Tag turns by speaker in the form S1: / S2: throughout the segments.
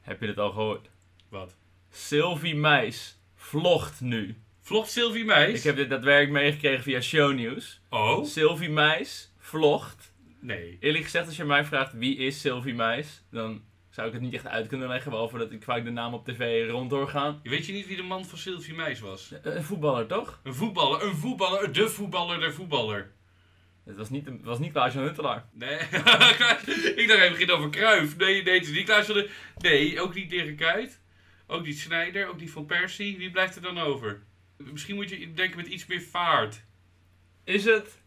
S1: Heb je het al gehoord?
S2: Wat?
S1: Sylvie Meis vlogt nu.
S2: Vlogt Sylvie Meijs?
S1: Ik heb dit daadwerkelijk meegekregen via shownieuws.
S2: Oh?
S1: Sylvie Meis vlogt.
S2: Nee.
S1: Eerlijk gezegd, als je mij vraagt wie is Sylvie Meis, dan zou ik het niet echt uit kunnen leggen, behalve dat ik vaak de naam op tv rond doorgaan.
S2: Weet je niet wie de man van Sylvie Meijs was?
S1: Eh, Een voetballer, toch?
S2: Een voetballer, een voetballer, de voetballer, de voetballer.
S1: Het was niet, het was niet Klaas-Jan Huntelaar.
S2: Nee, ik dacht even begint over Kruif. Nee, nee, het is niet Klaas van de... Nee, ook niet Dirk Kuyt. Ook niet Snijder, ook niet Van Persie. Wie blijft er dan over? Misschien moet je denken met iets meer vaart.
S1: Is het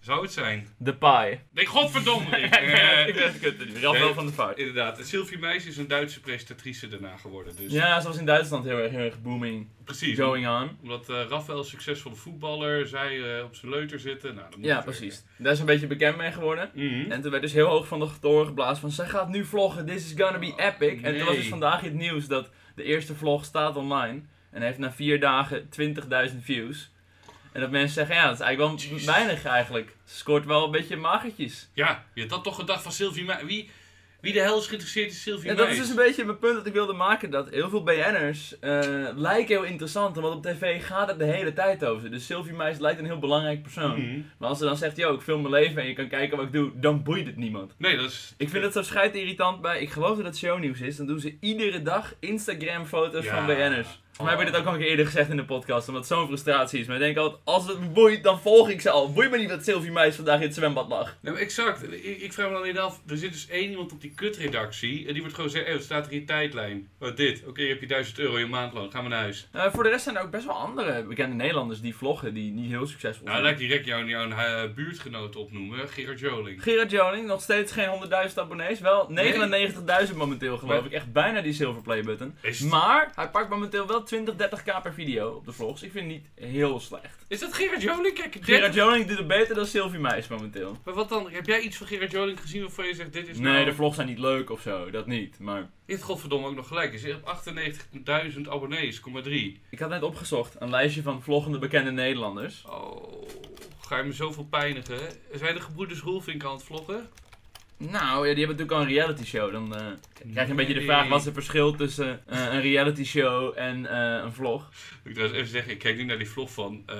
S2: Zou het zijn?
S1: De Pai?
S2: Nee, godverdomme! Rick.
S1: ik
S2: Eh,
S1: ben het kut nu. Rafael
S2: Nee.
S1: van de Vaart.
S2: Inderdaad, Sylvie Meijs is een Duitse presentatrice daarna geworden. Dus
S1: Ja, zoals in Duitsland heel erg, heel erg booming
S2: precies.
S1: going on.
S2: Omdat eh Rafael succesvolle voetballer, zij eh, op zijn leuter zitten. Nou, dan moet
S1: Ja,
S2: het
S1: precies. Daar is een beetje bekend mee geworden.
S2: werken. Mhm.
S1: En toen werd dus heel hoog van de toren geblazen van, zij gaat nu vloggen, this is gonna be epic. En toen was dus
S2: Oh, Nee.
S1: vandaag het nieuws dat de eerste vlog staat online. En heeft na vier dagen 20.000 views. En dat mensen zeggen, ja, dat is eigenlijk wel
S2: Jezus.
S1: weinig eigenlijk. Ze scoort wel een beetje magertjes.
S2: Ja, je had dat toch gedacht van Sylvie Meijs. Wie, wie de hel is geïnteresseerd in Sylvie
S1: En dat
S2: Meijs?
S1: is dus een beetje mijn punt dat ik wilde maken, dat heel veel BN'ers eh, lijken heel interessant. Want op tv gaat het de hele tijd over ze. Dus Sylvie Meis lijkt een heel belangrijk persoon.
S2: Mhm.
S1: Maar als ze dan zegt, yo, ik film mijn leven en je kan kijken wat ik doe, dan boeit het niemand.
S2: Nee, dat is...
S1: Ik vind het zo schijt irritant bij. Ik geloof dat het shownieuws is. Dan doen ze iedere dag Instagram-foto's
S2: Ja.
S1: van BN'ers. Voor mij heb ik dit
S2: Oh.
S1: ook al een keer eerder gezegd in de podcast, omdat het zo'n frustratie is. Maar ik denk altijd, als het me boeit, dan volg ik ze al. Boeit me niet dat Sylvie Meis vandaag in het zwembad lag.
S2: Nee, maar exact. Ik, ik vraag me dan niet af. Er zit dus één iemand op die kutredactie. En die wordt gewoon zeggen: eh, wat staat er in je tijdlijn? Wat dit? Oké, je heb je 1000 euro in je maandloon. Ga maar naar huis.
S1: Eh, voor de rest zijn er ook best wel andere bekende Nederlanders die vloggen, die niet heel succesvol
S2: Nou,
S1: zijn.
S2: laat ik direct jouw, jouw eh, buurtgenoot opnoemen: Gerard Joling.
S1: Gerard Joning, nog steeds geen 100.000 abonnees. Wel 99.000 momenteel, geloof
S2: Maar-
S1: ik. Echt bijna die silver play button.
S2: Is,
S1: Maar hij pakt momenteel wel 20, 30k per video op de vlogs. Ik vind het niet heel slecht.
S2: is dat Gerard Joling? Kijk, dit-
S1: Gerard Joning doet het beter dan Sylvie Meis momenteel.
S2: Maar wat dan? Heb jij iets van Gerard Joling gezien waarvan je zegt: dit is.
S1: Nee,
S2: nou...
S1: de vlogs zijn niet leuk of zo, dat niet. Maar
S2: Dit godverdomme ook nog gelijk. Hij zit op 98.000 abonnees, 3.
S1: ik had net opgezocht een lijstje van vloggende bekende Nederlanders.
S2: Oh, ga je me zoveel pijnigen? Zijn de gebroeders Roelvink aan het vloggen?
S1: Nou, ja, die hebben natuurlijk al een reality show. Dan eh, krijg je een beetje de
S2: Nee.
S1: vraag: wat is het verschil tussen eh, een reality show en eh, een vlog?
S2: Moet ik trouwens even zeggen, ik kijk nu naar die vlog van, eh,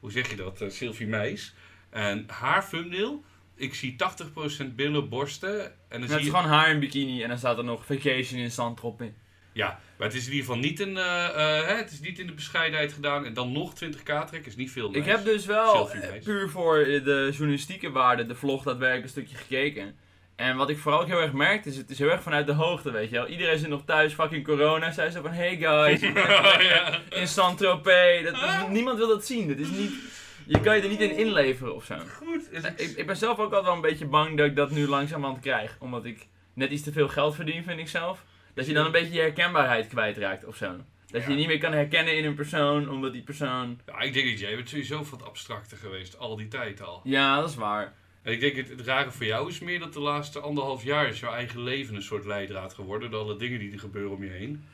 S2: hoe zeg je dat, eh, Sylvie Meis. En haar thumbnail, ik zie 80% billen, borsten.
S1: En
S2: En dan
S1: het
S2: zie
S1: is
S2: je...
S1: gewoon haar in bikini en dan staat er nog vacation in Saint-Tropez.
S2: Ja, maar het is in ieder geval niet in, eh, eh, hè, het is niet in de bescheidenheid gedaan. En dan nog 20k trekken is niet veel.
S1: Ik
S2: Meis.
S1: heb dus wel
S2: Selfie
S1: eh,
S2: meis.
S1: puur voor eh, de journalistieke waarde de vlog daadwerkelijk een stukje gekeken. En wat ik vooral ook heel erg merkte is, het is heel erg vanuit de hoogte, weet je wel. Iedereen zit nog thuis, fucking corona. Zij zo van, hey guys,
S2: ja.
S1: in Saint-Tropez. Dat, dat- niemand wil dat zien. Dat is niet, je kan je er niet in inleveren of zo.
S2: Goed. Is
S1: Eh,
S2: het...
S1: Ik, ik ben zelf ook altijd wel een beetje bang dat ik dat nu langzamerhand krijg. Omdat ik net iets te veel geld verdien, vind ik zelf. Dat je dan een beetje je herkenbaarheid kwijtraakt of zo. Dat je
S2: Ja.
S1: je niet meer kan herkennen in een persoon, omdat die persoon...
S2: Ja, Nou, ik denk dat jij bent sowieso wat abstracter geweest, al die tijd al.
S1: Ja, dat is waar.
S2: En ik denk het, het rare voor jou is meer dat de laatste anderhalf jaar is jouw eigen leven een soort leidraad geworden door alle dingen die er gebeuren om je heen.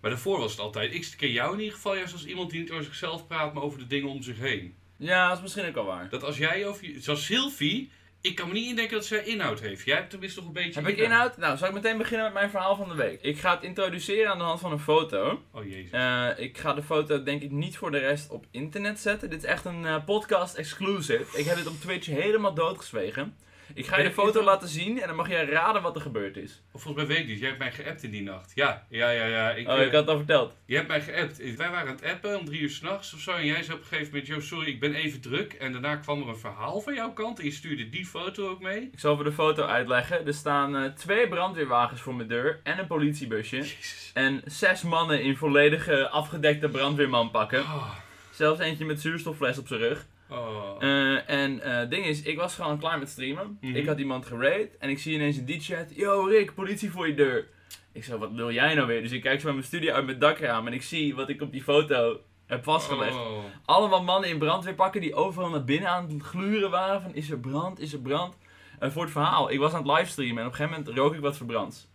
S2: Maar daarvoor was het altijd. Ik ken jou in ieder geval juist als iemand die niet over zichzelf praat, maar over de dingen om zich heen.
S1: Ja, dat is misschien ook al waar.
S2: Dat als jij over je, zoals Sylvie, ik kan me niet indenken dat zij inhoud heeft. Jij hebt tenminste nog een beetje.
S1: Heb ik inhoud? Nou, zal ik meteen beginnen met mijn verhaal van de week. Ik ga het introduceren aan de hand van een foto.
S2: Oh jezus.
S1: Eh, ik ga de foto denk ik niet voor de rest op internet zetten. Dit is echt een eh, podcast exclusive. Ik heb dit op Twitch helemaal doodgezwegen. Ik ga je de
S2: Weet je
S1: foto
S2: dat?
S1: laten zien en dan mag jij raden wat er gebeurd is.
S2: Of volgens mij weet ik niet. Jij hebt mij geappt in die nacht. Ja, ja, ja, ja. Ik,
S1: Oh,
S2: eh,
S1: ik had het al verteld.
S2: Je hebt mij geappt. Wij waren aan het appen om drie uur s'nachts of zo. En jij zei op een gegeven moment: Yo, sorry, ik ben even druk. En daarna kwam er een verhaal van jouw kant. En je stuurde die foto ook mee.
S1: Ik zal voor de foto uitleggen. Er staan eh, twee brandweerwagens voor mijn deur en een politiebusje.
S2: Jezus.
S1: En zes mannen in volledige afgedekte brandweerman pakken.
S2: Oh.
S1: Zelfs eentje met zuurstoffles op zijn rug.
S2: Oh.
S1: Eh, en eh, ding is, ik was gewoon klaar met streamen.
S2: Mhm.
S1: Ik had iemand geraid en ik zie ineens in die chat: Yo Rick, politie voor je deur. Ik zei, wat wil jij nou weer? Dus ik kijk zo bij mijn studio uit mijn dakraam en ik zie wat ik op die foto heb vastgelegd.
S2: Oh.
S1: Allemaal mannen in brandweerpakken die overal naar binnen aan het gluren waren van is er brand, is er brand. En voor het verhaal, ik was aan het livestreamen en op een gegeven moment rook ik wat verbrands.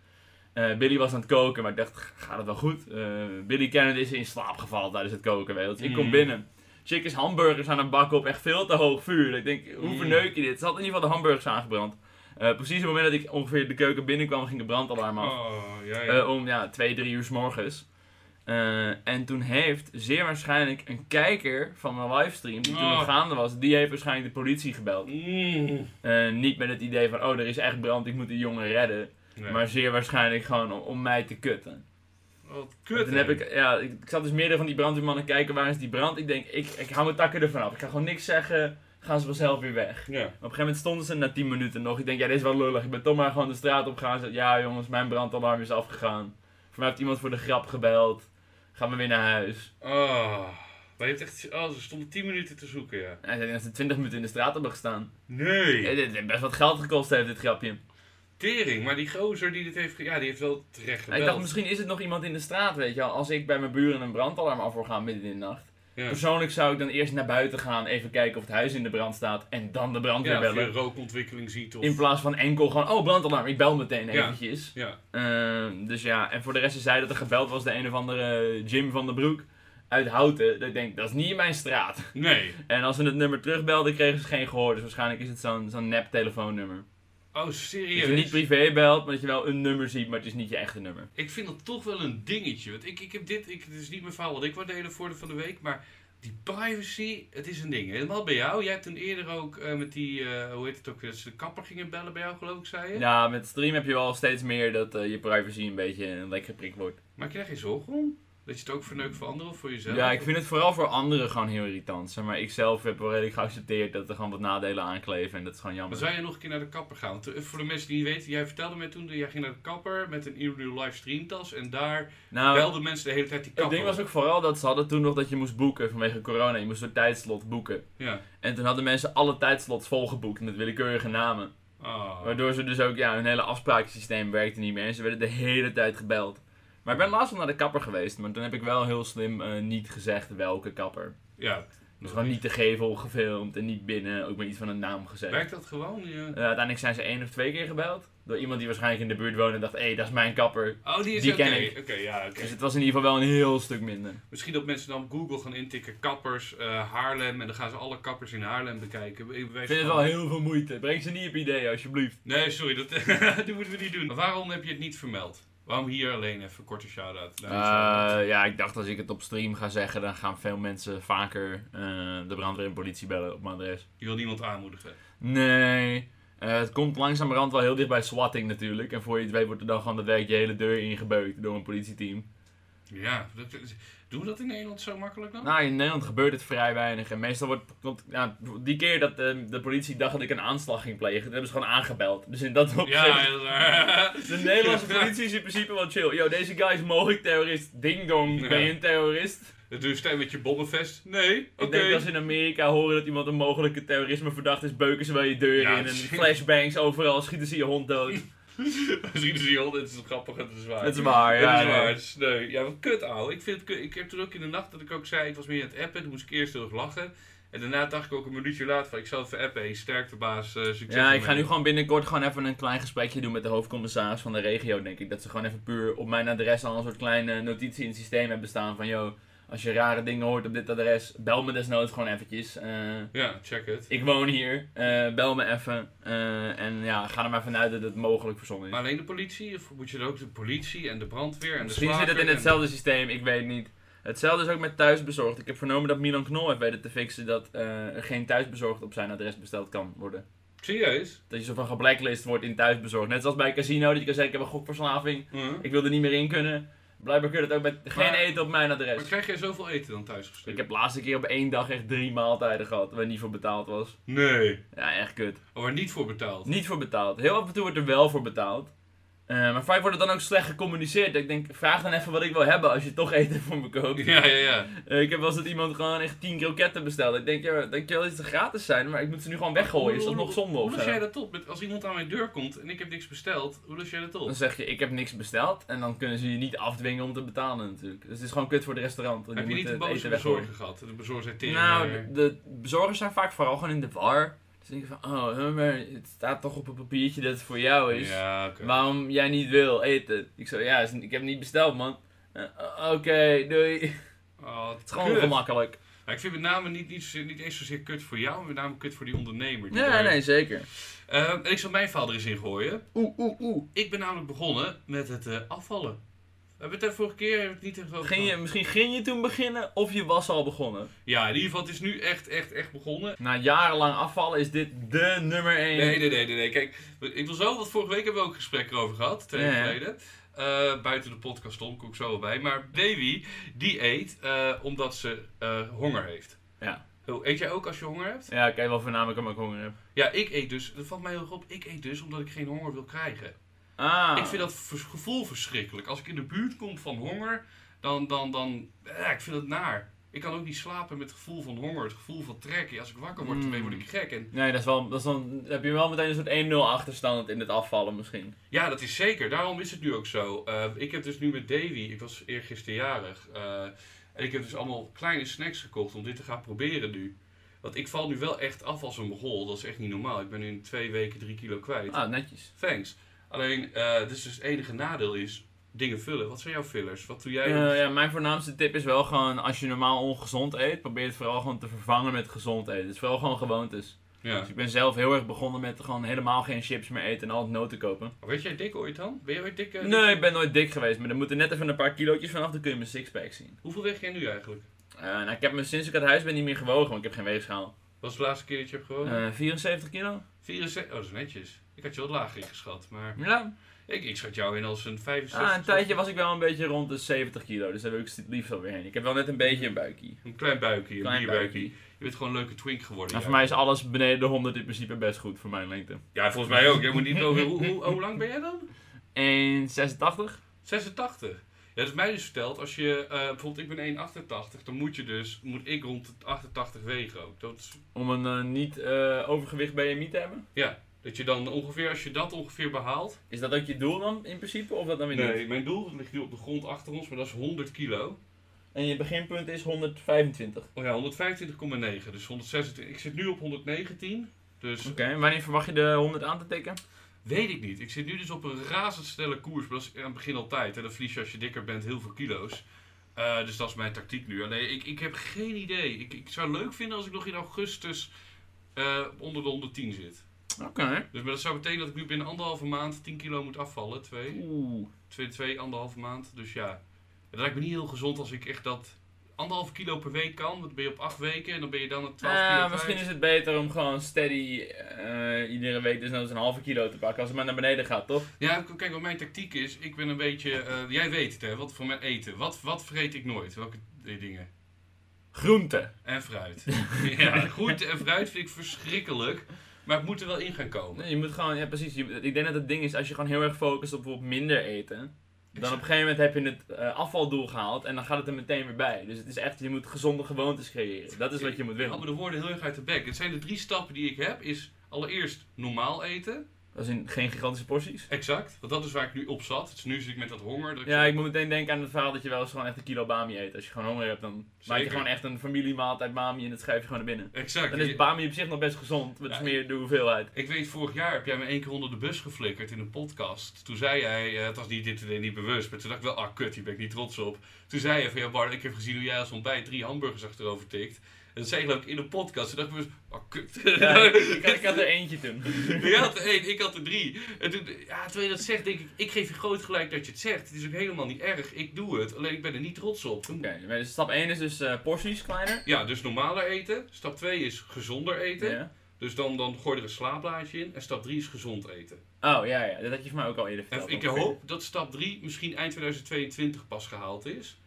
S1: Eh, Billy was aan het koken, maar ik dacht, "Ga- gaat het wel goed? Eh, Billy Kennedy is in slaap gevallen tijdens het koken, weet je. Dus ik kom
S2: Mm.
S1: binnen. Chick is hamburgers aan het bakken op echt veel te hoog vuur. Ik denk, hoe
S2: Mm.
S1: verneuk je dit? Ze had in ieder geval de hamburgers aangebrand. Eh, precies op het moment dat ik ongeveer de keuken binnenkwam, ging de brandalarm af.
S2: Oh, ja, ja.
S1: Eh, om ja, twee, drie uur s morgens. Eh, en toen heeft zeer waarschijnlijk een kijker van mijn livestream, die toen
S2: Oh.
S1: nog gaande was, die heeft waarschijnlijk de politie gebeld.
S2: Mm.
S1: Eh, niet met het idee van, oh, er is echt brand, ik moet die jongen redden.
S2: Nee.
S1: Maar zeer waarschijnlijk gewoon om, om mij te kutten.
S2: Wat kut.
S1: toen heb
S2: hè?
S1: ik, ja, ik, ik zat dus meerdere van die brandweermannen kijken, waar is die brand? Ik denk, ik, ik hou mijn takken ervan af. Ik ga gewoon niks zeggen, gaan ze vanzelf weer weg.
S2: Ja.
S1: Op een gegeven moment stonden ze na 10 minuten nog. Ik denk, ja, dit is wel lullig. Ik ben toch maar gewoon de straat op gaan. Ja, jongens, mijn brandalarm is afgegaan. Voor mij heeft iemand voor de grap gebeld. Gaan we weer naar huis.
S2: Oh. Maar je hebt echt... Oh, ze stonden 10 minuten te zoeken, ja.
S1: En ze ze 20 minuten in de straat hebben gestaan. Eh,
S2: Nee.
S1: Dit heeft best wat geld gekost, heeft dit grapje.
S2: Tering. Maar die gozer die dit heeft... ge- Ja, die heeft wel terecht
S1: ik dacht,
S2: gebeld.
S1: misschien is het nog iemand in de straat, weet je wel. Als ik bij mijn buren een brandalarm af hoor gaan midden in de nacht.
S2: Ja.
S1: Persoonlijk zou ik dan eerst naar buiten gaan, even kijken of het huis in de brand staat. En dan de brandweer
S2: Ja, of je
S1: bellen.
S2: rookontwikkeling ziet of...
S1: In plaats van enkel gewoon, oh brandalarm, ik bel meteen
S2: Ja.
S1: eventjes.
S2: ja.
S1: Ehm, dus ja, en voor de rest is zij dat er gebeld was de een of andere Jim van den Broek uit Houten. Dat ik denk, dat is niet in mijn straat.
S2: Nee.
S1: En als ze het nummer terugbelden, kregen ze geen gehoor. Dus waarschijnlijk is het zo'n zo'n nep telefoonnummer.
S2: Oh,
S1: Dat
S2: serieus?
S1: je niet privé belt, maar dat je wel een nummer ziet, maar het is niet je echte nummer.
S2: Ik vind dat toch wel een dingetje. Want ik, ik heb dit, ik, het is niet mijn verhaal wat ik wou delen voor de van de week, maar die privacy, het is een ding. Helemaal bij jou. Jij hebt toen eerder ook eh, met die, eh, hoe heet het ook, weer, dat ze de kapper gingen bellen bij jou, geloof ik, zei je.
S1: Ja, met stream heb je wel steeds meer dat eh, je privacy een beetje een lek geprikt wordt.
S2: Maar krijg je zorgen om? Dat je het ook verneukt voor anderen of voor jezelf?
S1: Ja, ik vind het vooral voor anderen gewoon heel irritant. Zeg maar ik zelf heb wel redelijk geaccepteerd dat er gewoon wat nadelen aankleven en dat is gewoon
S2: Maar
S1: jammer.
S2: zou je nog een keer naar de kapper gaan? Want, eh, voor de mensen die niet weten, jij vertelde mij toen, dat jij ging naar de kapper met een in-real live streamtas en daar
S1: Nou,
S2: belden mensen de hele tijd die
S1: Het
S2: kapper.
S1: ding was ook vooral dat ze hadden toen nog dat je moest boeken vanwege corona. Je moest door tijdslot boeken.
S2: Ja.
S1: En toen hadden mensen alle tijdslots volgeboekt met willekeurige namen.
S2: Ah.
S1: Waardoor ze dus ook, ja, hun hele afspraaksysteem werkte niet meer. En ze werden de hele tijd gebeld. Maar ik ben laatst wel naar de kapper geweest. Maar toen heb ik wel heel slim eh, niet gezegd welke kapper.
S2: Ja.
S1: Dus gewoon niet de gevel gefilmd en niet binnen. Ook maar iets van een naam gezegd.
S2: Werkt dat gewoon? Ja.
S1: Eh, uiteindelijk zijn ze één of twee keer gebeld. Door iemand die waarschijnlijk in de buurt woonde en dacht, hé, hey, dat is mijn kapper.
S2: Oh, die is
S1: Die
S2: oké.
S1: ken ik.
S2: Oké, ja, oké.
S1: Dus het was in ieder geval wel een heel stuk minder.
S2: Misschien dat mensen dan op Google gaan intikken kappers eh, Haarlem en dan gaan ze alle kappers in Haarlem bekijken. Ik
S1: Ik vind het wel heel veel moeite. Breng ze niet op idee, alsjeblieft.
S2: Nee, sorry, dat, dat moeten we niet doen. Maar waarom heb je het niet vermeld? Waarom hier alleen even een korte shout-out? naar jezelf?
S1: Eh, ja, ik dacht als ik het op stream ga zeggen, dan gaan veel mensen vaker eh, de brandweer en politie bellen op mijn adres.
S2: je wil niemand aanmoedigen.
S1: Nee. Eh, het komt langzamerhand wel heel dicht bij swatting natuurlijk. En voor je het weet wordt er dan gewoon dat werk je hele deur ingebeukt door een politieteam.
S2: Ja, dat, dat- doen we dat in Nederland zo makkelijk dan?
S1: Nou, in Nederland gebeurt het vrij weinig. En meestal wordt... komt- ja, die keer dat eh, de politie dacht dat ik een aanslag ging plegen, toen hebben ze gewoon aangebeld. Dus in dat opzicht...
S2: ja, dat is waar.
S1: De Nederlandse politie is in principe wel chill. Yo, deze guy is mogelijk terrorist. Ding dong, ben je een terrorist?
S2: Dat doe je stem met je bommenvest. Nee, oké.
S1: Ik denk dat ze in Amerika horen dat iemand een mogelijke terrorismeverdachte is, beuken ze wel je deur
S2: Ja,
S1: in en
S2: shit.
S1: flashbangs overal, schieten ze je hond dood.
S2: Misschien is hij al, het is grappig, het is waar.
S1: Het is waar, ja.
S2: Ja, dat is waar.
S1: nee.
S2: het is sneu. Ja, wat kut, ouwe. Ik, vind het kut. ik heb toen ook in de nacht dat ik ook zei, ik was meer aan het appen, toen moest ik eerst heel erg lachen. En daarna dacht ik ook een minuutje later van, ik zal even appen, hey, sterkte baas, eh, succes.
S1: Ja, ik ga
S2: ermee.
S1: nu gewoon binnenkort gewoon even een klein gesprekje doen met de hoofdcommissaris van de regio, denk ik. Dat ze gewoon even puur op mijn adres al een soort kleine notitie in het systeem hebben staan van, yo, als je rare dingen hoort op dit adres, bel me desnoods gewoon eventjes. Eh,
S2: Ja, check het.
S1: ik woon hier, eh, bel me even. Eh, en ja, ga er maar vanuit dat het mogelijk verzonnen is.
S2: Maar alleen de politie? Of moet je er ook de politie en de brandweer en de
S1: Misschien zit
S2: slager
S1: het in
S2: en-
S1: hetzelfde systeem, ik weet niet. Hetzelfde is ook met thuisbezorgd. Ik heb vernomen dat Milan Knol heeft weten te fixen dat eh, er geen thuisbezorgd op zijn adres besteld kan worden.
S2: Serieus?
S1: Dat je zo van geblacklist wordt in thuisbezorgd. Net zoals bij een casino, dat je kan zeggen ik heb een gokverslaving,
S2: Huh?
S1: ik wil er niet meer in kunnen. Blijkbaar kun je dat ook met geen
S2: Maar-
S1: eten op mijn adres.
S2: Maar krijg jij zoveel eten dan thuis gestuurd?
S1: Ik heb de laatste keer op één dag echt drie maaltijden gehad waar niet voor betaald was.
S2: Nee.
S1: Ja, echt kut.
S2: Oh, maar niet voor betaald?
S1: Niet voor betaald. Heel af en toe wordt er wel voor betaald. Eh, maar vaak wordt het dan ook slecht gecommuniceerd. Ik denk, vraag dan even wat ik wil hebben als je toch eten voor me koopt.
S2: Ja, ja, ja.
S1: Eh, ik heb wel eens dat iemand gewoon echt 10 kroketten bestelde. Ik denk, ja, dankjewel dat ze gratis zijn, maar ik moet ze nu gewoon weggooien. Is dat nog zonde
S2: Hoe
S1: of
S2: los
S1: zo?
S2: jij dat op? Met- Als iemand aan mijn deur komt en ik heb niks besteld, hoe los jij dat op?
S1: Dan zeg je, ik heb niks besteld. En dan kunnen ze je niet afdwingen om te betalen natuurlijk. Dus het is gewoon kut voor de restaurant. want
S2: Heb je
S1: moet
S2: niet
S1: het
S2: een boze
S1: eten
S2: bezorger
S1: weggooien.
S2: gehad? De bezorger zei tegen
S1: Nou,
S2: eh,
S1: de, de bezorgers zijn vaak vooral gewoon in de war. Dus denk je van, oh, hè, maar het staat toch op een papiertje dat het voor jou is.
S2: Ja, oké.
S1: Waarom jij niet wil eten? Ik zo, ja, is- ik heb niet besteld, man. Eh, Oké, doei.
S2: Oh, wat
S1: Het is gewoon
S2: kut.
S1: ongemakkelijk.
S2: Maar ik vind met name niet, niet, zozeer- niet eens zozeer kut voor jou, maar met name kut voor die ondernemer. die
S1: Nee,
S2: daar-
S1: nee, zeker.
S2: Eh, en ik zal mijn vader eens ingooien.
S1: Oeh, oeh, oeh.
S2: Ik ben namelijk begonnen met het eh, afvallen. We hebben het de vorige keer hebben we het niet echt over
S1: Ging je,
S2: gehad.
S1: misschien ging je toen beginnen of je was al begonnen.
S2: Ja, in ieder geval, het is nu echt, echt, echt begonnen.
S1: Na jarenlang afvallen is dit de nummer 1.
S2: Nee, nee, nee, nee, nee. Kijk, ik wil zo, want vorige week hebben we ook gesprekken over gehad, twee weken
S1: Ja.
S2: geleden. Eh, buiten de podcast om, kom ik zo wel bij. Maar Davy, die eet eh, omdat ze eh, honger heeft.
S1: Ja.
S2: Oh, Eet jij ook als je honger hebt?
S1: Ja, ik eet wel voornamelijk omdat ik honger heb.
S2: Ja, ik eet dus, dat valt mij heel erg op, ik eet dus omdat ik geen honger wil krijgen.
S1: Ah.
S2: Ik vind dat vers- gevoel verschrikkelijk. Als ik in de buurt kom van honger, dan, dan, dan, eh, ik vind het naar. Ik kan ook niet slapen met het gevoel van honger, het gevoel van trekken. Als ik wakker word,
S1: Mm.
S2: daarmee word ik gek. En
S1: Nee, dat is wel, dat is dan heb je wel meteen een soort 1-0 achterstand in het afvallen misschien.
S2: Ja, dat is zeker. Daarom is het nu ook zo. Eh, ik heb dus nu met Davy, ik was eergisteren jarig, eh, en ik heb dus allemaal kleine snacks gekocht om dit te gaan proberen nu. Want ik val nu wel echt af als een begol. Dat is echt niet normaal. Ik ben in twee weken drie kilo kwijt.
S1: Ah, netjes.
S2: Thanks. Alleen, eh dus, dus het enige nadeel is dingen vullen. Wat zijn jouw fillers? Wat doe jij?
S1: Eh, ja, mijn voornaamste tip is wel gewoon, als je normaal ongezond eet, probeer het vooral gewoon te vervangen met gezond eten. Het is vooral gewoon gewoontes.
S2: ja.
S1: Dus ik ben zelf heel erg begonnen met gewoon helemaal geen chips meer eten en altijd noten kopen.
S2: Weet jij dik ooit dan? Ben jij ooit dik? eh, dik?
S1: Nee, ik ben nooit dik geweest, maar er moeten net even een paar kilootjes vanaf, dan kun je mijn sixpack zien.
S2: Hoeveel weeg jij nu eigenlijk?
S1: Eh, nou, ik heb me sinds ik uit huis ben niet meer gewogen, want ik heb geen weegschaal.
S2: Wat is de laatste keer dat je hebt gewoond?
S1: Eh 74 kilo?
S2: 74. Oh, dat is netjes. Ik had je wat lager ingeschat, maar
S1: Ja.
S2: ik, ik schat jou in als een 65.
S1: Ah, een tijdje was ik wel een beetje rond de 70 kilo, dus daar wil ik het liefst alweer heen. Ik heb wel net een beetje een buikie.
S2: Een klein buikje, een
S1: Klein
S2: bierbuikje.
S1: buikie.
S2: Je bent gewoon een leuke twink geworden.
S1: Nou,
S2: ja.
S1: voor mij is alles beneden de 100 in principe best goed voor mijn lengte.
S2: Ja, volgens mij ook. Jij moet niet over... Hoe, hoe, hoe lang ben jij dan?
S1: 1,86?
S2: 86. Ja, dat is mij dus verteld. Als je... eh, bijvoorbeeld, ik ben 1,88. Dan moet je dus... Moet ik rond de 88 wegen ook. Dat, is-
S1: Om een eh, niet eh, overgewicht BMI te hebben?
S2: dat je dan ongeveer... Als je dat ongeveer behaalt...
S1: Is dat ook je doel dan in principe? Of dat dan weer niet?
S2: mijn doel ligt nu op de grond achter ons. Maar dat is 100 kilo.
S1: En je beginpunt is 125.
S2: Oh ja, 125,9. Dus 126. Ik zit nu op 119. Dus
S1: Oké, en wanneer verwacht je de 100 aan te tikken?
S2: weet ik niet. Ik zit nu dus op een razendsnelle koers. Maar dat is aan het begin altijd. En dan verlies je als je dikker bent heel veel kilo's. Eh, dus dat is mijn tactiek nu. Alleen ik, ik heb geen idee. Ik, ik zou het leuk vinden als ik nog in augustus eh, onder de 110 zit.
S1: Oké.
S2: Dus maar dat zou betekenen dat ik nu binnen anderhalve maand 10 kilo moet afvallen. Twee,
S1: Oeh.
S2: twee, twee anderhalve maand. Dus ja. Dat lijkt me niet heel gezond als ik echt dat anderhalf kilo per week kan. Want dan ben je op acht weken en dan ben je dan op 12
S1: Eh,
S2: kilo kwijt.
S1: misschien is het beter om gewoon steady eh, iedere week dus nog eens een halve kilo te pakken. Als het maar naar beneden gaat, toch?
S2: Ja, k- kijk, wat mijn tactiek is, ik ben een beetje... eh, jij weet het, hè, wat voor mijn eten. Wat, wat vreet ik nooit? Welke eh, dingen?
S1: Groente.
S2: En fruit. ja, groente en fruit vind ik verschrikkelijk. Maar het moet er wel in gaan komen.
S1: Nee, je moet gewoon, ja precies. Je- ik denk dat het ding is, als je gewoon heel erg focust op bijvoorbeeld minder eten, dan op een gegeven moment heb je het eh, afvaldoel gehaald en dan gaat het er meteen weer bij. Dus het is echt, je moet gezonde gewoontes creëren. Dat is wat je moet
S2: Ik
S1: willen.
S2: haal me de woorden heel erg uit de bek. Het zijn de drie stappen die ik heb. Is allereerst normaal eten.
S1: Dat zijn geen gigantische porties.
S2: Exact. Want dat is waar ik nu op zat. Dus nu zit ik met dat honger. Dat ik
S1: Ja,
S2: zo-
S1: ik moet meteen denken aan het verhaal dat je wel eens gewoon echt een kilo bami eet. Als je gewoon honger hebt, dan maak je
S2: Zeker.
S1: gewoon echt een familiemaaltijd bami en dat schuif je gewoon naar binnen.
S2: Exact.
S1: Dan is
S2: Je-
S1: bami op zich nog best gezond, maar het is
S2: Ja.
S1: meer de hoeveelheid.
S2: Ik weet, vorig jaar heb jij me één keer onder de bus geflikkerd in een podcast. Toen zei jij, eh, het was niet dit en niet bewust, maar toen dacht ik wel, ah kut, hier ben ik niet trots op. Toen zei je van, ja Bart, ik heb gezien hoe jij als ontbijt drie hamburgers achterover tikt. En dat zei ik geloof ik in de podcast. Toen dacht ik, me, ah kut.
S1: Ja, ik, ik had- ik had er eentje toen.
S2: Jij had er één, ik had er drie. En toen, ja, terwijl je dat zegt, denk ik, ik geef je groot gelijk dat je het zegt. Het is ook helemaal niet erg, ik doe het, alleen ik ben er niet trots op.
S1: Oké, dus stap 1 is dus eh, porties kleiner.
S2: Ja, dus normaler eten. Stap 2 is gezonder eten.
S1: Ja.
S2: Dus dan, dan gooi je er een slaaplaadje in. En stap 3 is gezond eten.
S1: Oh ja, ja, dat had je voor mij ook al eerder
S2: En
S1: verteld.
S2: ik
S1: ongeveer.
S2: hoop dat stap 3 misschien eind 2022 pas gehaald is. Dus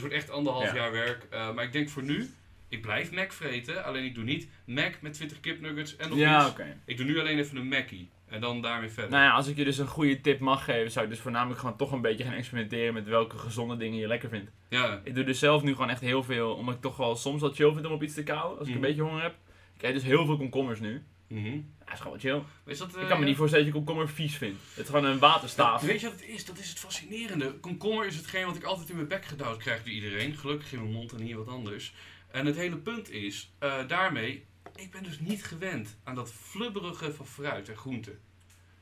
S2: het wordt echt anderhalf
S1: Ja.
S2: jaar werk. Eh, maar ik denk voor nu, ik blijf Mac vreten. Alleen ik doe niet Mac met 20 kipnuggets en nog
S1: Ja,
S2: iets.
S1: oké.
S2: Ik doe nu alleen even een Mackie. En dan daarmee verder.
S1: Nou ja, als ik je dus een goede tip mag geven, zou ik dus voornamelijk gewoon toch een beetje gaan experimenteren met welke gezonde dingen je lekker vindt.
S2: Ja,
S1: Ik doe dus zelf nu gewoon echt heel veel, omdat ik toch wel soms wel chill vind om op iets te kauwen, als ik
S2: Mhm.
S1: een beetje honger heb. Ik eet dus heel veel komkommers nu.
S2: mhm.
S1: Ja, dat is gewoon wel chill.
S2: Maar is dat, eh,
S1: Ik kan me niet voorstellen dat je komkommer vies vindt. Het is gewoon een waterstaaf.
S2: Weet je wat het is? Dat is het fascinerende. Komkommer is hetgeen wat ik altijd in mijn bek gedouwd krijg door iedereen. Gelukkig in mijn mond en hier wat anders. En het hele punt is, eh, daarmee, ik ben dus niet gewend aan dat flubberige van fruit en groente.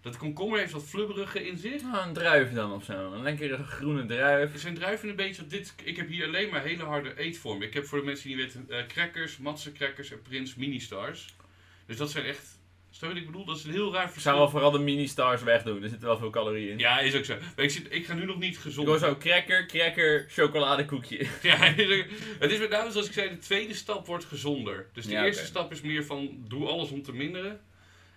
S2: Dat komkommer heeft wat flubberige in zich.
S1: Nou, een druif dan of zo. Een lekkere groene druif.
S2: Zijn druiven een beetje... Dit, ik heb hier alleen maar hele harde eetvormen. Ik heb voor de mensen die niet weten... eh, crackers, matse crackers en prins mini-stars. Dus dat zijn echt... Snap je wat ik bedoel? Dat is een heel raar
S1: Ik
S2: verschil.
S1: zou wel vooral de mini-stars wegdoen. Er zitten wel veel calorieën in.
S2: Ja, is ook zo. Maar ik, zit, ik ga nu nog niet
S1: Ik
S2: gezond.
S1: hoor zo cracker, cracker, chocoladekoekje.
S2: Ja, het is met name zoals ik zei, de tweede stap wordt gezonder. Dus de
S1: Ja,
S2: eerste
S1: oké.
S2: stap is meer van doe alles om te minderen.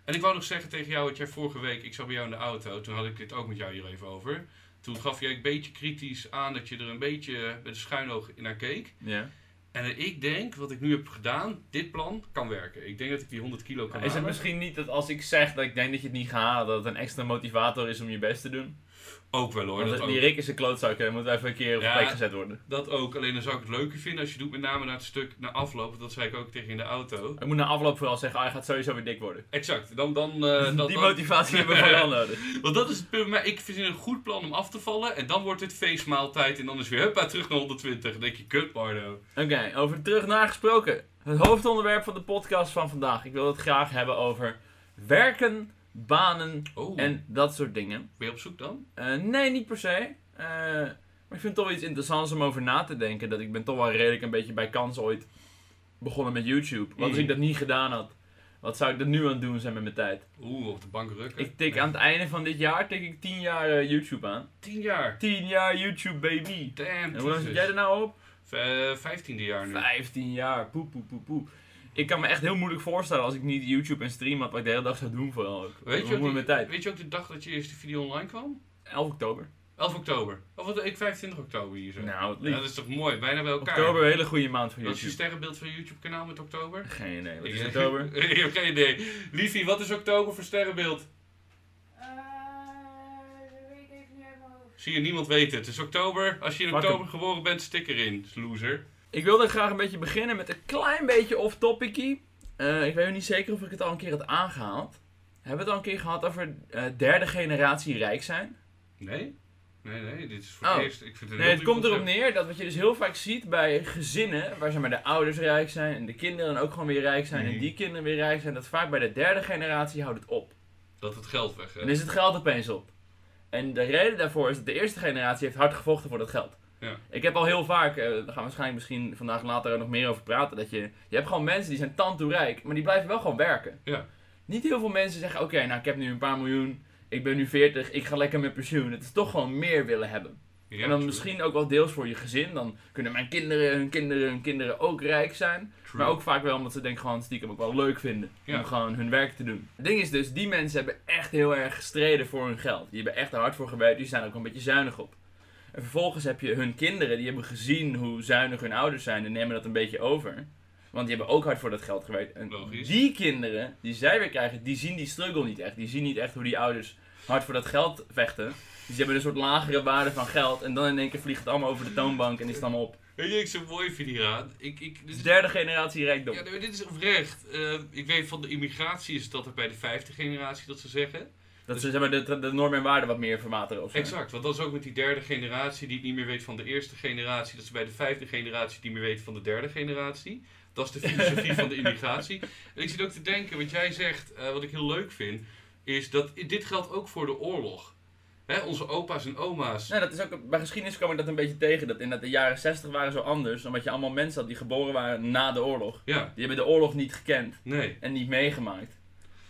S2: En ik wou nog zeggen tegen jou, dat jij vorige week, ik zat bij jou in de auto, toen had ik dit ook met jou hier even over. Toen gaf jij een beetje kritisch aan dat je er een beetje eh, met een schuin oog naar keek.
S1: Ja.
S2: En eh, ik denk, wat ik nu heb gedaan, dit plan kan werken. Ik denk dat ik die 100 kilo kan
S1: Is het
S2: halen.
S1: misschien niet dat als ik zeg dat ik denk dat je het niet gaat halen, dat het een extra motivator is om je best te doen?
S2: Ook wel hoor,
S1: Want
S2: dat
S1: die
S2: ook.
S1: Rick is een klootzak, hè. Moet even een keer op de
S2: Ja.
S1: plek gezet worden.
S2: dat ook. Alleen dan zou ik het leuker vinden als je doet met name naar het stuk na afloop. Dat zei ik ook tegen je in de auto.
S1: Ik moet na afloop vooral zeggen, ah, je gaat sowieso weer dik worden.
S2: Exact. Dan, dan, eh, dat,
S1: die
S2: dan-
S1: motivatie hebben we vooral nodig.
S2: Want dat is het punt. Maar ik verzin een goed plan om af te vallen. En dan wordt het feestmaaltijd. En dan is weer huppa terug naar 120. Dan denk je, kut Bardo.
S1: Oké, over terug naar gesproken. Het hoofdonderwerp van de podcast van vandaag. Ik wil het graag hebben over werken, banen
S2: Oh, en...
S1: en dat soort dingen.
S2: ben je op zoek dan?
S1: Eh, nee, niet per se. Eh, maar ik vind het toch wel iets interessants om over na te denken. Dat ik ben toch wel redelijk een beetje bij kans ooit begonnen met YouTube. Want als
S2: Mm.
S1: ik dat niet gedaan had, wat zou ik er nu aan het doen zijn met mijn tijd?
S2: Oeh, op de bank rukken.
S1: Ik tik aan het einde van dit jaar tik ik 10 jaar eh, YouTube aan.
S2: 10 jaar.
S1: 10 jaar YouTube baby.
S2: Damn,
S1: En hoe lang zit
S2: Jesus.
S1: jij er nou op?
S2: V- eh, 15e jaar nu.
S1: 15 jaar. Poep, poep, poep, poep. Ik kan me echt heel moeilijk voorstellen als ik niet YouTube en stream had, wat ik de hele dag zou doen vooral ook.
S2: Weet je,
S1: Hoe
S2: ook
S1: moet
S2: die-
S1: mijn tijd?
S2: weet je ook de dag dat je eerste video online kwam?
S1: 11 oktober.
S2: 11 oktober. Of wat, ik 25 oktober hier zo.
S1: Nou, het
S2: Ja,
S1: liefst.
S2: dat is toch mooi, bijna bij elkaar.
S1: Oktober, een hele goede maand voor
S2: Wat is je
S1: YouTube.
S2: sterrenbeeld van je YouTube kanaal met oktober?
S1: Geen idee. Wat is
S2: Ik-
S1: oktober?
S2: ik heb geen idee. Liefie, wat is oktober voor sterrenbeeld?
S3: Eh, dat weet ik even niet uit mijn hoofd.
S2: Zie je, niemand weet het. Het is oktober. Als je in
S1: Pak
S2: oktober geboren bent, stik erin. Loser.
S1: Ik wilde graag een beetje beginnen met een klein beetje off-topicie. Eh, ik weet niet zeker of ik het al een keer had aangehaald. Hebben we het al een keer gehad over eh, derde generatie rijk zijn?
S2: Nee? Nee, nee. Dit is voor
S1: Oh.
S2: het eerst. Ik vind het
S1: Nee, het komt erop neer dat wat je dus heel vaak ziet bij gezinnen, waar zeg maar de ouders rijk zijn en de kinderen ook gewoon weer rijk zijn en
S2: Mhm.
S1: die kinderen weer rijk zijn, dat vaak bij de derde generatie houdt het op.
S2: Dat het geld weg
S1: Dan is het geld opeens op. En de reden daarvoor is dat de eerste generatie heeft hard gevochten voor dat geld.
S2: Ja.
S1: Ik heb al heel vaak, eh, daar gaan we waarschijnlijk misschien vandaag later nog meer over praten, dat je, je hebt gewoon mensen die zijn tantoerijk, maar die blijven wel gewoon werken.
S2: Ja.
S1: Niet heel veel mensen zeggen, oké, nou ik heb nu een paar miljoen, ik ben nu 40, ik ga lekker met pensioen. Het is toch gewoon meer willen hebben.
S2: Ja,
S1: en dan
S2: true.
S1: misschien ook wel deels voor je gezin, dan kunnen mijn kinderen, hun kinderen, hun kinderen ook rijk zijn.
S2: True.
S1: Maar ook vaak wel omdat ze denk ik gewoon stiekem ook wel leuk vinden
S2: Ja.
S1: om gewoon hun werk te doen. Het ding is dus, die mensen hebben echt heel erg gestreden voor hun geld. Die hebben echt er hard voor gewerkt, die zijn er ook een beetje zuinig op. En vervolgens heb je hun kinderen, die hebben gezien hoe zuinig hun ouders zijn en nemen dat een beetje over. Want die hebben ook hard voor dat geld gewerkt. En
S2: Logisch.
S1: die kinderen, die zij weer krijgen, die zien die struggle niet echt. Die zien niet echt hoe die ouders hard voor dat geld vechten. Dus die hebben een soort lagere waarde van geld. En dan in één keer vliegt het allemaal over de toonbank en is het allemaal op.
S2: Weet je, ik zo'n mooi vind hieraan. Ik, ik, dit
S1: Dus
S2: is-
S1: derde generatie rijkdom.
S2: Ja, nee, maar dit is oprecht. Eh, ik weet van de immigratie is dat er bij de vijfde generatie dat ze zeggen.
S1: Dat ze zeg maar, de, de normen en waarden wat meer verwateren of zo.
S2: Exact, want dat is ook met die derde generatie die het niet meer weet van de eerste generatie. Dat ze bij de vijfde generatie niet meer weten van de derde generatie. Dat is de filosofie van de immigratie. En ik zit ook te denken, wat jij zegt, eh, wat ik heel leuk vind, is dat dit geldt ook voor de oorlog. Hè, onze opa's en oma's.
S1: Nou, dat is ook, bij geschiedenis kwam ik dat een beetje tegen. Dat inderdaad de jaren 60 waren zo anders. Omdat je allemaal mensen had die geboren waren na de oorlog.
S2: Ja,
S1: Die hebben de oorlog niet gekend
S2: nee.
S1: en niet meegemaakt.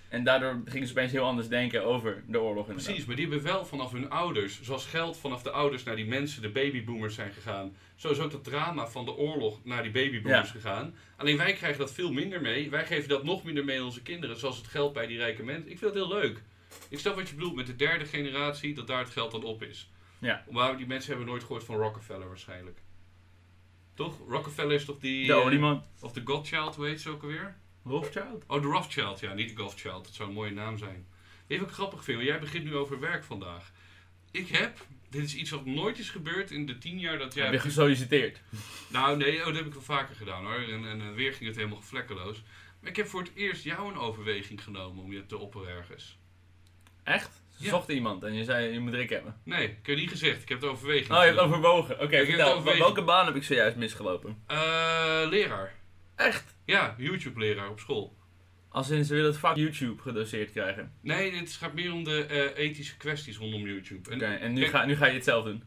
S1: En daardoor gingen ze opeens heel anders denken over de oorlog inderdaad.
S2: Precies, maar die hebben wel vanaf hun ouders, zoals geld vanaf de ouders naar die mensen, de babyboomers zijn gegaan. Zo is ook dat drama van de oorlog naar die babyboomers
S1: Ja.
S2: gegaan. Alleen wij krijgen dat veel minder mee. Wij geven dat nog minder mee aan onze kinderen, zoals het geld bij die rijke mensen. Ik vind dat heel leuk. Ik snap wat je bedoelt met de derde generatie, dat daar het geld dan op is.
S1: Ja.
S2: Maar die mensen hebben nooit gehoord van Rockefeller waarschijnlijk. Toch? Rockefeller is toch die...
S1: De
S2: eh,
S1: olieman.
S2: of de Godchild, hoe heet ze ook alweer?
S1: Rothschild?
S2: Oh, de Rothschild, ja, niet de Golfchild. Dat zou een mooie naam zijn. Even ik grappig vind, want jij begint nu over werk vandaag. Ik heb, dit is iets wat nooit is gebeurd in de tien jaar dat
S1: Heb je
S2: jij...
S1: gesolliciteerd?
S2: Nou nee, oh, dat heb ik wel vaker gedaan hoor. En, en eh, weer ging het helemaal vlekkeloos. Maar ik heb voor het eerst jou een overweging genomen om je te opperen ergens.
S1: Echt? Ze
S2: Ja.
S1: zochten iemand en je zei je moet Rick hebben.
S2: Nee, ik heb niet gezegd. Ik heb de overweging
S1: Oh, je hebt
S2: genomen.
S1: overwogen. Oké,
S2: heb
S1: vertel.
S2: het overwegen.
S1: Welke baan heb ik zojuist misgelopen?
S2: Eh, leraar.
S1: Echt?
S2: Ja, YouTube-leraar op school.
S1: Als in, ze willen het vak YouTube gedoseerd krijgen.
S2: Nee, het gaat meer om de eh, ethische kwesties rondom YouTube. En
S1: Oké, en nu
S2: kijk-
S1: ga, nu ga je het zelf doen.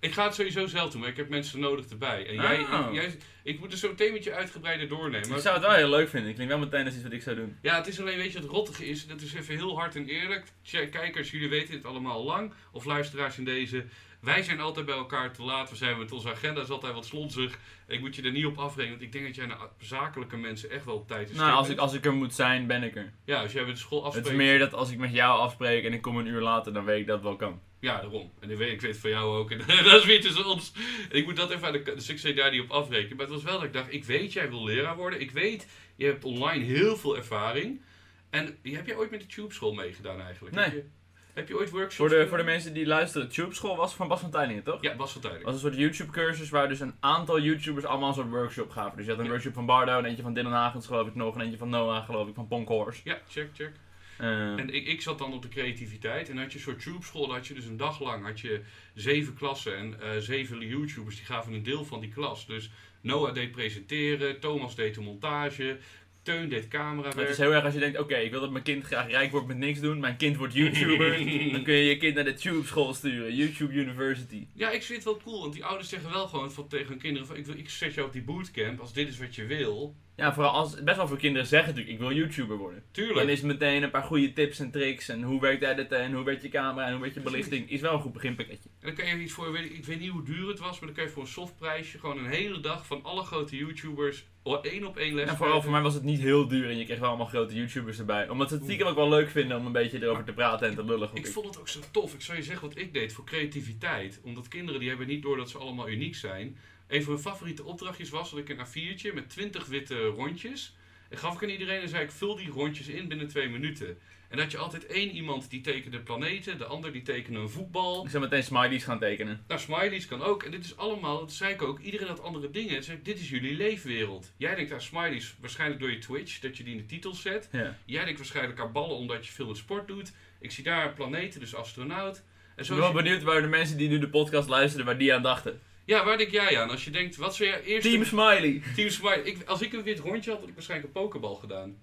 S2: Ik ga het sowieso zelf doen, maar ik heb mensen nodig erbij. En jij,
S1: Oh.
S2: ik, jij- ik moet het zo meteen met je uitgebreider doornemen.
S1: ik zou het wel heel leuk vinden. Ik klinkt wel meteen als iets wat ik zou doen.
S2: Ja, het is alleen, weet je, het rottige is, dat is even heel hard en eerlijk. Tja, Kijkers, jullie weten het allemaal al lang, of luisteraars in deze. Wij zijn altijd bij elkaar te laat, we zijn met onze agenda is altijd wat slonzig. Ik moet je er niet op afrekenen, want ik denk dat jij naar zakelijke mensen echt wel op tijd is.
S1: Nou, als ik, als ik er moet zijn, ben ik er.
S2: Ja, als jij met de school
S1: Het
S2: afspreekt.
S1: is meer dat als ik met jou afspreek en ik kom een uur later, dan weet ik dat het wel kan.
S2: Ja, daarom. En ik weet, ik weet het van jou ook. En dat is weer tussen ons. En ik moet dat even aan de, dus ik zei daar niet op afrekenen. Maar het was wel dat ik dacht, ik weet, jij wil leraar worden. Ik weet, je hebt online heel veel ervaring. En heb jij ooit met de Tube School meegedaan eigenlijk?
S1: Nee.
S2: Heb je, heb je ooit workshops
S1: Voor de,
S2: gedaan?
S1: voor de mensen die luisteren, Tube School was van Bas van Tijlingen, toch?
S2: Ja, Bas van Tijden.
S1: Het was een soort YouTube-cursus waar dus een aantal YouTubers allemaal een soort workshop gaven. Dus je had een
S2: Ja.
S1: workshop van Bardo, en eentje van Dylan Hagens geloof ik nog, en eentje van Noah geloof ik, van Ponk Horse.
S2: Ja, check, check.
S1: Eh,
S2: En ik, ik zat dan op de creativiteit. En had je een soort Tube School, dan had je dus een dag lang had je zeven klassen. En eh, zeven YouTubers die gaven een deel van die klas. Dus Noah deed presenteren, Thomas deed de montage... Teun deed camerawerk.
S1: het is heel erg als je denkt, oké, ik wil dat mijn kind graag rijk wordt met niks doen, mijn kind wordt YouTuber. dan kun je je kind naar de Tube School sturen, YouTube University.
S2: Ja, ik vind het wel cool, want die ouders zeggen wel gewoon van, tegen hun kinderen van, ik, wil, ik zet jou op die bootcamp als dit is wat je wil.
S1: Ja, vooral als, best wel veel kinderen zeggen natuurlijk, ik wil YouTuber worden. Dan
S2: Tuurlijk.
S1: is meteen een paar goede tips en tricks en hoe werkt editen en hoe werkt je camera en hoe werkt je
S2: Precies.
S1: belichting, is wel een goed beginpakketje.
S2: En dan kan je iets voor, weet ik, ik weet niet hoe duur het was, maar dan kan je voor een softprijsje gewoon een hele dag van alle grote YouTubers o- één op één les
S1: En vooral
S2: geven.
S1: voor mij was het niet heel duur en je kreeg wel allemaal grote YouTubers erbij. Omdat ze het stiekem ook wel leuk vinden om een beetje erover te praten en te lullen.
S2: Ik vond het ook zo tof. Ik zal je zeggen wat ik deed voor creativiteit. Omdat kinderen die hebben niet door dat ze allemaal uniek zijn. Een van mijn favoriete opdrachtjes was dat ik een A4'tje met 20 witte rondjes. En gaf ik aan iedereen en zei ik vul die rondjes in binnen twee minuten. En dat je altijd één iemand die tekende planeten, de ander die tekende een voetbal.
S1: Ik zou meteen smileys gaan tekenen.
S2: Nou, smileys kan ook. En dit is allemaal, dat zei ik ook, iedereen had andere dingen. En zei ik, dit is jullie leefwereld. Jij denkt aan smileys waarschijnlijk door je Twitch, dat je die in de titel zet.
S1: Ja.
S2: Jij denkt waarschijnlijk aan ballen omdat je veel met sport doet. Ik zie daar planeten, dus astronaut. En
S1: Ik
S2: zo
S1: ben wel benieuwd waar de mensen die nu de podcast luisteren, waar die aan dachten.
S2: Ja, waar denk jij aan? Als je denkt, wat zou je eerste...
S1: Team Smiley!
S2: Team Smile. Ik, als ik een wit rondje had, had ik waarschijnlijk een pokebal gedaan.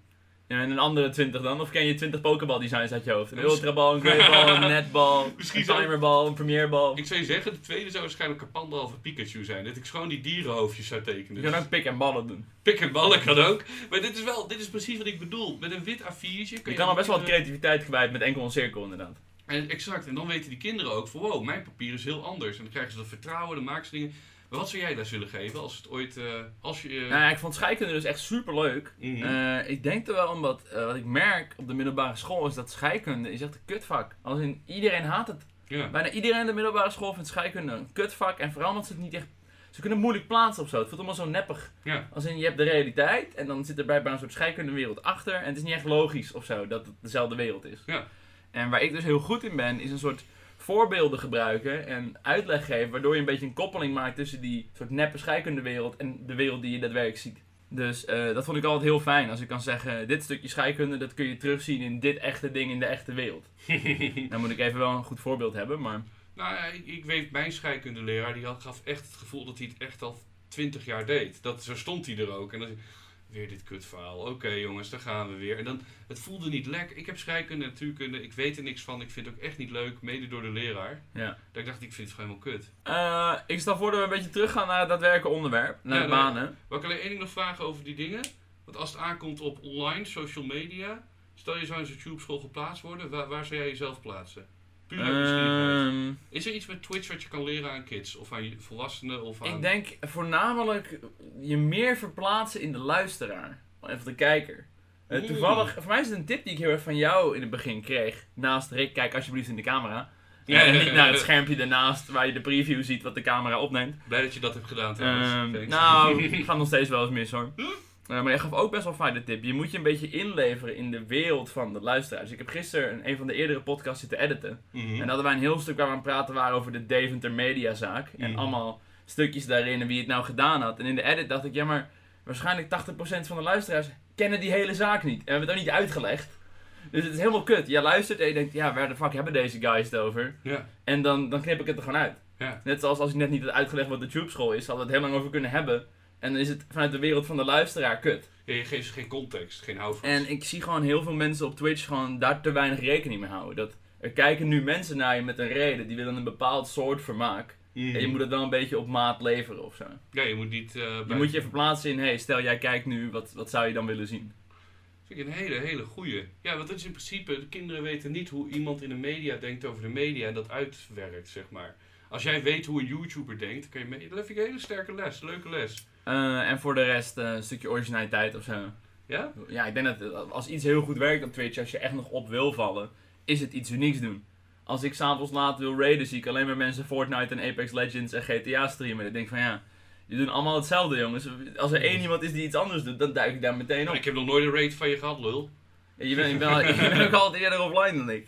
S1: Ja, en een andere 20 dan? Of ken je 20 Pokéball designs uit je hoofd? Een
S2: Misschien-
S1: ultrabal, een greybal, een netbal,
S2: Misschien
S1: een
S2: zou-
S1: timerbal, een premierbal.
S2: Ik zou je zeggen, de tweede zou waarschijnlijk een panda of een Pikachu zijn. Dat ik gewoon die dierenhoofdjes zou tekenen. Dus
S1: Je kan ook pik en ballen doen.
S2: Pik en ballen kan ook. Maar dit is wel, dit is precies wat ik bedoel. Met een wit A4'tje kun
S1: Je kan al best wel wat
S2: kinderen-
S1: creativiteit kwijt met enkel een cirkel inderdaad.
S2: En, eh, exact. En dan weten die kinderen ook van, wow, mijn papier is heel anders. En dan krijgen ze dat vertrouwen, dan maken ze dingen. Maar wat zou jij daar zullen geven als het ooit, eh, als je... eh,
S1: Nou, ja, ik vond scheikunde dus echt super leuk.
S2: mhm.
S1: Eh, ik denk er wel omdat eh, wat ik merk op de middelbare school is dat scheikunde is echt een kutvak. Als in iedereen haat het.
S2: ja.
S1: Bijna iedereen in de middelbare school vindt scheikunde een kutvak en vooral omdat ze het niet echt. Ze kunnen het moeilijk plaatsen of zo. Het voelt allemaal zo neppig.
S2: Ja.
S1: Als in je hebt de realiteit en dan zit er blijkbaar een soort scheikundewereld achter. En het is niet echt logisch of zo dat het dezelfde wereld is.
S2: Ja.
S1: En waar ik dus heel goed in ben, is een soort voorbeelden gebruiken en uitleg geven. Waardoor je een beetje een koppeling maakt tussen die soort neppe scheikundewereld en de wereld die je daadwerkelijk ziet. Dus eh, dat vond ik altijd heel fijn. Als ik kan zeggen, dit stukje scheikunde, dat kun je terugzien in dit echte ding in de echte wereld. Dan moet ik even wel een goed voorbeeld hebben, maar...
S2: Nou ja, ik, ik weet, mijn scheikundeleraar die had, gaf echt het gevoel dat hij het echt al twintig jaar deed. Dat, zo stond hij er ook. En dan weer dit kutverhaal. Oké jongens, daar gaan we weer. En dan, het voelde niet lekker. Ik heb scheikunde, natuurkunde, ik weet er niks van. Ik vind het ook echt niet leuk, mede door de leraar.
S1: Ja.
S2: Dat ik dacht, ik vind het gewoon helemaal kut.
S1: Eh, ik stel voor dat we een beetje teruggaan naar het daadwerkelijke onderwerp, naar
S2: Ja,
S1: de
S2: nee.
S1: banen.
S2: Wou ik alleen één ding nog vragen over die dingen? Want als het aankomt op online, social media... Stel je zou in zo'n tube-school geplaatst worden, waar, waar zou jij jezelf plaatsen? Puur
S1: Eh.
S2: uit nieuwsgierigheid.
S1: Ehm,
S2: Is er iets met Twitch wat je kan leren aan kids? Of aan je- volwassenen? Of aan...
S1: ik denk voornamelijk je meer verplaatsen in de luisteraar, of de kijker. Eh,
S2: Mm.
S1: Toevallig, voor mij is het een tip die ik heel erg van jou in het begin kreeg. Naast Rick, kijk alsjeblieft in de camera.
S2: Ja,
S1: en
S2: ja,
S1: niet
S2: ja,
S1: naar
S2: ja.
S1: het schermpje daarnaast waar je de preview ziet wat de camera opneemt.
S2: Blij dat je dat hebt gedaan
S1: Ehm,
S2: trouwens. Thanks.
S1: nou, het gaat nog steeds wel eens mis hoor. Eh, maar je gaf ook best wel fijn de tip. Je moet je een beetje inleveren in de wereld van de luisteraars. Ik heb gisteren een, een van de eerdere podcasts zitten editen.
S2: Mhm.
S1: En dan hadden wij een heel stuk waar we aan het praten waren over de Deventer Mediazaak. En
S2: Mhm.
S1: allemaal stukjes daarin en wie het nou gedaan had. En in de edit dacht ik, ja maar waarschijnlijk 80% van de luisteraars kennen die hele zaak niet. En we hebben het ook niet uitgelegd. Dus het is helemaal kut. Je luistert en je denkt, ja waar de fuck hebben deze guys het over?
S2: Ja.
S1: En dan, dan knip ik het er gewoon uit.
S2: Ja.
S1: Net zoals als ik net niet had uitgelegd wat de tube school is, hadden we het heel lang over kunnen hebben. En dan is het vanuit de wereld van de luisteraar kut.
S2: Ja, je geeft ze geen context, geen houvast.
S1: En ik zie gewoon heel veel mensen op Twitch gewoon daar te weinig rekening mee houden. Dat er kijken nu mensen naar je met een reden. Die willen een bepaald soort vermaak.
S2: Mhm.
S1: En je moet het wel een beetje op maat leveren of zo.
S2: Ja, je moet niet... eh,
S1: Je
S2: bij-
S1: moet je verplaatsen in, hey, stel jij kijkt nu, wat, wat zou je dan willen zien?
S2: Vind ik een hele, hele goeie. Ja, want dat is in principe, de kinderen weten niet hoe iemand in de media denkt over de media en dat uitwerkt, zeg maar. Als jij weet hoe een YouTuber denkt, dan kun je mee. Dat vind ik een hele sterke les, leuke les.
S1: Eh, en voor de rest eh, een stukje originaliteit of zo.
S2: Ja?
S1: Ja, ik denk dat eh, als iets heel goed werkt op Twitch, als je echt nog op wil vallen, is het iets unieks doen. Als ik s'avonds laat wil raiden, zie ik alleen maar mensen Fortnite en Apex Legends en GTA streamen. Ik denk van ja, je doet allemaal hetzelfde jongens. Als er één iemand is die iets anders doet, dan duik ik daar meteen op.
S2: Ik heb nog nooit een raid van je gehad, lul.
S1: Je bent, je bent, je bent ook altijd eerder offline dan ik.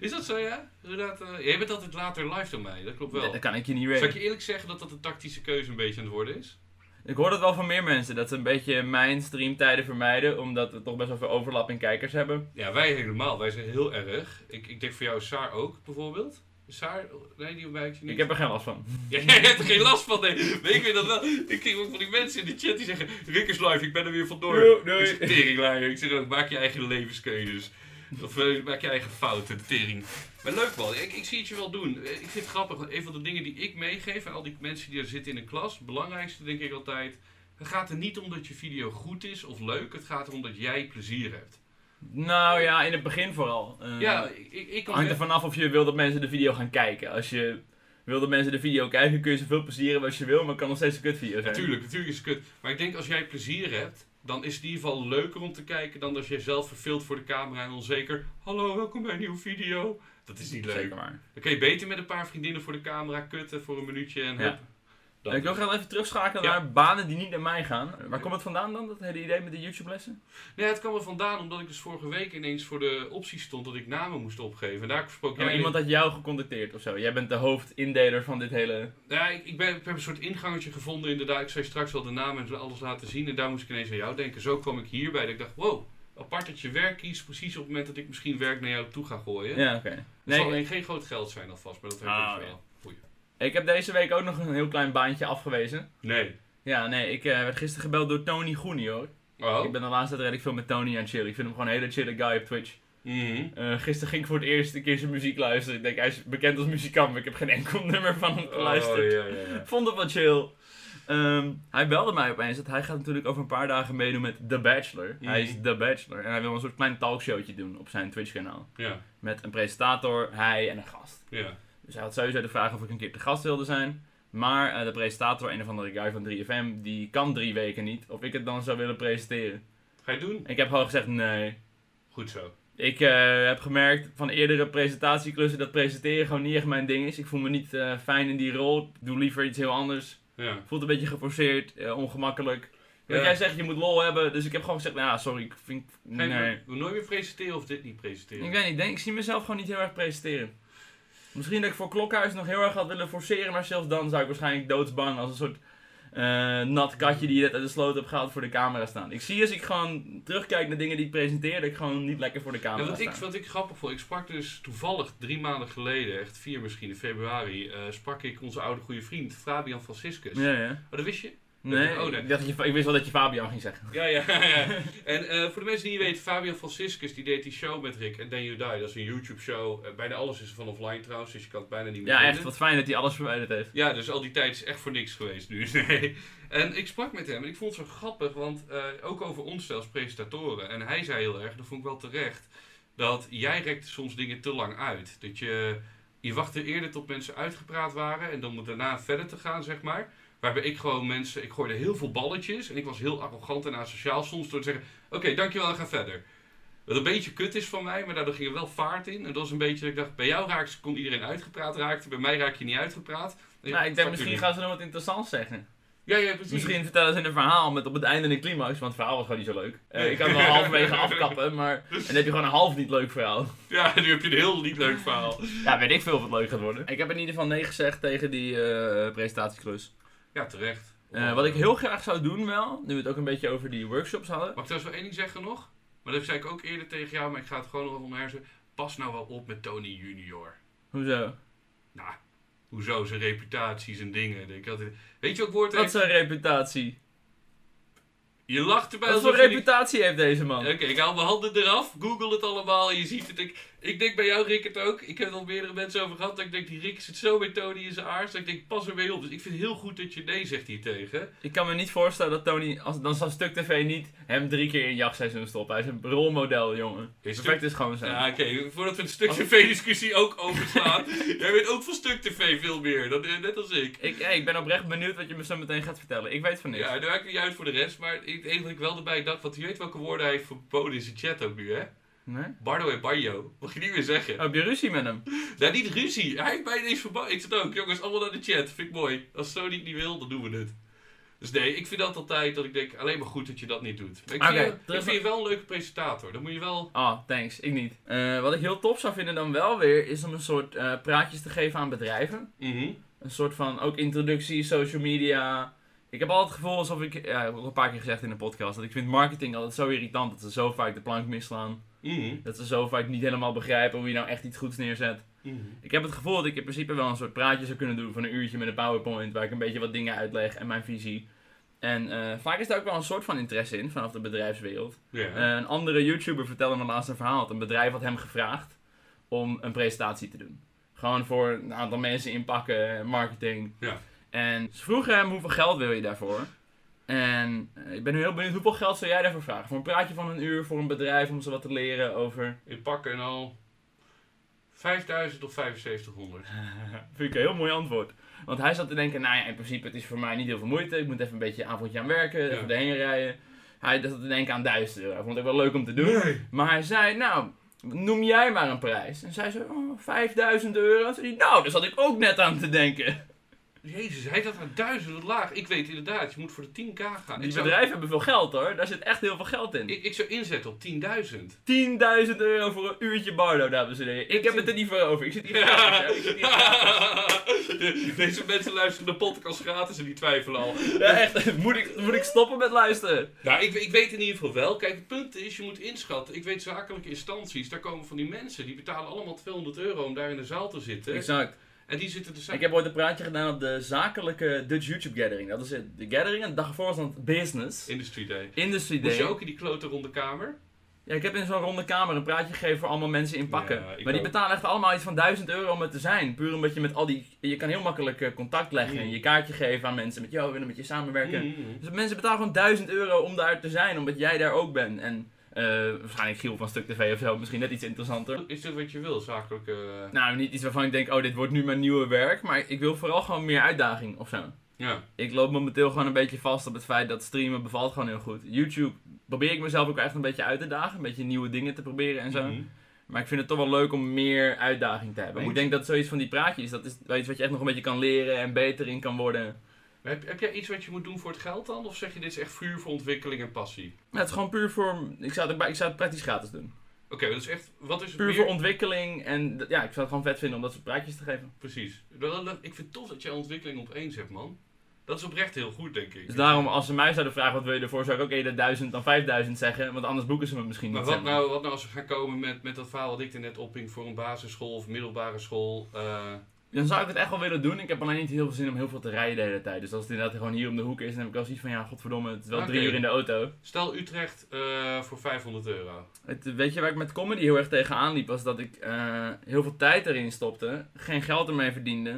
S2: Is dat zo, ja? Inderdaad, eh, jij bent altijd later live dan mij, dat klopt wel.
S1: Dan kan ik je niet
S2: Zou ik
S1: raiden.
S2: je eerlijk zeggen dat dat een tactische keuze een beetje aan het worden is?
S1: Ik hoor dat wel van meer mensen, dat ze een beetje mijn streamtijden vermijden, omdat we toch best wel veel overlap in kijkers hebben.
S2: Ja, wij helemaal. Wij zijn heel erg. Ik, ik denk voor jou Saar ook, bijvoorbeeld. Saar, nee, die ontwijkt je niet.
S1: Ik heb er geen last van.
S2: Ja, jij hebt er geen last van, nee. Maar ik weet dat wel. Ik kreeg ook van die mensen in de chat die zeggen... Rick is live, ik ben er weer vandoor.
S1: Yo, doei.
S2: Ik zeg, teringlaaier. Ik zeg ook, maak je eigen levenskeuzes. Of eh, maak je eigen fouten, tering. Maar leuk man, ik, ik zie het je wel doen. Eh, Ik vind het grappig, want een van de dingen die ik meegeef aan al die mensen die er zitten in een klas... Het belangrijkste denk ik altijd... Het gaat er niet om dat je video goed is of leuk. Het gaat erom dat jij plezier hebt.
S1: Nou ja, in het begin vooral. Eh,
S2: Ja, ik, ik, ik kan
S1: hangt er vanaf of je wil dat mensen de video gaan kijken. Als je wil dat mensen de video kijken, kun je zoveel plezier hebben als je wil, maar het kan nog steeds een kutvideo zijn.
S2: Natuurlijk, natuurlijk is het kut. Maar ik denk als jij plezier hebt, dan is het in ieder geval leuker om te kijken dan als jij zelf verveelt voor de camera en onzeker. Hallo, welkom bij een nieuwe video. Dat is niet leuk.
S1: Zeker maar.
S2: Dan kun je beter met een paar vriendinnen voor de camera kutten voor een minuutje en
S1: Ja.
S2: hup. Dat
S1: ik wil graag even terugschakelen
S2: Ja.
S1: naar banen die niet naar mij gaan. Waar komt het vandaan dan, dat hele idee met de YouTube-lessen?
S2: Nee, het kwam er vandaan omdat ik dus vorige week ineens voor de optie stond dat ik namen moest opgeven. En daar sprak
S1: Ja, maar
S2: jij
S1: iemand had jou gecontacteerd of zo. Jij bent de hoofdindeler van dit hele...
S2: Ja, ik, ik, ben, ik heb een soort ingangetje gevonden inderdaad. Ik zou je straks wel de naam en alles laten zien. En daar moest ik ineens aan jou denken. Zo kwam ik hierbij. Dat ik dacht, wow, apart dat je werk kiest. Precies op het moment dat ik misschien werk naar jou toe ga gooien.
S1: Ja, oké.
S2: Het zal
S1: Nee,
S2: alleen geen groot geld zijn alvast, maar dat heeft
S1: Ah,
S2: ons
S1: ja.
S2: wel. Goeie.
S1: ik heb deze week ook nog een heel klein baantje afgewezen.
S2: Nee.
S1: Ja, nee, ik eh, werd gisteren gebeld door Tony Goenie hoor.
S2: Oh.
S1: Ik ben de laatste tijd redelijk veel met Tony aan het chillen. Ik vind hem gewoon een hele chille guy op Twitch.
S2: Mhm.
S1: Eh, gisteren ging ik voor het eerst een keer zijn muziek luisteren. Ik denk, hij is bekend als muzikant, maar ik heb geen enkel nummer van hem geluisterd.
S2: Oh, ja, ja, ja.
S1: Vond het wat chill. Ehm, hij belde mij opeens, want hij gaat natuurlijk over een paar dagen meedoen met The Bachelor.
S2: Mhm.
S1: Hij is The Bachelor en hij wil een soort klein talkshowtje doen op zijn Twitch-kanaal.
S2: Ja,
S1: Met een presentator, hij en een gast.
S2: ja.
S1: Dus hij had sowieso de vraag of ik een keer te gast wilde zijn. Maar eh, de presentator, een of andere guy van 3FM, die kan drie weken niet. Of ik het dan zou willen presenteren.
S2: Ga je doen?
S1: Ik heb gewoon gezegd, nee.
S2: Goed zo.
S1: Ik eh, heb gemerkt van eerdere presentatieklussen dat presenteren gewoon niet echt mijn ding is. Ik voel me niet eh, fijn in die rol. Ik doe liever iets heel anders.
S2: Ja.
S1: Voelt een beetje geforceerd, eh, ongemakkelijk. Wat
S2: Ja.
S1: jij zegt, je moet lol hebben. Dus ik heb gewoon gezegd, nou ja, sorry, ik vind...
S2: Ga je
S1: Nee.
S2: no- nooit meer presenteren of dit niet presenteren?
S1: Ik weet niet, denk, ik zie mezelf gewoon niet heel erg presenteren. Misschien dat ik voor Klokhuis nog heel erg had willen forceren. Maar zelfs dan zou ik waarschijnlijk doodsbang als een soort eh, nat katje die je net uit de sloot hebt gehaald voor de camera staan. Ik zie als ik gewoon terugkijk naar dingen die ik presenteer, dat ik gewoon niet lekker voor de camera
S2: Ja, wat,
S1: sta.
S2: ik, wat ik grappig vond, ik sprak dus toevallig drie maanden geleden, echt vier misschien, in februari, eh, sprak ik onze oude goede vriend Fabian Franciscus.
S1: Ja, ja.
S2: Oh, dat wist je?
S1: Nee,
S2: Oh, nee.
S1: Ik, dacht dat je, ik wist wel dat je Fabian ging zeggen.
S2: Ja, ja, ja. En eh, voor de mensen die niet weten, Fabian Franciscus die deed die show met Rick en Then You Die. Dat is een YouTube-show. Eh, bijna alles is er van offline trouwens, dus je kan het bijna niet meer
S1: Ja,
S2: vinden.
S1: echt, wat fijn dat hij alles verwijderd heeft.
S2: Ja, dus al die tijd is echt voor niks geweest nu. Nee. En ik sprak met hem en ik vond het zo grappig, want eh, ook over ons zelfs presentatoren. En hij zei heel erg, dat vond ik wel terecht, dat jij rekt soms dingen te lang uit. Dat je, je wachtte eerder tot mensen uitgepraat waren en dan moet daarna verder te gaan, zeg maar. Waarbij ik gewoon mensen, ik gooide heel veel balletjes en ik was heel arrogant en asociaal soms door te zeggen, oké, dankjewel en ga verder. Wat een beetje kut is van mij, maar daardoor ging er wel vaart in. En dat was een beetje dat ik dacht, bij jou raakt, kon iedereen uitgepraat raakte, bij mij raak je niet uitgepraat.
S1: Nou, ik denk, misschien
S2: Fuck
S1: gaan ze nog wat interessants zeggen.
S2: ja, ja, precies.
S1: Misschien vertellen ze een verhaal met op het einde een climax, want het verhaal was gewoon niet zo leuk. Eh,
S2: Nee.
S1: ik kan wel halverwege afkappen, maar en dan heb je gewoon een half niet leuk verhaal.
S2: Ja, nu heb je een heel niet leuk verhaal.
S1: Ja, weet ik veel wat leuk gaat worden. Ik heb in ieder geval nee gezegd tegen die eh, presentatieklus.
S2: Ja, terecht.
S1: Eh, wat ik heel graag zou doen wel, nu we het ook een beetje over die workshops hadden.
S2: Mag ik trouwens wel één ding zeggen nog? Maar dat zei ik ook eerder tegen jou, maar ik ga het gewoon nog even omherzen. Pas nou wel op met Tony Junior.
S1: Hoezo?
S2: Nou, hoezo zijn reputaties en dingen. Ik denk ik altijd, weet je wat ik woord
S1: Wat zijn reputatie?
S2: Je lacht erbij
S1: Wat
S2: alsof
S1: voor
S2: je niet-
S1: reputatie heeft deze man?
S2: Oké, ik haal mijn handen eraf, google het allemaal en je ziet het. Ik, ik denk bij jou, Rickert ook. Ik heb er al meerdere mensen over gehad. Dat ik denk, die Rick zit zo met Tony in zijn aars. Dat ik denk, pas er mee op. Dus ik vind het heel goed dat je nee zegt hier tegen.
S1: Ik kan me niet voorstellen dat Tony, als, dan zou Stuk TV niet hem drie keer in jachtseizoen stoppen. Hij is een rolmodel, jongen.
S2: Is
S1: Perfect is gewoon zo.
S2: Ja, oké. Voordat we het stuk tv-discussie ook overslaan. jij weet ook van stuk tv veel meer. Dan, eh, net als ik.
S1: Ik, hey, ik ben oprecht benieuwd wat je me zo meteen gaat vertellen. Ik weet van niks.
S2: Ja, daar maakt het niet uit voor de rest. Maar het enige dat ik wel erbij dacht, want je weet welke woorden hij heeft verboden in zijn chat ook nu, hè?
S1: Nee?
S2: Bardo en Barjo. Mag je niet meer zeggen.
S1: Oh, heb je ruzie met hem?
S2: Nou, niet ruzie. Hij heeft mij ineens verboden. Ik zat ook, jongens, allemaal naar de chat. Vind ik mooi. Als Sony het niet wil, dan doen we het. Dus nee, ik vind dat altijd dat ik denk, alleen maar goed dat je dat niet doet. Maar ik,
S1: Oké,
S2: vind, je, ik
S1: terug-
S2: vind je wel een leuke presentator. Dan moet je wel...
S1: Ah, thanks. Ik niet. Eh, wat ik heel tof zou vinden dan wel weer, is om een soort eh, praatjes te geven aan bedrijven.
S2: Mhm.
S1: Een soort van, ook introductie, social media. Ik heb altijd het gevoel alsof ik, ja, ik heb ook een paar keer gezegd in de podcast, dat ik vind marketing altijd zo irritant. Dat ze zo vaak de plank misslaan.
S2: Mhm.
S1: Dat ze zo vaak niet helemaal begrijpen hoe je nou echt iets goeds neerzet.
S2: Mhm.
S1: Ik heb het gevoel dat ik in principe wel een soort praatje zou kunnen doen van een uurtje met een PowerPoint, waar ik een beetje wat dingen uitleg en mijn visie. En eh, vaak is daar ook wel een soort van interesse in vanaf de bedrijfswereld.
S2: Ja.
S1: Eh, een andere YouTuber vertelde me laatst een verhaal. dat Een bedrijf had hem gevraagd om een presentatie te doen. Gewoon voor een aantal mensen inpakken, marketing.
S2: Ja.
S1: En ze vroegen hem hoeveel geld wil je daarvoor? En eh, ik ben nu heel benieuwd, hoeveel geld zou jij daarvoor vragen? Voor een praatje van een uur, voor een bedrijf, om ze wat te leren over...
S2: In pakken en al 5000 of 7500.
S1: Vind ik een heel mooi antwoord. Want hij zat te denken, nou ja, in principe het is voor mij niet heel veel moeite. Ik moet even een beetje een avondje aan werken, even
S2: Ja.
S1: erheen rijden. Hij zat te denken aan 1000 euro. Hij vond het ook wel leuk om te doen. Maar hij zei, nou, noem jij maar een prijs. En zij zei, oh, 5000 euro. En zei hij, nou, daar zat ik ook net aan te denken.
S2: Jezus, hij dat aan duizend wat laag. Ik weet inderdaad, je moet voor de 10k gaan.
S1: Die
S2: ik, zou,
S1: bedrijven hebben veel geld hoor. Daar zit echt heel veel geld in.
S2: ik, ik zou inzetten op 10.000.
S1: 10.000 euro voor een uurtje Bardo, dames en heren. Ik heb het er niet voor over. Ik zit hier
S2: Ja.
S1: gratis. hè. Ik zit hier gratis.
S2: Deze mensen luisteren de podcast gratis en die twijfelen al.
S1: Ja, echt. Moet ik, moet ik stoppen met luisteren?
S2: Nou, ik, ik weet in ieder geval wel. Kijk, het punt is, je moet inschatten. Ik weet zakelijke instanties, daar komen van die mensen. Die betalen allemaal 200 euro om daar in de zaal te zitten.
S1: Exact.
S2: En die zitten te
S1: Ik
S2: zaken.
S1: heb ooit een praatje gedaan op de zakelijke Dutch YouTube Gathering. Dat is het, de gathering en de dag ervoor was dan het business.
S2: Industry Day.
S1: Industry
S2: Moest je
S1: Day.
S2: ook in die klote ronde kamer?
S1: Ja, ik heb in zo'n ronde kamer een praatje gegeven voor allemaal mensen in pakken.
S2: Ja, ik
S1: maar die
S2: ook.
S1: betalen echt allemaal iets van 1000 euro om het te zijn. Puur omdat je met al die... Je kan heel makkelijk eh, contact leggen en
S2: Mm.
S1: je kaartje geven aan mensen. Met jou willen met je samenwerken.
S2: Mm.
S1: Dus mensen betalen gewoon 1000 euro om daar te zijn. Omdat jij daar ook bent. En eh, waarschijnlijk Giel van Stuk TV of zo. Misschien net iets interessanter.
S2: Is dit wat je wil, zakelijke... eh,
S1: Nou, niet iets waarvan ik denk, oh dit wordt nu mijn nieuwe werk. Maar ik wil vooral gewoon meer uitdaging of zo.
S2: Ja.
S1: ik loop momenteel gewoon een beetje vast op het feit dat streamen bevalt gewoon heel goed. YouTube probeer ik mezelf ook echt een beetje uit te dagen. Een beetje nieuwe dingen te proberen en zo.
S2: Mhm.
S1: Maar ik vind het toch wel leuk om meer uitdaging te hebben.
S2: Maar
S1: ik
S2: moet
S1: denk dat zoiets van die praatjes, dat is wel iets wat je echt nog een beetje kan leren en beter in kan worden.
S2: Maar Heb, heb jij iets wat je moet doen voor het geld dan? Of zeg je, dit is echt vuur voor ontwikkeling en passie?
S1: Maar het is gewoon puur voor... Ik zou het, ook- ik zou het praktisch gratis doen.
S2: Oké, dat is echt... Wat is het
S1: Puur
S2: meer?
S1: voor ontwikkeling en d- ja, ik zou het gewoon vet vinden om dat soort praatjes te geven.
S2: Precies. Wel, dat- Ik vind het tof dat jij ontwikkeling op één zet, man. Dat is oprecht heel goed, denk ik.
S1: Dus daarom, als ze mij zouden vragen wat wil je ervoor, zou ik ook eerder 1000 dan 5000 zeggen. Want anders boeken ze me misschien
S2: Maar
S1: niet.
S2: wat
S1: zeg maar.
S2: nou, wat nou als we gaan komen met, met dat verhaal wat ik er net opping voor een basisschool of middelbare school? eh,
S1: Dan zou ik het echt wel willen doen. Ik heb alleen niet heel veel zin om heel veel te rijden de hele tijd. Dus als het inderdaad gewoon hier om de hoek is, dan heb ik wel zoiets van ja, godverdomme, het is wel
S2: Oké.
S1: drie uur in de auto.
S2: stel Utrecht eh, voor 500 euro.
S1: Het, weet je waar ik met comedy heel erg tegenaan liep, was dat ik eh, heel veel tijd erin stopte, geen geld ermee verdiende.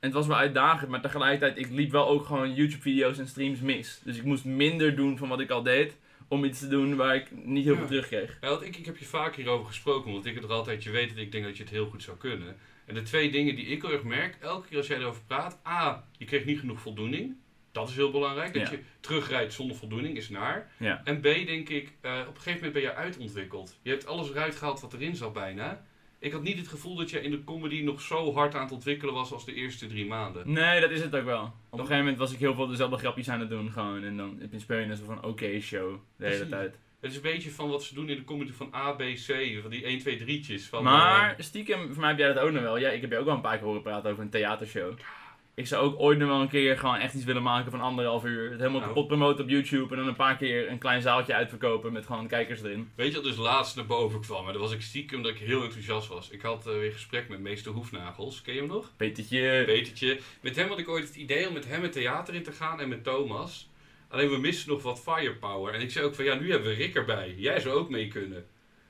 S1: En het was wel uitdagend, maar tegelijkertijd, ik liep wel ook gewoon YouTube-video's en streams mis. Dus ik moest minder doen van wat ik al deed, om iets te doen waar ik niet heel
S2: Ja.
S1: veel terugkreeg.
S2: Ja, want ik, ik heb je vaak hierover gesproken, omdat ik het er altijd, je weet dat ik denk dat je het heel goed zou kunnen. En de twee dingen die ik heel erg merk, elke keer als jij erover praat, A, je kreeg niet genoeg voldoening. Dat is heel belangrijk. Dat
S1: Ja.
S2: je terugrijdt zonder voldoening is naar.
S1: Ja.
S2: En B, denk ik, eh, op een gegeven moment ben je uitontwikkeld. Je hebt alles eruit gehaald wat erin zat bijna. Ik had niet het gevoel dat je in de comedy nog zo hard aan het ontwikkelen was als de eerste drie maanden.
S1: Nee, dat is het ook wel. Op een gegeven moment was ik heel veel dezelfde grapjes aan het doen gewoon. En dan in speel je een soort van oké-show de hele
S2: Precies.
S1: tijd.
S2: Het is een beetje van wat ze doen in de comedy van A, B, C, van die 1, 2, 3'tjes. Van, eh,
S1: Maar stiekem, voor mij heb jij dat ook nog wel. Ja, ik heb je ook wel een paar keer horen praten over een theatershow. Ik zou ook ooit nog wel een keer gewoon echt iets willen maken van anderhalf uur. Het helemaal
S2: Nou.
S1: kapot promoten op YouTube en dan een paar keer een klein zaaltje uitverkopen met gewoon kijkers erin.
S2: eh, weet je wat dus laatst naar boven kwam? Maar dat was ik stiekem dat ik heel enthousiast was. Ik had eh, weer gesprek met meester Hoefnagels. Ken je hem nog?
S1: Petertje.
S2: Petertje. Met hem had ik ooit het idee om met hem het theater in te gaan en met Thomas. Alleen we missen nog wat firepower. En ik zei ook van ja, nu hebben we Rick erbij. Jij zou ook mee kunnen.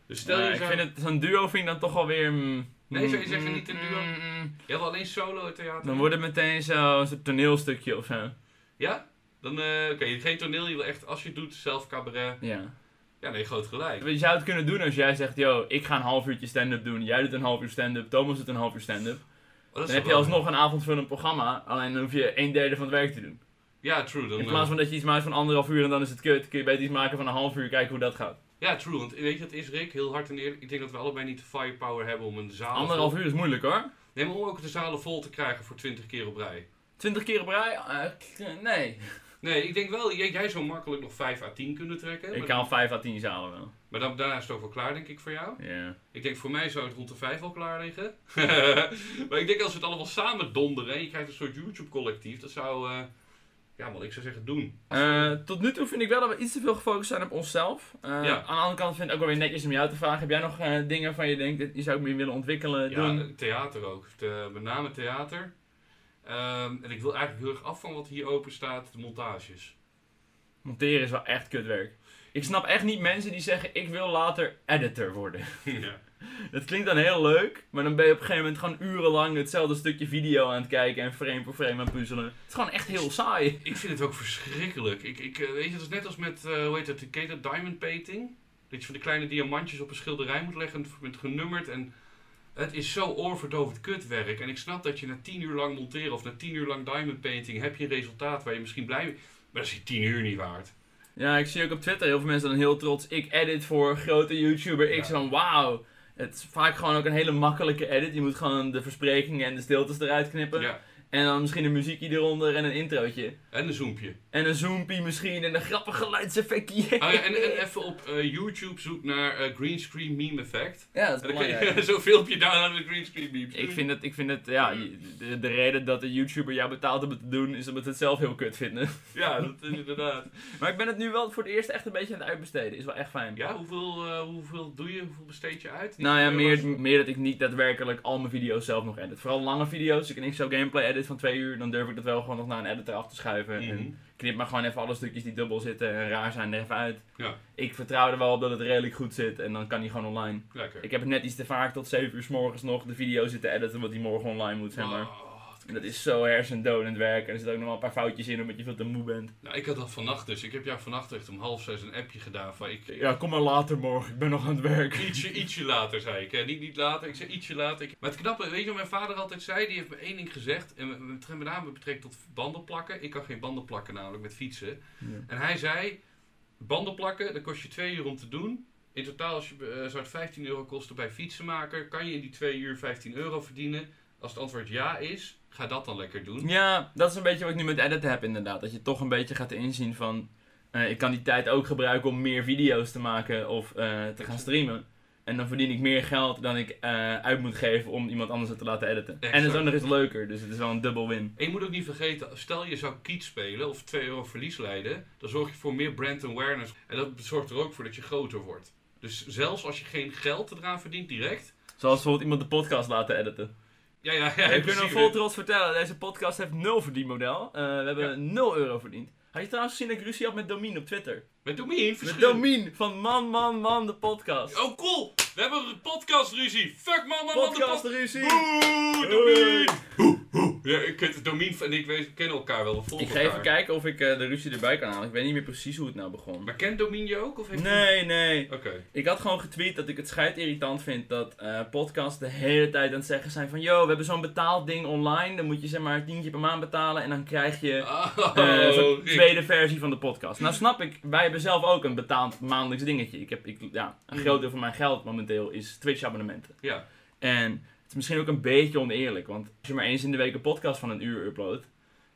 S2: Dus stel
S1: Ja,
S2: je
S1: ik
S2: zou...
S1: vind het, zo'n duo vind ik dan toch alweer... mm,
S2: Nee, zou je
S1: mm,
S2: zeggen
S1: mm,
S2: niet een duo?
S1: mm, mm.
S2: Je hebt alleen solo theater.
S1: Dan wordt het meteen zo- zo'n toneelstukje of zo.
S2: Ja? Dan, eh, oké, geen toneel. Je wil echt, als je het doet, zelf cabaret.
S1: Ja.
S2: Ja, nee, groot gelijk. Oh,
S1: Je zou het kunnen doen als jij zegt, yo, ik ga een half uurtje stand-up doen. Jij doet een half uur stand-up, Thomas doet een half uur stand-up.
S2: Oh, dat is
S1: Dan heb je
S2: wel-
S1: alsnog een avondvullend programma, alleen dan hoef je een derde van het werk te doen.
S2: Ja, true. Dan,
S1: In
S2: eh,
S1: plaats van dat je iets maakt van anderhalf uur en dan is het kut, kun je beter iets maken van een half uur, kijken hoe dat gaat.
S2: Ja, true. Want weet je, het is Rick heel hard en eerlijk. Ik denk dat we allebei niet de firepower hebben om een zaal...
S1: Anderhalf
S2: vol-
S1: uur is moeilijk hoor.
S2: Nee, maar om ook de zalen vol te krijgen voor 20 keer op rij.
S1: Twintig keer op rij? Eh, nee.
S2: Nee, ik denk wel, jij, jij zou makkelijk nog 5 à 10 kunnen trekken.
S1: Ik
S2: maar
S1: haal vijf à tien zalen wel.
S2: maar dan, daarna is het ook wel klaar, denk ik, voor jou.
S1: Ja.
S2: Ik denk, voor mij zou het rond de 5 al klaar liggen. maar ik denk, als we het allemaal samen donderen en je krijgt een soort YouTube-collectief, dat zou... eh, ja, man, ik zou zeggen, doen.
S1: Eh, tot nu toe vind ik wel dat we iets te veel gefocust zijn op onszelf. Eh,
S2: Ja.
S1: Aan de andere kant vind ik ook wel weer netjes om jou te vragen. Heb jij nog eh, dingen van je denkt, die zou ik meer willen ontwikkelen,
S2: Ja,
S1: doen?
S2: eh, theater ook. De- met name theater. Ehm, en ik wil eigenlijk heel erg af van wat hier open staat, de montages.
S1: Monteren is wel echt kutwerk. Ik snap echt niet mensen die zeggen, ik wil later editor worden.
S2: ja.
S1: Dat klinkt dan heel leuk, maar dan ben je op een gegeven moment gewoon urenlang hetzelfde stukje video aan het kijken en frame voor frame aan het puzzelen. Het is gewoon echt heel saai.
S2: Ik vind het ook verschrikkelijk. Ik, ik, eh, weet je, dat is net als met, eh, hoe heet dat, ken je dat diamond painting? Dat je van de kleine diamantjes op een schilderij moet leggen, met genummerd en... Het is zo oorverdovend kutwerk. En ik snap dat je na tien uur lang monteren of na tien uur lang diamond painting heb je een resultaat waar je misschien blij mee... Maar dat is die tien uur niet waard.
S1: Ja, ik zie ook op Twitter heel veel mensen dan heel trots, ik edit voor grote YouTuber X
S2: Ja.
S1: van wauw. Het is vaak gewoon ook een hele makkelijke edit. Je moet gewoon de versprekingen en de stiltes eruit knippen.
S2: Ja.
S1: En dan misschien een muziekje eronder en een introotje.
S2: En een zoompje.
S1: En een zoompie misschien en een grappig geluidseffectje.
S2: Oh ja, en, en even op eh, YouTube zoek naar eh, green screen meme effect.
S1: Ja, dat is
S2: En dan kun
S1: belangrijk.
S2: je zo'n filmpje downloaden met green screen memes.
S1: Ik vind het, ik vind het ja, je- de, de reden dat een YouTuber jou betaalt om het te doen, is omdat ze het zelf heel kut vinden.
S2: Ja, dat is inderdaad.
S1: Maar ik ben het nu wel voor het eerst echt een beetje aan het uitbesteden. Is wel echt fijn.
S2: Ja, hoeveel, eh, hoeveel doe je? Hoeveel besteed je uit?
S1: Nou ja,
S2: Die
S1: meer,
S2: euro's?
S1: meer dat ik niet daadwerkelijk al mijn video's zelf nog edit. Vooral lange video's. Ik en ik zo gameplay edit van twee uur, dan durf ik dat wel gewoon nog naar een editor af te schuiven.
S2: Mhm.
S1: En knip maar gewoon even alle stukjes die dubbel zitten en raar zijn er even uit.
S2: Ja.
S1: Ik vertrouw er wel op dat het redelijk goed zit en dan kan die gewoon online.
S2: Lekker.
S1: Ik heb het net iets te vaak tot 7 uur s morgens nog de video zitten editen, wat die morgen online moet, zeg maar.
S2: Oh, wat
S1: En
S2: kut.
S1: dat is zo hersendodend werk. En er zitten ook nog wel een paar foutjes in omdat je veel te moe bent.
S2: Nou, ik had dat vannacht dus. Ik heb jou vannacht echt om half zes een appje gedaan van ik...
S1: Ja, kom maar later morgen. Ik ben nog aan het werk.
S2: Ietsje, ietsje later, zei ik. hè. Niet, niet later, ik zei ietsje later. Ik- Maar het knappe, weet je wat mijn vader altijd zei? Die heeft me één ding gezegd. En met- met met name betrekking tot banden plakken. Ik kan geen banden plakken namelijk met fietsen. En hij zei, banden plakken, dat kost je twee uur om te doen. In totaal als je, eh, zou het 15 euro kosten bij fietsenmaker. Kan je in die twee uur 15 euro verdienen? Als het antwoord ja is, ga dat dan lekker doen.
S1: Ja, dat is een beetje wat ik nu met editen heb inderdaad. Dat je toch een beetje gaat inzien van... eh, ik kan die tijd ook gebruiken om meer video's te maken of eh, te gaan streamen. En dan verdien ik meer geld dan ik eh, uit moet geven om iemand anders het te laten editen. En het is
S2: Exact.
S1: ook nog eens leuker, dus het is wel een dubbel win.
S2: En je moet ook niet vergeten, stel je zou kiet spelen of 2 euro verlies leiden, dan zorg je voor meer brand awareness. En dat zorgt er ook voor dat je groter wordt. Dus zelfs als je geen geld eraan verdient direct.
S1: Zoals bijvoorbeeld iemand de podcast laten editen.
S2: Ja, ja, ja.
S1: ik ben
S2: precies.
S1: er vol trots vertellen, deze podcast heeft nul verdienmodel. Eh, we hebben 0 euro verdiend. Had je trouwens gezien dat ik ruzie had met Domien op Twitter?
S2: Met Domien,
S1: Met
S2: verschil.
S1: Domien van Man Man Man de podcast.
S2: Oh, cool. We hebben een podcastruzie. Fuck man, man, man, de
S1: podcast
S2: podcast.
S1: ruzie!
S2: Boe, Domien. Ja, ik, het- Domien en ik we- kennen elkaar wel. We volgen
S1: Ik ga even
S2: elkaar.
S1: kijken of ik eh, de ruzie erbij kan halen. Ik weet niet meer precies hoe het nou begon.
S2: Maar kent Domien je ook? Of heeft hij-
S1: Nee, nee.
S2: Oké.
S1: Ik had gewoon getweet dat ik het schijt irritant vind dat eh, podcasts de hele tijd aan het zeggen zijn van... Yo, we hebben zo'n betaald ding online. Dan moet je zeg maar een tientje per maand betalen en dan krijg je...
S2: Oh,
S1: Eh, zo'n
S2: Rick.
S1: tweede versie van de podcast. Nou snap ik, wij hebben zelf ook een betaald maandelijks dingetje. Ik heb, ik, ja, een
S2: Mm.
S1: groot deel van mijn geld momenteel is Twitch abonnementen.
S2: Ja.
S1: En het is misschien ook een beetje oneerlijk, want als je maar eens in de week een podcast van een uur uploadt,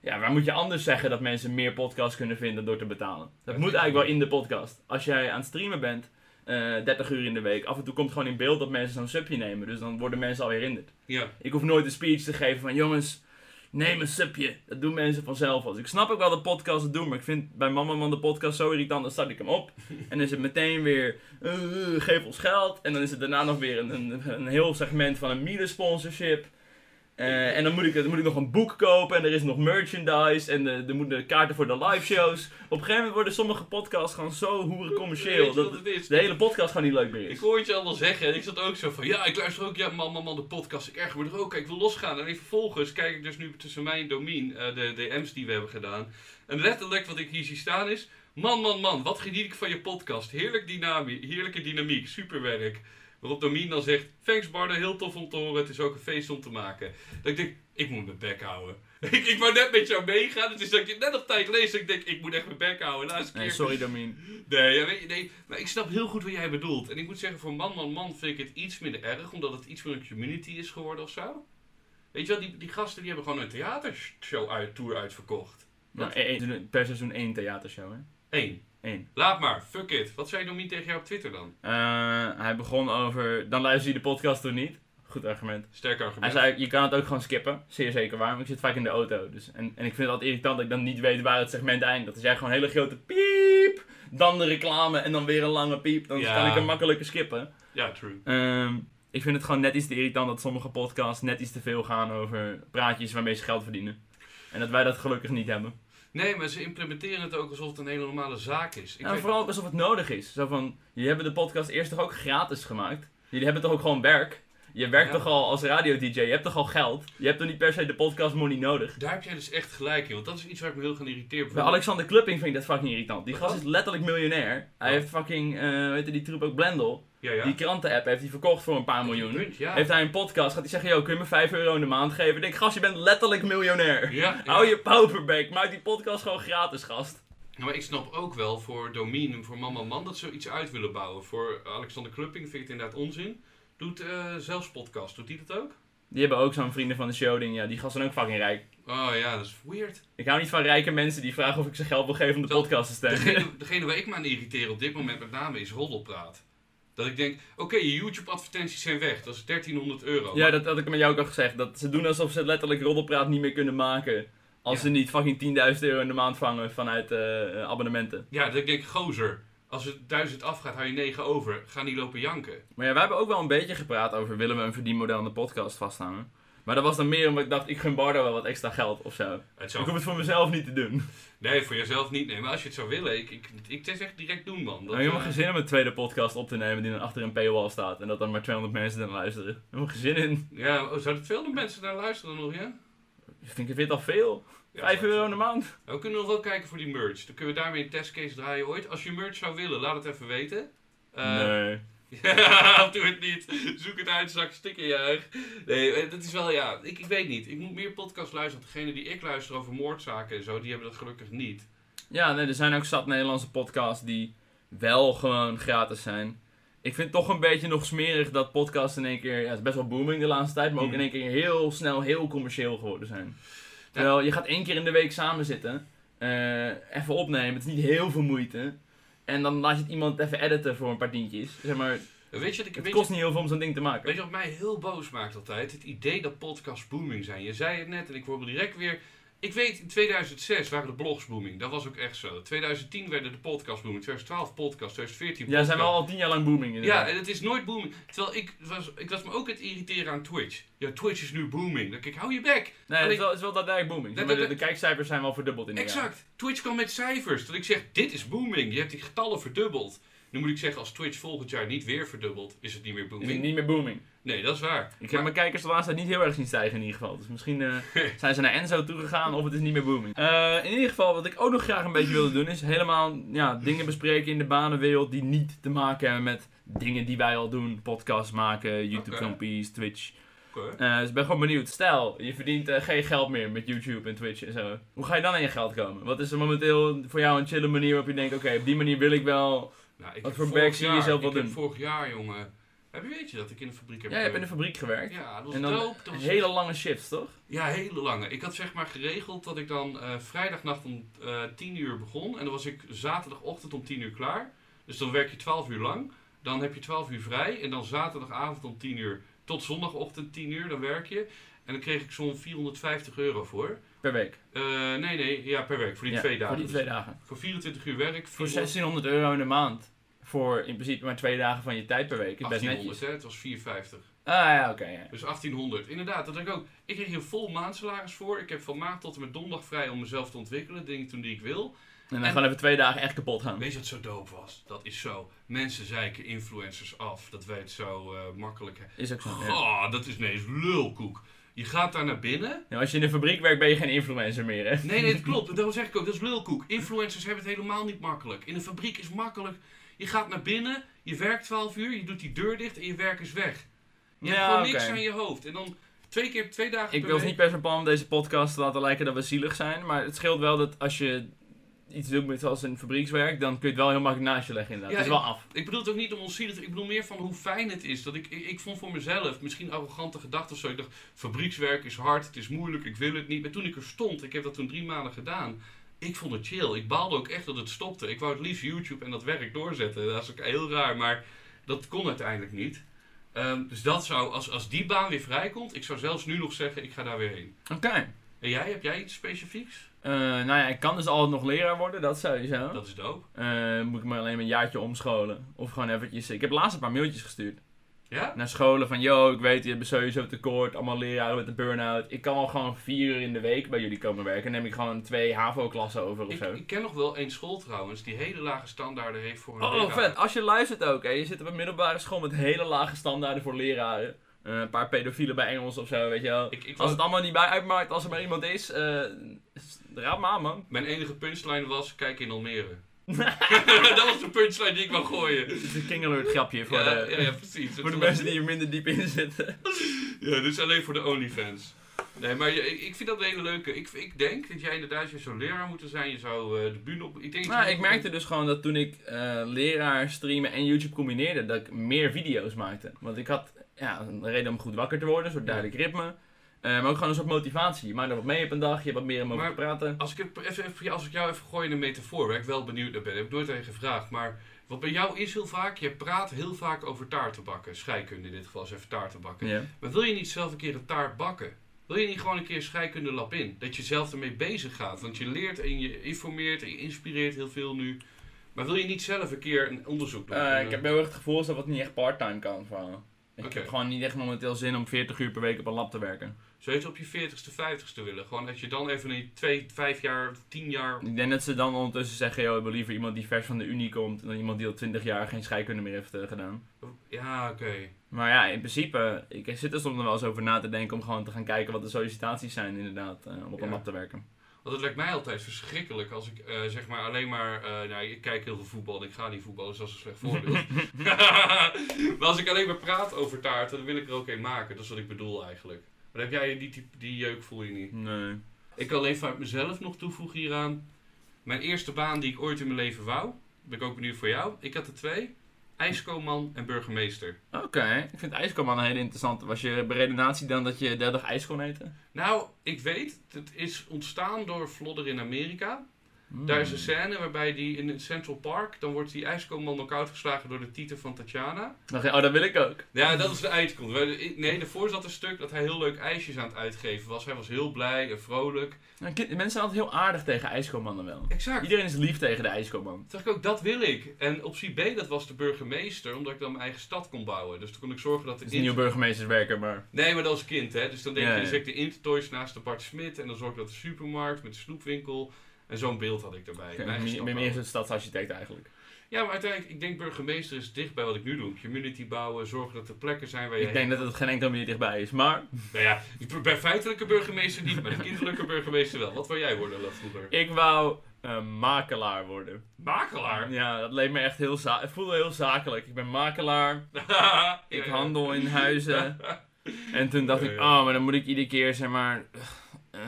S1: ja, waar moet je anders zeggen dat mensen meer podcasts kunnen vinden door te betalen? Dat
S2: Dat
S1: moet
S2: is-
S1: eigenlijk wel in de podcast. Als jij aan het streamen bent, eh, 30 uur in de week, af en toe komt gewoon in beeld dat mensen zo'n subje nemen, dus dan worden mensen alweer herinnerd.
S2: Ja.
S1: Ik hoef nooit een speech te geven van jongens, neem een subje. Dat doen mensen vanzelf als. Ik snap ook wel dat podcasts het doen, maar ik vind bij Mama Man de podcast zo irritant. Dan start ik hem op en dan is het meteen weer eh, geef ons geld. En dan is het daarna nog weer een, een, een heel segment van een mede sponsorship. Eh, en dan moet, ik, dan moet ik nog een boek kopen en er is nog merchandise en eh, er moeten kaarten voor de live shows. Op een gegeven moment worden sommige podcasts gewoon zo hoeren
S2: Weet
S1: commercieel
S2: je
S1: dat
S2: wat het is?
S1: de hele podcast gewoon niet leuk meer
S2: Ik
S1: is.
S2: hoor het je allemaal zeggen en ik zat ook zo van, ja, ik luister ook, ja, man, man, man, de podcast, ik erger me er ook, aan, ik wil losgaan. En vervolgens kijk ik dus nu tussen mij en Domien eh, de DM's die we hebben gedaan. En letterlijk wat ik hier zie staan is, man, man, man, wat geniet ik van je podcast. Heerlijk dynamie, heerlijke dynamiek, superwerk. Waarop Domien dan zegt, thanks Barden, heel tof om te horen, het is ook een feest om te maken. Dat ik denk, ik moet mijn bek houden. ik, ik wou net met jou meegaan, het is dat ik het net op tijd lees en ik denk, ik moet echt mijn bek houden. Laatste keer
S1: Nee, sorry Damien.
S2: Nee, ja, weet je, nee, maar ik snap heel goed wat jij bedoelt. En ik moet zeggen, voor man, man, man vind ik het iets minder erg, omdat het iets meer een community is geworden of zo. Weet je wel, die, die gasten die hebben gewoon een theatershow uit, tour uitverkocht.
S1: Nou, één- één- per seizoen één theatershow, hè?
S2: Eén.
S1: Eén.
S2: Laat maar, fuck it. Wat zei Domien tegen jou op Twitter dan?
S1: Eh, hij begon over, dan luister je de podcast toch niet? Goed argument.
S2: Sterk
S1: Hij
S2: argument.
S1: zei, je kan het ook gewoon skippen. Zeer zeker waar, want ik zit vaak in de auto. Dus, en, en ik vind het altijd irritant dat ik dan niet weet waar het segment eindigt. Als jij gewoon een hele grote piep, dan de reclame en dan weer een lange piep. Dan
S2: Ja.
S1: kan ik hem makkelijker skippen.
S2: Ja, true.
S1: Ehm, ik vind het gewoon net iets te irritant dat sommige podcasts net iets te veel gaan over praatjes waarmee ze geld verdienen. En dat wij dat gelukkig niet hebben.
S2: Nee, maar ze implementeren het ook alsof het een hele normale zaak is. Ik
S1: en
S2: weet-
S1: Nou, vooral ook alsof het nodig is. Zo van, jullie hebben de podcast eerst toch ook gratis gemaakt? Jullie hebben toch ook gewoon werk? Je werkt
S2: Ja.
S1: toch al als radio-dj? Je hebt toch al geld? Je hebt toch niet per se de podcast money nodig?
S2: Daar heb jij dus echt gelijk in, want dat is iets waar ik me heel gaan irriteerd
S1: Bij Alexander Klupping vind ik dat fucking irritant. Die gast
S2: Wat?
S1: is letterlijk miljonair. Hij
S2: Ja.
S1: heeft fucking, eh weet je die troep ook, Blendel.
S2: Ja, ja.
S1: Die kranten-app heeft hij verkocht voor een paar miljoen.
S2: Punt, ja.
S1: Heeft hij een podcast, gaat hij zeggen, yo, kun je me 5 euro in de maand geven? Ik denk, gast, je bent letterlijk miljonair.
S2: ja, ja.
S1: Hou je pauperback, maak die podcast gewoon gratis, gast.
S2: Ja, maar ik snap ook wel voor Domien en voor Mama Man dat ze iets uit willen bouwen. Voor Alexander Klupping vind ik het inderdaad onzin. Doet eh zelfs podcast, doet die dat ook?
S1: Die hebben ook zo'n vrienden van de show ding, ja, die gasten zijn ook fucking rijk.
S2: Oh ja, dat is weird.
S1: Ik hou niet van rijke mensen die vragen of ik ze geld wil geven om de
S2: Zo,
S1: podcast te steunen.
S2: Degene, degene waar ik me aan irriteer op dit moment met name is roddelpraat. Dat ik denk, oké, je YouTube-advertenties zijn weg, dat is 1300 euro.
S1: Ja, dat had ik met jou ook al gezegd. Dat ze doen alsof ze letterlijk roddelpraat niet meer kunnen maken. Als
S2: Ja.
S1: ze niet fucking 10.000 euro in de maand vangen vanuit eh, abonnementen.
S2: Ja, dat ik denk, gozer, als het 1000 afgaat, hou je 9 over. Ga niet lopen janken.
S1: Maar ja, wij hebben ook wel een beetje gepraat over willen we een verdienmodel aan de podcast vasthangen. Maar dat was dan meer omdat ik dacht, ik gun Bardo wel wat extra geld of zo.
S2: Het
S1: Ik hoef
S2: zou...
S1: het voor mezelf niet te doen.
S2: Nee, voor jezelf niet. Nee, maar als je het zou willen, ik, ik, ik zeg echt direct doen, man.
S1: ik heb helemaal
S2: eh,
S1: geen zin om een tweede podcast op te nemen die dan achter een paywall staat. En dat dan maar 200 mensen dan luisteren. Ik heb helemaal geen zin in.
S2: Ja, oh, zouden veel mensen naar luisteren nog, ja?
S1: Ik vind ik vind het al veel.
S2: Ja,
S1: 5
S2: dat-
S1: euro in de maand.
S2: Maar we kunnen nog wel kijken voor die merch. Dan kunnen we daarmee een testcase draaien ooit. Als je merch zou willen, laat het even weten. Eh,
S1: nee.
S2: ja, doe het niet. Zoek het uit, zak stikken juich. Nee, eh, dat is wel ja. Ik, ik weet niet. Ik moet meer podcasts luisteren. Want Degene die ik luister over moordzaken en zo, die hebben dat gelukkig niet.
S1: Ja, nee, er zijn ook zat Nederlandse podcasts die wel gewoon gratis zijn. Ik vind het toch een beetje nog smerig dat podcasts in één keer... Ja, het is best wel booming de laatste tijd, maar ook
S2: Mm.
S1: in één keer heel snel heel commercieel geworden zijn. Terwijl je gaat één keer in de week samen zitten, eh, even opnemen, het is niet heel veel moeite. En dan laat je het iemand even editen voor een paar tientjes. Zeg maar,
S2: En Weet je, wat ik,
S1: het
S2: weet, je,
S1: kost niet heel veel om zo'n ding te maken.
S2: weet je wat mij heel boos maakt altijd? Het idee dat podcasts booming zijn. Je zei het net en ik hoor me direct weer... Ik weet, in 2006 waren de blogs booming. Dat was ook echt zo. 2010 werden de podcasts booming. 2012 podcast, 2014
S1: Ja, ze zijn
S2: podcast.
S1: wel al tien jaar lang booming
S2: Ja,
S1: inderdaad.
S2: en het is nooit booming. Terwijl ik was, ik was me ook aan het irriteren aan Twitch. Ja, Twitch is nu booming. Dan kijk, hou je bek.
S1: nee,
S2: en
S1: het is
S2: ik-
S1: wel, het is wel daadwerkelijk booming. Zeg
S2: Dat-
S1: maar,
S2: dat-
S1: de, de kijkcijfers zijn wel verdubbeld in
S2: Exact. Twitch kwam met cijfers. Dat ik zeg, dit is booming. Je hebt die getallen verdubbeld. Nu moet ik zeggen, als Twitch volgend jaar niet weer verdubbelt, is het niet meer
S1: Is het
S2: booming.
S1: niet meer booming.
S2: Nee, dat is waar.
S1: Ik heb
S2: Maar-
S1: mijn kijkers de laatste tijd niet heel erg zien stijgen in ieder geval. Dus misschien eh, zijn ze naar Enzo toegegaan of het is niet meer booming. Eh, in ieder geval, wat ik ook nog graag een beetje wilde doen, is helemaal ja, dingen bespreken in de banenwereld die niet te maken hebben met dingen die wij al doen. Podcasts maken, YouTube
S2: Oké.
S1: filmpjes, Twitch.
S2: Oké. Nou,
S1: Eh, dus ik ben gewoon benieuwd. Stel, je verdient eh, geen geld meer met YouTube en Twitch en zo. Hoe ga je dan aan je geld komen? Wat is er momenteel voor jou een chille manier waarop je denkt, oké, op die manier wil ik wel...
S2: Nou, ik
S1: Wat
S2: heb
S1: voor
S2: vorig
S1: werk zie je
S2: jaar-
S1: jezelf wel
S2: ik heb
S1: doen?
S2: vorig jaar, jongen... Heb je weet je dat ik in de fabriek heb
S1: Jij hebt in de
S2: gewerkt?
S1: fabriek gewerkt.
S2: Ja, dat was
S1: En dan
S2: dope. Dat was
S1: Hele lange shifts, toch?
S2: Ja, hele lange. Ik had zeg maar geregeld dat ik dan eh, vrijdagnacht om eh 10 uur begon. En dan was ik zaterdagochtend om 10 uur klaar. Dus dan werk je 12 uur lang. Dan heb je 12 uur vrij. En dan zaterdagavond om 10 uur tot zondagochtend 10 uur, dan werk je. En dan kreeg ik zo'n 450 euro voor.
S1: Per week.
S2: Eh, nee, nee, ja, per week. Voor die
S1: Ja,
S2: twee dagen.
S1: Voor die
S2: dus.
S1: twee dagen.
S2: Voor 24 uur werk.
S1: Voor
S2: 400
S1: 1600 euro in de maand. Voor in principe maar twee dagen van je tijd per week. Is best
S2: 1800,
S1: netjes.
S2: hè? Het was 450.
S1: Ah, Ah ja, oké. ja.
S2: Dus 1800. Inderdaad, dat denk ik ook. Ik kreeg hier vol maandsalaris voor. Ik heb van maand tot en met donderdag vrij om mezelf te ontwikkelen. Dingen toen die ik wil.
S1: En dan
S2: En-
S1: gewoon even twee dagen echt kapot gaan.
S2: Weet je wat zo dope was? Dat is zo. Mensen zeiken influencers af. Dat wij het zo eh, makkelijk hebben.
S1: Is ook zo. ja.
S2: Goh, dat is ineens lulkoek. Je gaat daar naar binnen.
S1: Nou, als je in de fabriek werkt, ben je geen influencer meer, hè?
S2: Nee, nee, dat klopt. Daarom zeg ik ook, dat is lulkoek. Influencers hebben het helemaal niet makkelijk. In een fabriek is het makkelijk. Je gaat naar binnen, je werkt 12 uur, je doet die deur dicht en je werk is weg. Je hebt
S1: Ja,
S2: gewoon
S1: oké.
S2: niks aan je hoofd. En dan twee keer, twee dagen
S1: Ik
S2: per
S1: wil het
S2: week.
S1: niet per se plan om deze podcast te laten lijken dat we zielig zijn. Maar het scheelt wel dat als je iets doet met als een fabriekswerk, dan kun je het wel heel makkelijk naast je leggen inderdaad.
S2: Ja,
S1: het is wel af.
S2: Ik bedoel het ook niet om onzielig te... Ik bedoel meer van hoe fijn het is. Dat ik, ik, ik vond voor mezelf, misschien arrogante gedachte of zo. Ik dacht, fabriekswerk is hard, het is moeilijk, ik wil het niet. Maar toen ik er stond, ik heb dat toen drie maanden gedaan. Ik vond het chill. Ik baalde ook echt dat het stopte. Ik wou het liefst YouTube en dat werk doorzetten. Dat is ook heel raar, maar dat kon uiteindelijk niet. Ehm, dus dat zou, als, als die baan weer vrijkomt, ik zou zelfs nu nog zeggen, ik ga daar weer heen.
S1: Oké.
S2: En jij, heb jij iets specifieks?
S1: Eh, nou ja, ik kan dus altijd nog leraar worden, dat sowieso.
S2: Dat is dope.
S1: Eh, moet ik me alleen een jaartje omscholen. Of gewoon eventjes... Ik heb laatst een paar mailtjes gestuurd.
S2: Ja?
S1: naar scholen van, yo, ik weet, je hebt sowieso tekort, allemaal leraren met een burn-out. Ik kan al gewoon vier uur in de week bij jullie komen werken. En neem ik gewoon twee HAVO-klassen over of
S2: Ik,
S1: zo.
S2: ik ken nog wel één school trouwens, die hele lage standaarden heeft voor een
S1: Oh,
S2: leraar.
S1: vet. Als je luistert ook, hè. Je zit op een middelbare school met hele lage standaarden voor leraren. Eh, een paar pedofielen bij Engels of zo, weet je wel.
S2: Ik, ik was
S1: Als het allemaal niet bij uitmaakt, als er maar iemand is, eh raad me aan, man.
S2: Mijn enige punchline was: kijk in Almere. dat was de punchline die ik wou gooien.
S1: Het is een King Alert grapje voor,
S2: Ja,
S1: de,
S2: ja, ja, precies.
S1: voor de mensen die er minder diep in zitten.
S2: Ja, dit is alleen voor de OnlyFans. Nee, maar je- ik ik vind dat een hele leuke. Ik, ik denk dat jij inderdaad, je zou leraar moeten zijn. Je zou eh, de bühne op. Ik, denk dat
S1: Nou,
S2: je-
S1: ik merkte dus gewoon dat toen ik eh, leraar streamen en YouTube combineerde, dat ik meer video's maakte. Want ik had ja, een reden om goed wakker te worden, een soort
S2: Ja.
S1: duidelijk ritme. Eh, maar ook gewoon een soort motivatie. Je maakt er wat mee op een dag, je hebt wat meer om over
S2: Maar-
S1: te praten.
S2: Als ik, het even, even- als ik jou even gooi in een metafoor, waar ik wel benieuwd naar ben, heb ik nooit aan je gevraagd. Maar wat bij jou is heel vaak: je praat heel vaak over taarten bakken. Scheikunde in dit geval is even taarten bakken.
S1: Ja.
S2: Maar wil je niet zelf een keer een taart bakken? Wil je niet gewoon een keer scheikunde lab in? Dat je zelf ermee bezig gaat. Want je leert en je informeert en je inspireert heel veel nu. Maar wil je niet zelf een keer een onderzoek doen?
S1: Eh, ik heb heel erg het gevoel dat dat niet echt part-time kan. Vooral. Ik
S2: Oké.
S1: heb gewoon niet echt momenteel zin om 40 uur per week op een lab te werken.
S2: Zou je het eh, op je 40ste, 50ste willen? Gewoon dat je dan even in 2, 5 jaar, 10 jaar.
S1: Ik denk dat ze dan ondertussen zeggen, joh, we hebben liever iemand die vers van de Unie komt dan iemand die al 20 jaar geen scheikunde meer heeft eh, gedaan.
S2: Ja, oké.
S1: Maar ja, in principe, ik zit er soms nog wel eens over na te denken om gewoon te gaan kijken wat de sollicitaties zijn inderdaad, eh, om op een
S2: Ja.
S1: lab te werken.
S2: Want het lijkt mij altijd verschrikkelijk als ik eh, zeg maar alleen maar. eh, nou, ik kijk heel veel voetbal en ik ga niet voetballen, dus dat is een slecht voorbeeld. maar als ik alleen maar praat over taarten, dan wil ik er ook een maken. Dat is wat ik bedoel eigenlijk. Maar heb jij die, type- die jeuk voel je niet?
S1: Nee.
S2: Ik kan alleen vanuit mezelf nog toevoegen hieraan. Mijn eerste baan die ik ooit in mijn leven wou, ben ik ook benieuwd voor jou. Ik had er twee: ijskoman en burgemeester.
S1: Oké, ik vind ijskoman een hele interessante. Was je beredenatie dan dat je dertig ijs kon eten?
S2: Nou, ik weet, het is ontstaan door Flodder in Amerika. Hmm. Daar
S1: Hmm.
S2: is een scène waarbij die in het Central Park, dan wordt die ijskoman knock-out geslagen door de titel van Tatjana.
S1: Dacht je, oh, dat wil ik ook.
S2: Ja, dat is de eindkont. Wij- Nee, daarvoor zat een stuk dat hij heel leuk ijsjes aan het uitgeven was. Hij was heel blij en vrolijk.
S1: Nou, kind- mensen zijn altijd heel aardig tegen ijskomannen wel.
S2: Exact.
S1: Iedereen is lief tegen de ijskoman.
S2: Toen dacht ik ook, dat wil ik. En optie B, dat was de burgemeester, omdat ik dan mijn eigen stad kon bouwen. Dus toen kon ik zorgen dat de...
S1: Het is een nieuwe
S2: inter-
S1: burgemeesters werken, maar...
S2: Nee, maar dat als kind, hè. Dus dan denk
S1: Ja,
S2: je, dan
S1: ja.
S2: zet ik de Intertoys naast de Bart Smit. En dan zorg ik dat de supermarkt met de snoepwinkel. En zo'n beeld had ik daarbij.
S1: Ik
S2: Mijn eigen stad
S1: ben meer
S2: bouwen.
S1: een stadsarchitect eigenlijk.
S2: Ja, maar uiteindelijk, ik denk burgemeester is dicht bij wat ik nu doe. Community bouwen, zorgen dat er plekken zijn waar je...
S1: Ik denk dat het geen enkel meer dichtbij is, maar...
S2: Nou ja, ik ben feitelijke burgemeester niet, maar de kinderlijke burgemeester wel. Wat wil jij worden, dat vroeger?
S1: Ik wou eh, makelaar worden.
S2: Makelaar?
S1: Ja, dat leek me echt heel za- Het voelde heel zakelijk. Ik ben makelaar,
S2: Ja,
S1: ik
S2: ja.
S1: handel in huizen. En toen dacht ik,
S2: Ja, ja.
S1: oh, maar dan moet ik iedere keer, zeg maar... eh,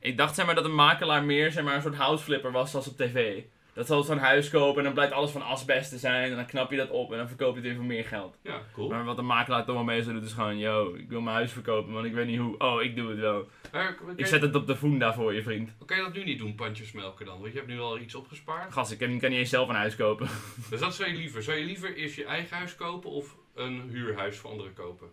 S1: ik dacht, zeg maar, dat een makelaar meer, zeg maar, een soort houseflipper was zoals op tv. Dat zal zo'n huis kopen en dan blijkt alles van asbest te zijn. En dan knap je dat op en dan verkoop je het weer voor meer geld.
S2: Ja, cool.
S1: Maar wat een makelaar toch wel meestal doet is gewoon, yo, ik wil mijn huis verkopen, want ik weet niet hoe. Oh, ik doe het wel.
S2: Maar kan,
S1: Ik
S2: eh, je,
S1: zet het op de funda voor je, vriend.
S2: kan je dat nu niet doen, pandjes melken dan? Want je hebt nu al iets opgespaard.
S1: Gast, ik kan, kan niet eens zelf een huis kopen.
S2: Dus dat zou je liever. Zou je liever eerst je eigen huis kopen of een huurhuis voor anderen kopen?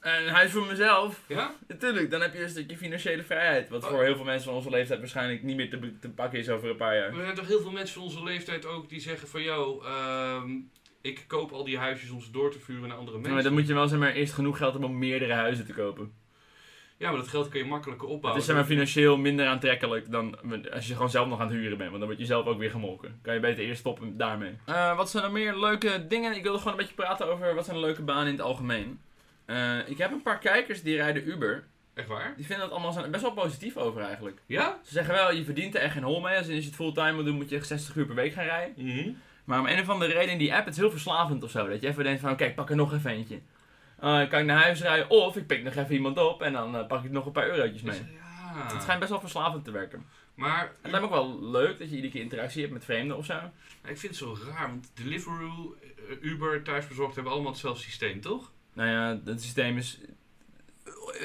S1: Een huis voor mezelf?
S2: Ja?
S1: Natuurlijk, dan heb je een stukje financiële vrijheid. Wat voor heel veel mensen van onze leeftijd waarschijnlijk niet meer te, be- te pakken is over een paar jaar.
S2: Er zijn toch heel veel mensen van onze leeftijd ook die zeggen van jou, ehm, Ik koop al die huisjes om ze door te vuren naar andere
S1: Ja,
S2: mensen.
S1: maar dan moet je wel zeg maar, eerst genoeg geld hebben om meerdere huizen te kopen.
S2: Ja, maar dat geld kun je makkelijker
S1: Het
S2: opbouwen.
S1: Oh, is zeg maar, financieel minder aantrekkelijk dan als je gewoon zelf nog aan het huren bent. Want dan word je zelf ook weer gemolken. Kan je beter eerst stoppen daarmee. Eh, wat zijn er meer leuke dingen? Ik wilde gewoon een beetje praten over wat zijn leuke banen in het algemeen. Eh, ik heb een paar kijkers die rijden Uber.
S2: Echt waar?
S1: Die vinden dat allemaal zijn- best wel positief over eigenlijk.
S2: Ja?
S1: Ze zeggen wel, je verdient er echt geen hol mee. Als je het fulltime wil doen, moet je echt 60 uur per week gaan rijden. Maar om een of andere reden in die app, het is heel verslavend of zo. Dat je even denkt van, oké, ik pak er nog even eentje. Eh, kan ik naar huis rijden of ik pik nog even iemand op en dan eh, pak ik nog een paar eurotjes mee.
S2: Is- Dus ja.
S1: Het schijnt best wel verslavend te werken.
S2: Maar
S1: Het lijkt me ook wel leuk dat je iedere keer interactie hebt met vreemden of zo.
S2: ik vind het zo raar, want Deliveroo, eh, Uber, Thuisbezorgd hebben allemaal hetzelfde systeem, toch?
S1: Nou ja, het systeem is...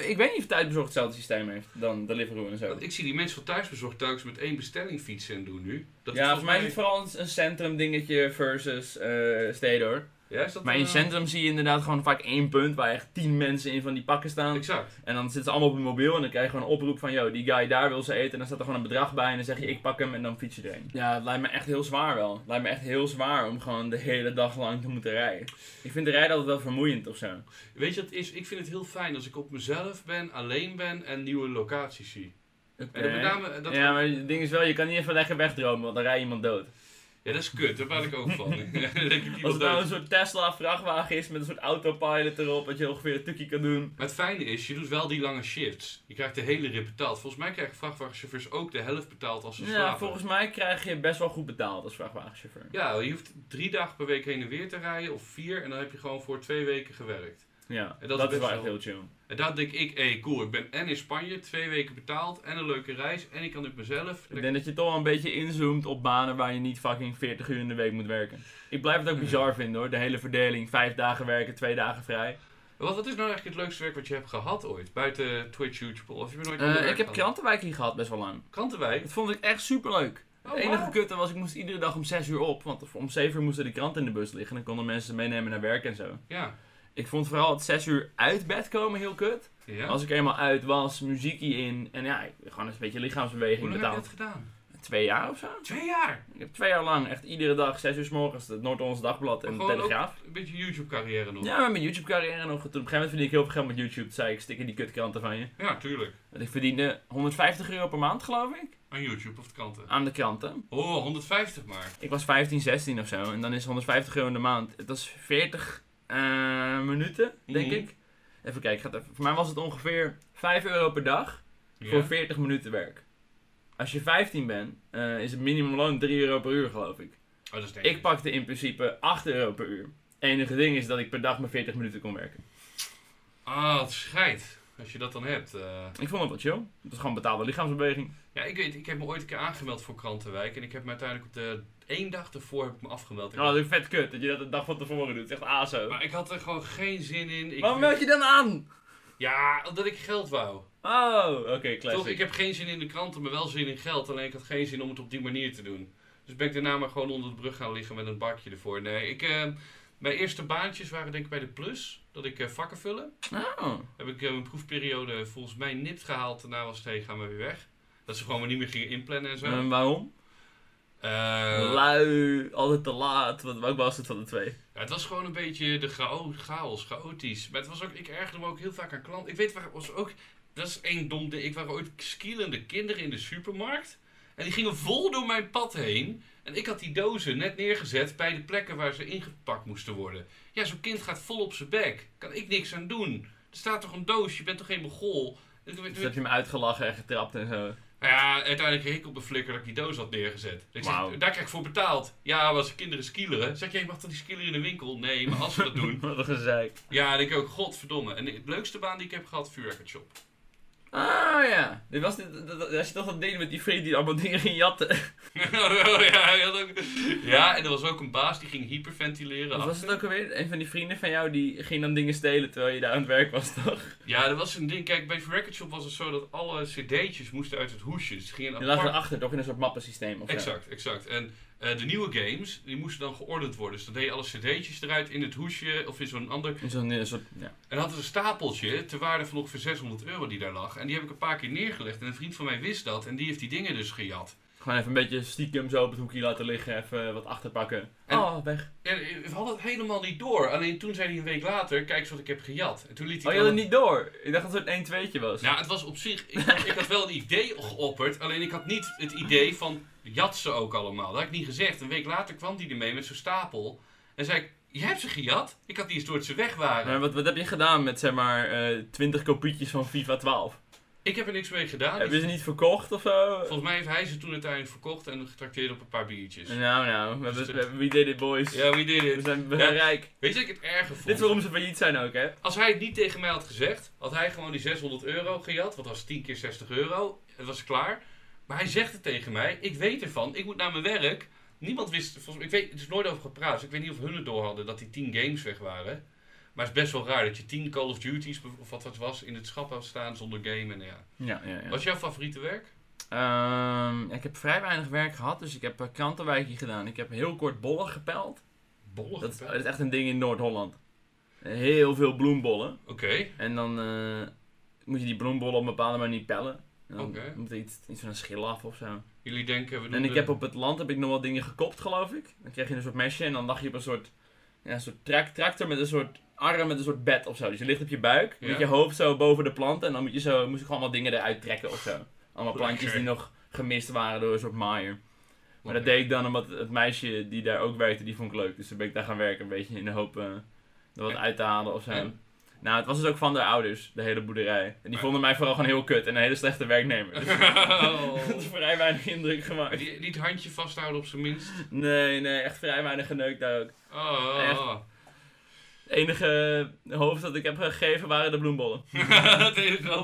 S1: Ik weet niet of Tijdbezorgd hetzelfde systeem heeft dan Deliveroo en zo.
S2: Want ik zie die mensen van Thuisbezorgd telkens met één bestelling fietsen en doen nu. Dat
S1: Ja,
S2: volgens
S1: voor mij is het vooral een, een centrum dingetje versus eh steden hoor.
S2: Ja, is dat eh,
S1: Maar in
S2: een-
S1: het centrum zie je inderdaad gewoon vaak één punt waar echt tien mensen in van die pakken staan.
S2: Exact.
S1: En dan zitten ze allemaal op hun mobiel en dan krijg je gewoon een oproep van, yo, die guy daar wil ze eten. En dan staat er gewoon een bedrag bij en dan zeg je, ik pak hem en dan fiets je erheen. Ja, het lijkt me echt heel zwaar wel. Het lijkt me echt heel zwaar om gewoon de hele dag lang te moeten rijden. Ik vind de rijden altijd wel vermoeiend of zo.
S2: Weet je wat het is? Ik vind het heel fijn als ik op mezelf ben, alleen ben en nieuwe locaties zie. En dat met name, eh, dat, ja.
S1: Ja, maar het ding is wel, je kan niet even lekker wegdromen, want dan rij je iemand dood.
S2: dat is kut, daar ben ik ook van. Dan denk ik
S1: Als
S2: iemand
S1: het nou
S2: dood.
S1: een soort Tesla-vrachtwagen is met een soort autopilot erop, dat je ongeveer een tukje kan doen.
S2: Maar het fijne is, je doet wel die lange shifts. Je krijgt de hele rit betaald. Volgens mij krijgen vrachtwagenchauffeurs ook de helft betaald als ze
S1: Ja,
S2: slapen.
S1: volgens mij krijg je best wel goed betaald als vrachtwagenchauffeur.
S2: Ja, je hoeft drie dagen per week heen en weer te rijden, of vier, en dan heb je gewoon voor twee weken gewerkt.
S1: Ja,
S2: En
S1: dat,
S2: dat
S1: is wel
S2: is best
S1: echt
S2: wel-
S1: heel chill.
S2: En daar denk ik, hé, cool, ik ben en in Spanje, twee weken betaald, en een leuke reis, en ik kan op mezelf.
S1: Ik denk dat je toch wel een beetje inzoomt op banen waar je niet fucking 40 uur in de week moet werken. Ik blijf het ook bizar vinden hoor, de hele verdeling. Vijf dagen werken, twee dagen vrij.
S2: Wat, wat is nou eigenlijk het leukste werk wat je hebt gehad ooit? Buiten Twitch, YouTube, of je bent nooit
S1: Eh,
S2: ander werk
S1: ik heb
S2: gehad?
S1: krantenwijk hier gehad best wel lang.
S2: Krantenwijk?
S1: Dat vond ik echt superleuk.
S2: Oh,
S1: Het enige
S2: wauw.
S1: kutte was, ik moest iedere dag om 6 uur op. Want om 7 uur moesten de kranten in de bus liggen. Dan konden mensen ze meenemen naar werk en zo.
S2: Ja.
S1: Ik vond vooral het 6 uur uit bed komen heel kut.
S2: ja.
S1: Als ik eenmaal uit was, muziek in En ja, ik- gewoon eens een beetje
S2: Hoe
S1: lichaamsbeweging
S2: lang heb je
S1: betaald.
S2: dat gedaan?
S1: Twee jaar of zo.
S2: Twee jaar!
S1: Ik heb twee jaar lang echt iedere dag 6 uur s morgens het Noord-Hollands Dagblad en de
S2: Maar gewoon
S1: Telegraaf.
S2: Een beetje YouTube-carrière nog.
S1: Ja, maar mijn YouTube carrière nog. Toen op een gegeven moment verdiende ik heel veel geld met YouTube. Toen zei ik, stik in die kutkranten van je.
S2: Ja, tuurlijk.
S1: Want ik verdiende 150 euro per maand geloof ik.
S2: Aan YouTube of de kranten.
S1: Aan de kranten.
S2: Oh, 150 maar.
S1: Ik was 15, 16 of zo. En dan is 150 euro in de maand. Het was 40 eh, minuten, denk
S2: Mhm.
S1: ik. Even kijken, ik ga het even. Voor mij was het ongeveer 5 euro per dag
S2: Ja.
S1: voor 40 minuten werk. Als je 15 bent, eh, is het minimumloon 3 euro per uur, geloof ik.
S2: Oh, dat is denk
S1: Ik pakte in principe 8 euro per uur. Enige ding is dat ik per dag maar 40 minuten kon werken.
S2: Ah, het scheidt. Als je dat dan hebt. eh.
S1: Ik vond het wel chill. Het was gewoon betaalde lichaamsbeweging.
S2: Ja, ik weet, ik heb me ooit een keer aangemeld voor Krantenwijk. En ik heb me uiteindelijk op de één dag ervoor heb ik me afgemeld. Ik
S1: Oh, dat is vet kut dat je dat de dag van tevoren doet. Echt aso.
S2: Maar ik had er gewoon geen zin in. Ik
S1: Waarom meld je dan aan?
S2: Ja, omdat ik geld wou.
S1: Oh, oké, classic.
S2: Toch, ik heb geen zin in de kranten, maar wel zin in geld. Alleen ik had geen zin om het op die manier te doen. Dus ben ik daarna maar gewoon onder de brug gaan liggen met een bakje ervoor. Nee, ik, eh, mijn eerste baantjes waren denk ik bij de Plus. Dat ik eh, vakken vullen.
S1: Oh.
S2: Heb ik eh, een proefperiode volgens mij nipt gehaald. Daarna was het, hey, gaan we weer weg. Dat ze gewoon maar niet meer gingen inplannen en zo.
S1: En Ehm, waarom?
S2: Eh,
S1: Lui, altijd te laat. Wat, welk was het van de twee?
S2: Ja, het was gewoon een beetje de chao- chaos, chaotisch. Maar het was ook, ik ergerde me ook heel vaak aan klanten. Ik weet waar was ook, dat is één dom ding. Ik waren ooit skielende kinderen in de supermarkt. En die gingen vol door mijn pad heen. En ik had die dozen net neergezet bij de plekken waar ze ingepakt moesten worden. Ja, zo'n kind gaat vol op zijn bek. Kan ik niks aan doen. Er staat toch een doos, je bent toch geen mogol. En toen-
S1: Dus heb je hem uitgelachen en getrapt en zo.
S2: nou ja, uiteindelijk kreeg ik op een flikker dat ik die doos had neergezet. Ik zeg,
S1: Wauw.
S2: daar krijg ik voor betaald. Ja, maar als de kinderen skileren. Zeg je, je mag toch die skileren in de winkel? Nee, maar als we dat doen.
S1: Wat een gezeik.
S2: Ja, dan denk ik ook, godverdomme. En de leukste baan die ik heb gehad, vuurwerkershop.
S1: Ah ja. Dit was dit, dat, dat- als je toch dat deed met die vriend die allemaal dingen ging jatten.
S2: ja, hij had ook- ja, en er was ook een baas die ging hyperventileren.
S1: Of was het ook alweer een van die vrienden van jou die ging dan dingen stelen terwijl je daar aan het werk was, toch?
S2: Ja, dat was een ding. Kijk, bij vuurwerkershop was het zo dat alle cd'tjes moesten uit het hoesje. Dus het ging
S1: Je
S2: een
S1: lag
S2: apart-
S1: erachter, toch in een soort mappensysteem of zo.
S2: Exact, exact. En eh, de nieuwe games, die moesten dan geordend worden. Dus dan deed je alle cd'tjes eruit in het hoesje of in zo'n ander
S1: In zo'n eh, soort, ja.
S2: En hadden ze een stapeltje ter waarde van ongeveer 600 euro die daar lag. En die heb ik een paar keer neergelegd. En een vriend van mij wist dat en die heeft die dingen dus gejat.
S1: Gewoon even een beetje stiekem zo op het hoekje laten liggen, even wat achterpakken.
S2: En-
S1: oh, weg.
S2: En ik had het helemaal niet door. Alleen toen zei hij een week later, kijk eens wat ik heb gejat. En toen liet
S1: Oh,
S2: hij
S1: je had het niet door. Ik dacht dat het een 1-2'tje was.
S2: Nou, het was op zich... Ik, ik had wel een idee geopperd. Alleen ik had niet het idee van... Jat ze ook allemaal. Dat had ik niet gezegd. Een week later kwam hij ermee met zo'n stapel. En zei ik... Je hebt ze gejat? Ik had niet eens door dat ze weg waren.
S1: Maar wat, wat heb je gedaan met zeg maar eh 20 kopietjes van FIFA 12?
S2: Ik heb er niks mee gedaan.
S1: Heb je ze niet verkocht of zo?
S2: Ah, Volgens mij heeft hij ze toen uiteindelijk verkocht en getrakteerd op een paar biertjes.
S1: Nou, nou, we, hebben- we, hebben- we did it, boys.
S2: Ja, wie deed
S1: We
S2: dit?
S1: zijn we
S2: Ja.
S1: zijn rijk.
S2: Weet je wat ik het erger vond?
S1: Dit is waarom ze failliet zijn ook, hè?
S2: Als hij het niet tegen mij had gezegd, had hij gewoon die 600 euro gejat. Want dat was 10 keer 60 euro. Het was klaar. Maar hij zegt het tegen mij. Ik weet ervan. Ik moet naar mijn werk. Niemand wist... Volgens mij, ik weet, het is nooit over gepraat. Dus ik weet niet of hun het door hadden dat die 10 games weg waren. Maar het is best wel raar dat je 10 Call of Duty's of wat dat was in het schap had staan zonder game. En ja.
S1: Ja, ja, ja.
S2: Wat is jouw favoriete werk?
S1: Ehm, ik heb vrij weinig werk gehad, dus ik heb eh, krantenwijkje gedaan. Ik heb heel kort bollen gepeld.
S2: Bollen.
S1: Dat eh, is,
S2: gepeld?
S1: dat is echt een ding in Noord-Holland. Heel veel bloembollen.
S2: Oké.
S1: En dan eh, moet je die bloembollen op een bepaalde manier pellen. En Dan
S2: Oké.
S1: moet er iets, iets van een schil af of zo.
S2: Jullie denken... We doen
S1: En ik
S2: de-
S1: heb op het land heb ik nog wel dingen gekopt, geloof ik. Dan kreeg je een soort mesje en dan lag je op een soort, ja, een soort trak- tractor met een soort arm met een soort bed of zo. Dus je ligt op je buik,
S2: Ja.
S1: met je hoofd zo boven de planten. En dan moet je zo, moest ik allemaal dingen eruit trekken of zo. Allemaal
S2: Lekker.
S1: plantjes die nog gemist waren door een soort maaier. Maar dat
S2: Oké.
S1: deed ik dan omdat het meisje die daar ook werkte, die vond ik leuk. Dus toen ben ik daar gaan werken, een beetje in de hoop eh, er wat
S2: En-
S1: uit te halen of zo.
S2: en?
S1: Nou, het was dus ook van de ouders, de hele boerderij. En die
S2: Ah.
S1: vonden mij vooral gewoon heel kut en een hele slechte werknemer. Dus
S2: Oh.
S1: dat is vrij weinig indruk gemaakt.
S2: Die- Niet het handje vasthouden op zijn minst.
S1: Nee, nee, echt vrij weinig geneukt daar ook.
S2: Oh.
S1: Echt. Het enige hoofd dat ik heb gegeven waren de bloembollen.
S2: dat is wel.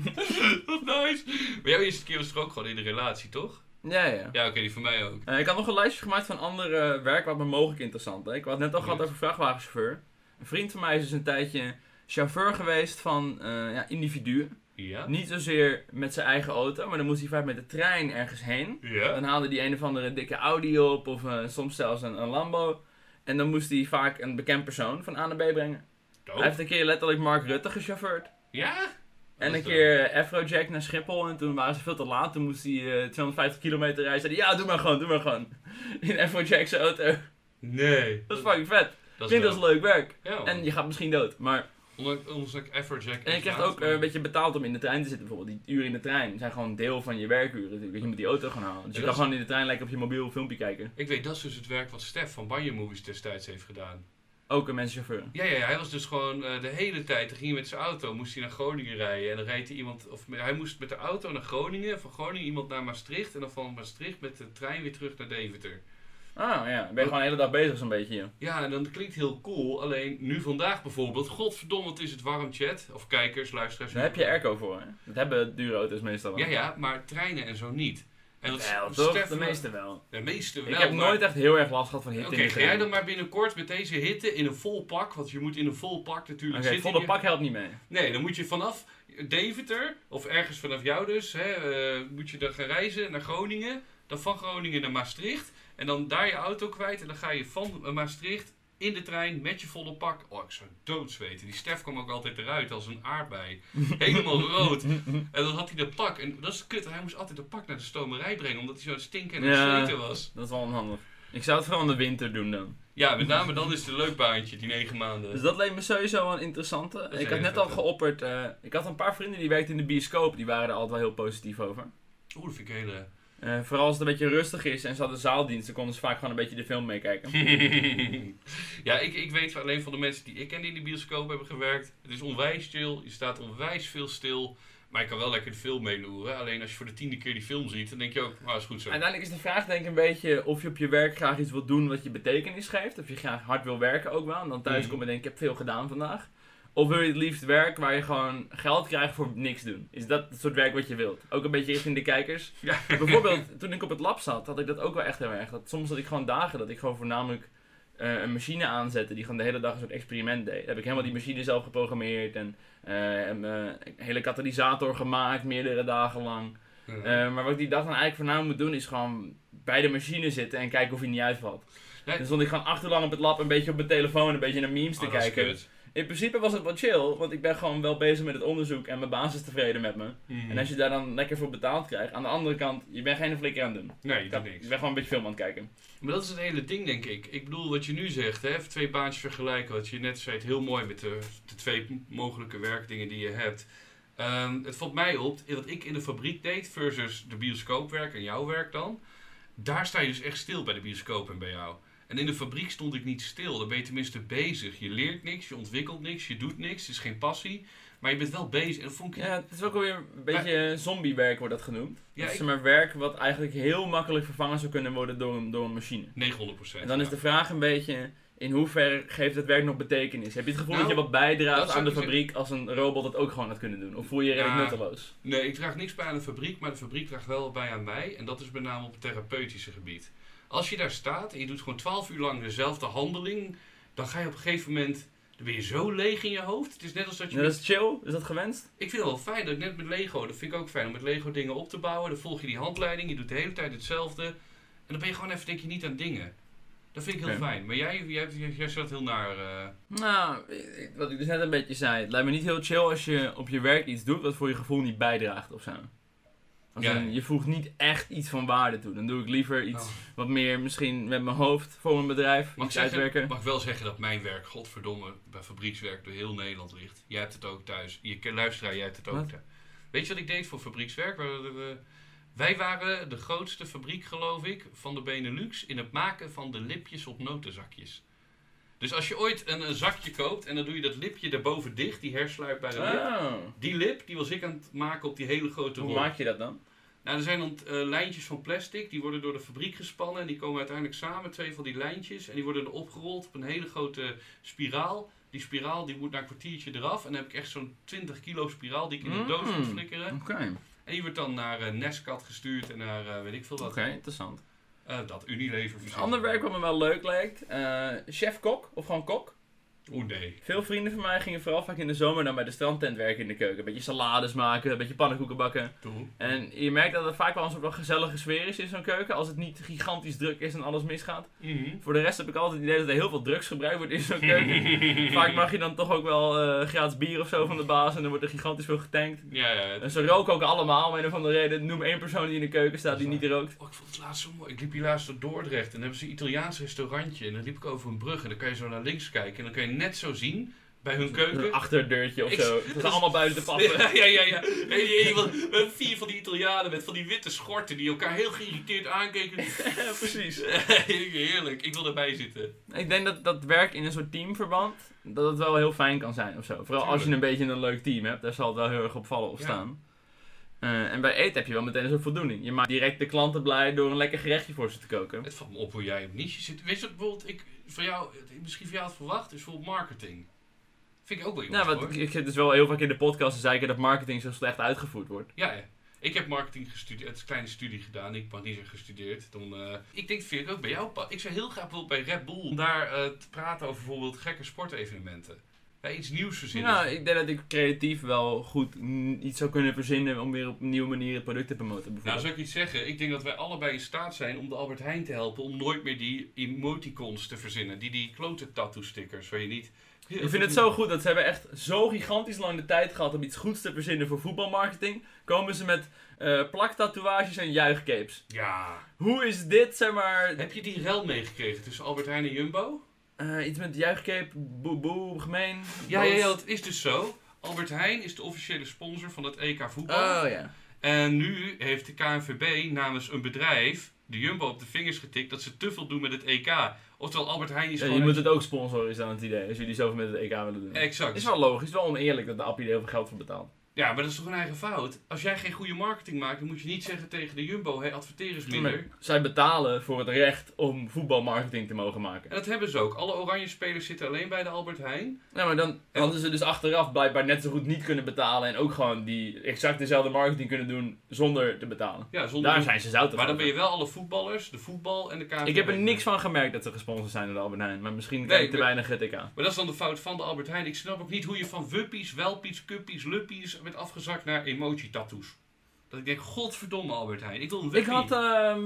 S2: Wat nice. Maar jouw eerste keer was toch ook gewoon in de relatie, toch?
S1: Ja, ja.
S2: Ja, oké, die van mij ook.
S1: Eh, ik had nog een lijstje gemaakt van andere eh, werk wat me mogelijk interessant leek. We hadden het net al gehad
S2: Ja.
S1: over vrachtwagenchauffeur. Een vriend van mij is dus een tijdje chauffeur geweest van eh, ja, individuen.
S2: Ja?
S1: Niet zozeer met zijn eigen auto, maar dan moest hij vaak met de trein ergens heen.
S2: Ja?
S1: Dan haalde hij een of andere dikke Audi op of eh, soms zelfs een, een Lambo. En dan moest hij vaak een bekend persoon van A naar B brengen. Hij
S2: Doop.
S1: heeft een keer letterlijk Mark Rutte gechauffeurd.
S2: Ja?
S1: En
S2: Dat
S1: een
S2: is
S1: keer eh, Afrojack naar Schiphol en toen waren ze veel te laat. Toen moest hij eh, 250 kilometer rijden. Zeiden, ja, doe maar gewoon, doe maar gewoon. In Afrojack zijn auto.
S2: dope. Nee.
S1: Dat is fucking vet.
S2: Dat Oh.
S1: Klinkt als
S2: dope.
S1: leuk werk.
S2: Ja,
S1: En je gaat misschien dood. Maar...
S2: Ondanks dat ik Everjack
S1: En je krijgt ook eh, een beetje betaald om in de trein te zitten. Bijvoorbeeld die uren in de trein zijn gewoon deel van je werkuren. natuurlijk, want Je moet die auto gaan halen. Dus je
S2: Ja,
S1: kan
S2: dat is-
S1: gewoon in de trein lekker op je mobiel een filmpje kijken.
S2: Ik weet, dat is dus het werk wat Stef van Banjo Movies destijds heeft gedaan.
S1: Ook een mensenchauffeur.
S2: Ja, ja, ja, hij was dus gewoon eh, de hele tijd. Dan ging hij met zijn auto, moest hij naar Groningen rijden. En dan reed hij iemand, of me- hij moest met de auto naar Groningen, van Groningen iemand naar Maastricht. En dan van Maastricht met de trein weer terug naar Deventer.
S1: Ah ja, ben je gewoon de hele dag bezig zo'n beetje. joh.
S2: Ja, en dan klinkt heel cool. Alleen nu vandaag bijvoorbeeld. Godverdomme, het is het warm chat. Of kijkers, luisteraars.
S1: Daar heb je airco voor. Hè? Dat hebben dure auto's meestal wel.
S2: Ja, ja, maar treinen en zo niet. En dat
S1: Wel,
S2: is
S1: toch?
S2: Stef-
S1: De meeste wel.
S2: De meeste wel.
S1: Ik heb
S2: maar-
S1: nooit echt heel erg last gehad van hitte
S2: Oké,
S1: in de
S2: ga
S1: trein.
S2: jij dan maar binnenkort met deze hitte in een vol pak. Want je moet in een vol pak natuurlijk
S1: Oké,
S2: zitten.
S1: volle
S2: Je-
S1: pak helpt niet mee.
S2: Nee, dan moet je vanaf Deventer, of ergens vanaf jou dus, hè, eh, moet je dan gaan reizen naar Groningen. Dan van Groningen naar Maastricht. En dan daar je auto kwijt. En dan ga je van eh, Maastricht in de trein met je volle pak. Oh, ik zou doodzweten. Die Stef kwam ook altijd eruit als een aardbei. Helemaal rood. En dan had hij dat pak. En dat is kut. Hij moest altijd dat pak naar de stomerij brengen. Omdat hij zo stinkend en
S1: Ja.
S2: versleten was.
S1: Dat is wel onhandig. Ik zou het vooral in de winter doen dan.
S2: Ja, met name dan is het een leuk baantje, die negen
S1: Dus
S2: maanden.
S1: dat leek me sowieso een interessante.
S2: is
S1: Ik had
S2: heel
S1: net
S2: vet,
S1: al
S2: hè?
S1: geopperd. eh, ik had een paar vrienden die werkten in de bioscoop. Die waren er altijd wel heel positief over.
S2: Oeh, dat vind ik heel...
S1: Eh, vooral als het een beetje rustig is en ze hadden zaaldienst, dan konden ze vaak gewoon een beetje de film meekijken.
S2: ja, ik, ik weet alleen van de mensen die ik ken die in de bioscoop hebben gewerkt. Het is onwijs stil, je staat onwijs veel stil. Maar je kan wel lekker de film meeloeren. Alleen als je voor de tiende keer die film ziet, dan denk je ook, maar is goed zo.
S1: Uiteindelijk is de vraag denk ik een beetje of je op je werk graag iets wilt doen wat je betekenis geeft. Of je graag hard wil werken ook wel. En dan thuis
S2: Mhm.
S1: kom je en denk ik heb veel gedaan vandaag. Of wil je het liefst werk waar je gewoon geld krijgt voor niks doen? Is dat het soort werk wat je wilt? Ook een beetje richting de kijkers.
S2: Ja.
S1: Bijvoorbeeld, toen ik op het lab zat, had ik dat ook wel echt heel erg. Dat soms had ik gewoon dagen dat ik gewoon voornamelijk eh, een machine aanzette die gewoon de hele dag een soort experiment deed. Heb ik helemaal die machine zelf geprogrammeerd en eh, een eh, een hele katalysator gemaakt, meerdere dagen lang.
S2: Ja.
S1: Eh, maar wat ik die dag dan eigenlijk voornamelijk moet doen, is gewoon bij de machine zitten en kijken of hij niet uitvalt.
S2: Nee.
S1: Dan stond ik gewoon achterlang op het lab een beetje op mijn telefoon een beetje naar memes te
S2: Oh, dat is
S1: kijken.
S2: kut.
S1: in principe was het wel chill, want ik ben gewoon wel bezig met het onderzoek en mijn baas is tevreden met me.
S2: Mhm.
S1: En als je daar dan lekker voor betaald krijgt, aan de andere kant, je bent geen flikker aan het doen.
S2: Nee,
S1: Ik
S2: je
S1: ben
S2: doet niks.
S1: gewoon een beetje film aan het kijken.
S2: Maar dat is het hele ding, denk ik. Ik bedoel, wat je nu zegt, hè, even twee baantjes vergelijken, wat je net zei, heel mooi met de, de twee mogelijke werkdingen die je hebt. Ehm, het valt mij op, wat ik in de fabriek deed versus de bioscoopwerk en jouw werk dan. Daar sta je dus echt stil bij de bioscoop en bij jou. En in de fabriek stond ik niet stil, dan ben je tenminste bezig. Je leert niks, je ontwikkelt niks, je doet niks, het is geen passie. Maar je bent wel bezig. En dat vond ik...
S1: Ja, het is ook alweer een beetje zombiewerk wordt dat genoemd.
S2: Ja,
S1: dat is
S2: ik-
S1: zeg maar werk wat eigenlijk heel makkelijk vervangen zou kunnen worden door een, door een machine.
S2: 900 procent.
S1: En dan is de vraag een beetje, in hoeverre geeft het werk nog betekenis? Heb je het gevoel
S2: Nou,
S1: dat je wat
S2: dat
S1: bijdraagt
S2: zou
S1: aan de
S2: ik zeggen.
S1: fabriek als een robot dat ook gewoon had kunnen doen? Of voel je je redelijk
S2: Ja.
S1: nutteloos?
S2: Nee, ik draag niks bij aan de fabriek, maar de fabriek draagt wel bij aan mij. En dat is met name op het therapeutische gebied. Als je daar staat en je doet gewoon 12 uur lang dezelfde handeling, dan ga je op een gegeven moment. Dan ben je zo leeg in je hoofd. Het is net als dat je.
S1: Ja, Nou, dat
S2: met-
S1: is chill, is dat gewenst?
S2: Ik vind het wel fijn dat ik net met Lego. Dat vind ik ook fijn om met Lego dingen op te bouwen. Dan volg je die handleiding. Je doet de hele tijd hetzelfde. En dan ben je gewoon even denk je niet aan dingen. Dat vind ik heel
S1: Oké.
S2: fijn. Maar jij, jij, hebt- jij, jij staat heel naar. eh,
S1: Nou, ik- wat ik dus net een beetje zei, het lijkt me niet heel chill als je op je werk iets doet wat voor je gevoel niet bijdraagt of zo. Als
S2: Ja.
S1: in, je voegt niet echt iets van waarde toe. Dan doe ik liever iets
S2: Oh.
S1: wat meer misschien met mijn hoofd voor een bedrijf,
S2: Mag ik,
S1: iets
S2: zeggen,
S1: uitwerken.
S2: mag ik wel zeggen dat mijn werk, godverdomme, bij fabriekswerk door heel Nederland ligt. Jij hebt het ook thuis. Je ken- luisteraar, jij hebt het ook
S1: Wat?
S2: thuis. Weet je wat ik deed voor fabriekswerk? We- we- Wij waren de grootste fabriek, geloof ik, van de Benelux in het maken van de lipjes op notenzakjes. Dus als je ooit een, een zakje koopt en dan doe je dat lipje daarboven dicht, die hersluitbare lip.
S1: Oh,
S2: Die lip, die was ik aan het maken op die hele grote
S1: hoe
S2: rol.
S1: maak je dat dan?
S2: Nou, er zijn dan eh, lijntjes van plastic, die worden door de fabriek gespannen en die komen uiteindelijk samen, twee van die lijntjes, en die worden dan opgerold op een hele grote spiraal. Die spiraal die moet na een kwartiertje eraf en dan heb ik echt zo'n 20 kilo spiraal die ik in een
S1: Mm.
S2: doos moet flikkeren.
S1: Oké,
S2: En die wordt dan naar eh Nescat gestuurd en naar eh, weet ik veel wat.
S1: oké, interessant.
S2: Eh, dat Unilever
S1: Een
S2: verzint.
S1: ander werk wat me wel leuk lijkt, eh, chef-kok of gewoon kok.
S2: Oeh nee.
S1: Veel vrienden van mij gingen vooral vaak in de zomer dan bij de strandtent werken in de keuken. Een beetje salades maken, een beetje pannenkoeken bakken.
S2: Doe.
S1: En je merkt dat het vaak wel een soort van gezellige sfeer is in zo'n keuken. Als het niet gigantisch druk is en alles misgaat.
S2: Mhm.
S1: Voor de rest heb ik altijd het idee dat er heel veel drugs gebruikt wordt in zo'n keuken. vaak mag je dan toch ook wel eh, gratis bier of zo van de baas. En dan wordt er gigantisch veel getankt.
S2: Ja, ja. het-
S1: En ze roken ook allemaal om een of andere reden. Noem één persoon die in de keuken staat die niet rookt.
S2: Oh, ik vond het laatst zo mooi. Ik liep hier laatst door Dordrecht en dan hebben ze een Italiaans restaurantje. En dan liep ik over een brug en dan kan je zo naar links kijken. En dan kan je net zo zien bij hun keuken
S1: Een achterdeurtje of
S2: Ik-
S1: zo. Ze zijn allemaal buiten te pappen.
S2: Ja, ja, ja. ja. En die ene van- we hebben vier van die Italianen met van die witte schorten die elkaar heel geïrriteerd aankeken.
S1: Precies.
S2: Heerlijk, ik wil erbij zitten.
S1: Ik denk dat dat werk in een soort teamverband, dat het wel heel fijn kan zijn of zo. Vooral als je een
S2: Tuurlijk.
S1: beetje een leuk team hebt, daar zal het wel heel erg op vallen of
S2: Ja.
S1: staan. Eh, en bij eten heb je wel meteen een soort voldoening. Je maakt direct de klanten blij door een lekker gerechtje voor ze te koken.
S2: Het valt me op hoe jij op niche zit. Weet je wat bijvoorbeeld ik van jou, misschien van jou had verwacht, is bijvoorbeeld marketing. Vind ik ook wel iets
S1: Nou, wat,
S2: hoor.
S1: ik, ik zit dus wel heel vaak in de podcast te zeiken dat marketing zo slecht uitgevoerd wordt.
S2: Ja, ja. Ik heb marketing gestudeerd, het is een kleine studie gedaan. Ik mag niet zeggen gestudeerd. Dan, eh, ik denk, vind ik ook bij jou pas. Ik zou heel graag bijvoorbeeld bij Red Bull om daar eh, te praten over bijvoorbeeld gekke sportevenementen. Ja, iets nieuws verzinnen.
S1: Nou, ik denk dat ik creatief wel goed mm, iets zou kunnen verzinnen om weer op nieuwe manieren het product te promoten
S2: Nou,
S1: bijvoorbeeld.
S2: zou ik iets zeggen? Ik denk dat wij allebei in staat zijn om de Albert Heijn te helpen om nooit meer die emoticons te verzinnen. Die, die klote tattoo stickers waar je niet...
S1: Ik vind het zo goed dat ze hebben echt zo gigantisch lang de tijd gehad om iets goeds te verzinnen voor voetbalmarketing. Komen ze met eh plaktatoeages en juichcapes.
S2: Ja.
S1: Hoe is dit, zeg maar...
S2: Heb je die rel meegekregen tussen Albert Heijn en Jumbo?
S1: eh, iets met juichcape, boe boe, gemeen.
S2: Ja, ja, ja,
S1: boos.
S2: dat is dus zo. Albert Heijn is de officiële sponsor van het EK voetbal.
S1: Oh ja.
S2: En nu heeft de KNVB namens een bedrijf de Jumbo op de vingers getikt dat ze te veel doen met het EK. Oftewel, Albert Heijn is
S1: Ja,
S2: gewoon...
S1: je moet het ook sponsoren, is dan het idee. Als jullie zoveel met het EK willen doen.
S2: Exact.
S1: Is wel logisch, wel oneerlijk dat de Appie er heel veel geld voor betaalt.
S2: Ja, maar dat is toch een eigen fout? Als jij geen goede marketing maakt, dan moet je niet zeggen tegen de Jumbo, hey, adverteer eens minder.
S1: Maar zij betalen voor het recht om voetbalmarketing te mogen maken.
S2: En dat hebben ze ook. Alle oranje spelers zitten alleen bij de Albert Heijn.
S1: Ja, maar dan hadden ze dus achteraf blijkbaar net zo goed niet kunnen betalen. En ook gewoon die exact dezelfde marketing kunnen doen zonder te betalen.
S2: Ja, zonder...
S1: Daar zijn ze zout
S2: maar dan
S1: over.
S2: ben je wel alle voetballers, de voetbal en de KNVB.
S1: Ik heb er niks van gemerkt dat ze gesponsord zijn door de Albert Heijn. Maar misschien kijk ik te
S2: maar-
S1: weinig het EK.
S2: Maar dat is dan de fout van de Albert Heijn. Ik snap ook niet hoe je van wuppies, welpies, cuppies, luppies met afgezakt naar emoji-tattoos. Dat ik denk, godverdomme Albert Heijn, ik wil een
S1: Ik
S2: wuppie.
S1: had ehm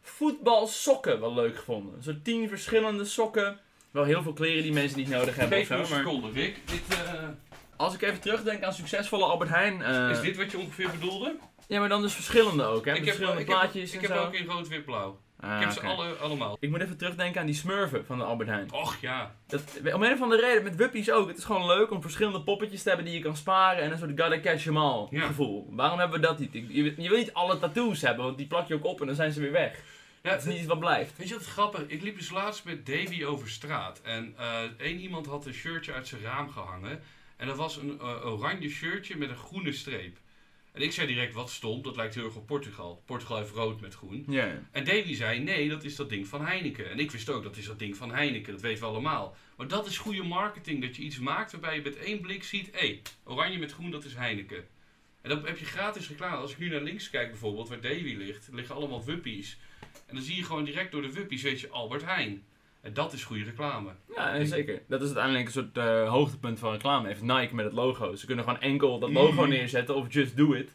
S1: voetbalsokken wel leuk gevonden. Zo tien verschillende sokken wel heel veel kleren die mensen niet nodig hebben.
S2: Geef
S1: of
S2: me
S1: zo,
S2: een
S1: maar
S2: seconde, Rick. Dit, eh,
S1: als ik even terugdenk aan succesvolle Albert Heijn. eh,
S2: is dit wat je ongeveer bedoelde?
S1: Ja, maar dan dus verschillende ook, hè? met verschillende
S2: ik
S1: plaatjes
S2: heb, ik
S1: en
S2: heb
S1: zo.
S2: ook in rood, wit, blauw.
S1: Ah,
S2: ik heb ze
S1: oké.
S2: alle, allemaal.
S1: Ik moet even terugdenken aan die smurfen van de Albert Heijn.
S2: Och ja.
S1: Dat, om een of andere reden, met Wuppies ook. Het is gewoon leuk om verschillende poppetjes te hebben die je kan sparen en een soort gotta catch 'em all
S2: Ja.
S1: gevoel. Waarom hebben we dat niet? Ik- Je, je wil niet alle tattoos hebben, want die plak je ook op en dan zijn ze weer weg.
S2: ja
S1: Dat is niet iets wat blijft.
S2: Weet je wat grappig? Ik liep dus laatst met Davy over straat. En eh, één iemand had een shirtje uit zijn raam gehangen. En dat was een eh, oranje shirtje met een groene streep. En ik zei direct, wat stom, dat lijkt heel erg op Portugal. Portugal heeft rood met groen.
S1: Ja.
S2: En Davy zei, nee, dat is dat ding van Heineken. En ik wist ook, dat is dat ding van Heineken, dat weten we allemaal. Maar dat is goede marketing, dat je iets maakt waarbij je met één blik ziet... hé, oranje met groen, dat is Heineken. En dan heb je gratis reclame. Als ik nu naar links kijk bijvoorbeeld, waar Davy ligt, liggen allemaal wuppies. En dan zie je gewoon direct door de wuppies, weet je, Albert Heijn. En dat is goede reclame.
S1: Ja, nee, zeker. Dat is uiteindelijk een soort eh, hoogtepunt van reclame. Heeft Nike met het logo. Ze kunnen gewoon enkel dat logo
S2: Mhm.
S1: neerzetten of just do it.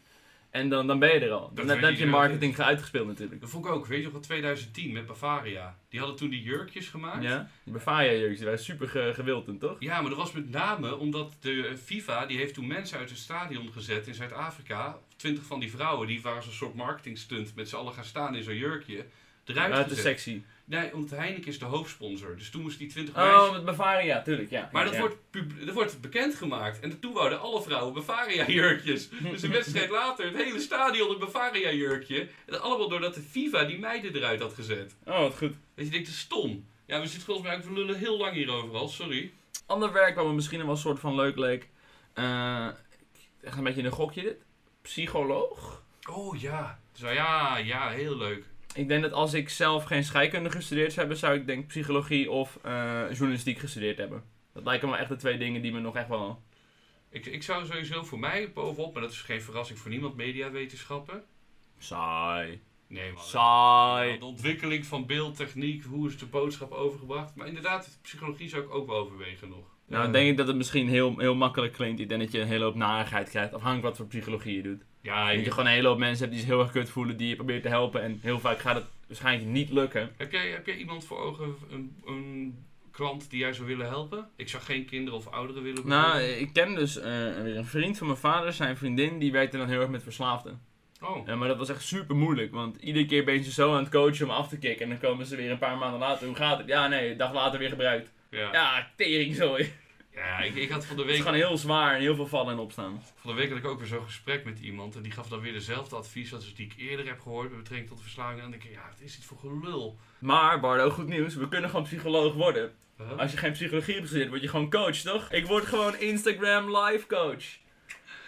S1: En dan, dan ben je er al. Dan,
S2: weet
S1: dan heb je
S2: iedereen
S1: marketing uitgespeeld natuurlijk.
S2: Dat vond ik ook, weet je nog, van 2010 met Bavaria. Die hadden toen die jurkjes gemaakt.
S1: Ja? Die Bavaria jurkjes, die waren super ge- gewild toen, toch?
S2: Ja, maar dat was met name omdat de eh, FIFA, die heeft toen mensen uit het stadion gezet in Zuid-Afrika. Twintig van die vrouwen, die waren zo'n soort marketingstunt met z'n allen gaan staan in zo'n jurkje. Eruit
S1: Ja, te
S2: gezet.
S1: sexy.
S2: Nee, want Heineken is de hoofdsponsor. Dus toen moest die 20 meisjes...
S1: Oh, met Bavaria, tuurlijk, ja.
S2: Maar dat,
S1: Ja.
S2: wordt pub- dat wordt bekendgemaakt. En toen wouden alle vrouwen Bavaria-jurkjes. Dus een wedstrijd later, het hele stadion een Bavaria-jurkje. En allemaal doordat de FIFA die meiden eruit had gezet.
S1: Oh, wat goed.
S2: Dat je denkt, dat is stom. Ja, we zitten volgens mij ook we lullen heel lang hierover al, sorry.
S1: Ander werk wat me misschien wel een soort van leuk leek. eh, echt een beetje een gokje dit. Psycholoog.
S2: Oh ja. Zo ja, ja, heel leuk.
S1: Ik denk dat als ik zelf geen scheikunde gestudeerd zou hebben, zou ik denk psychologie of eh, journalistiek gestudeerd hebben. Dat lijken me echt de twee dingen die me nog echt wel...
S2: Ik, ik zou sowieso voor mij bovenop, maar dat is geen verrassing voor niemand, mediawetenschappen.
S1: Saai.
S2: Nee man.
S1: Saai.
S2: De ontwikkeling van beeldtechniek, hoe is de boodschap overgebracht. Maar inderdaad, psychologie zou ik ook wel overwegen nog.
S1: Nou, dan denk ik dat het misschien heel, heel makkelijk klinkt. Ik denk dat je een hele hoop narigheid krijgt, afhankelijk wat voor psychologie je doet.
S2: Ja,
S1: Dat je gewoon een hele hoop mensen hebt die zich heel erg kut voelen, die je probeert te helpen. En heel vaak gaat het waarschijnlijk niet lukken.
S2: Heb jij, heb jij iemand voor ogen, een, een klant die jij zou willen helpen? Ik zou geen kinderen of ouderen willen
S1: Nou,
S2: bijvoorbeeld.
S1: ik ken dus eh, weer een vriend van mijn vader, zijn vriendin, die werkte dan heel erg met verslaafden.
S2: Oh,
S1: Eh, maar dat was echt super moeilijk, want iedere keer ben je ze zo aan het coachen om af te kicken. En dan komen ze weer een paar maanden later, hoe gaat het? Ja, nee, een dag later weer gebruikt.
S2: ja. ja.
S1: Ja, tering zo. Het
S2: ik, ik had van de,
S1: is
S2: week,
S1: gewoon heel zwaar en heel veel vallen en opstaan.
S2: van de week had ik ook weer zo'n gesprek met iemand. En die gaf dan weer dezelfde advies als die ik eerder heb gehoord met betrekking tot de verslaving. En dan denk ik, ja, wat is dit voor gelul?
S1: Maar, Bardo, goed nieuws, we kunnen gewoon psycholoog worden.
S2: Huh?
S1: Als je geen psychologie hebt gestudeerd, word je gewoon coach, toch? Ik word gewoon Instagram live coach.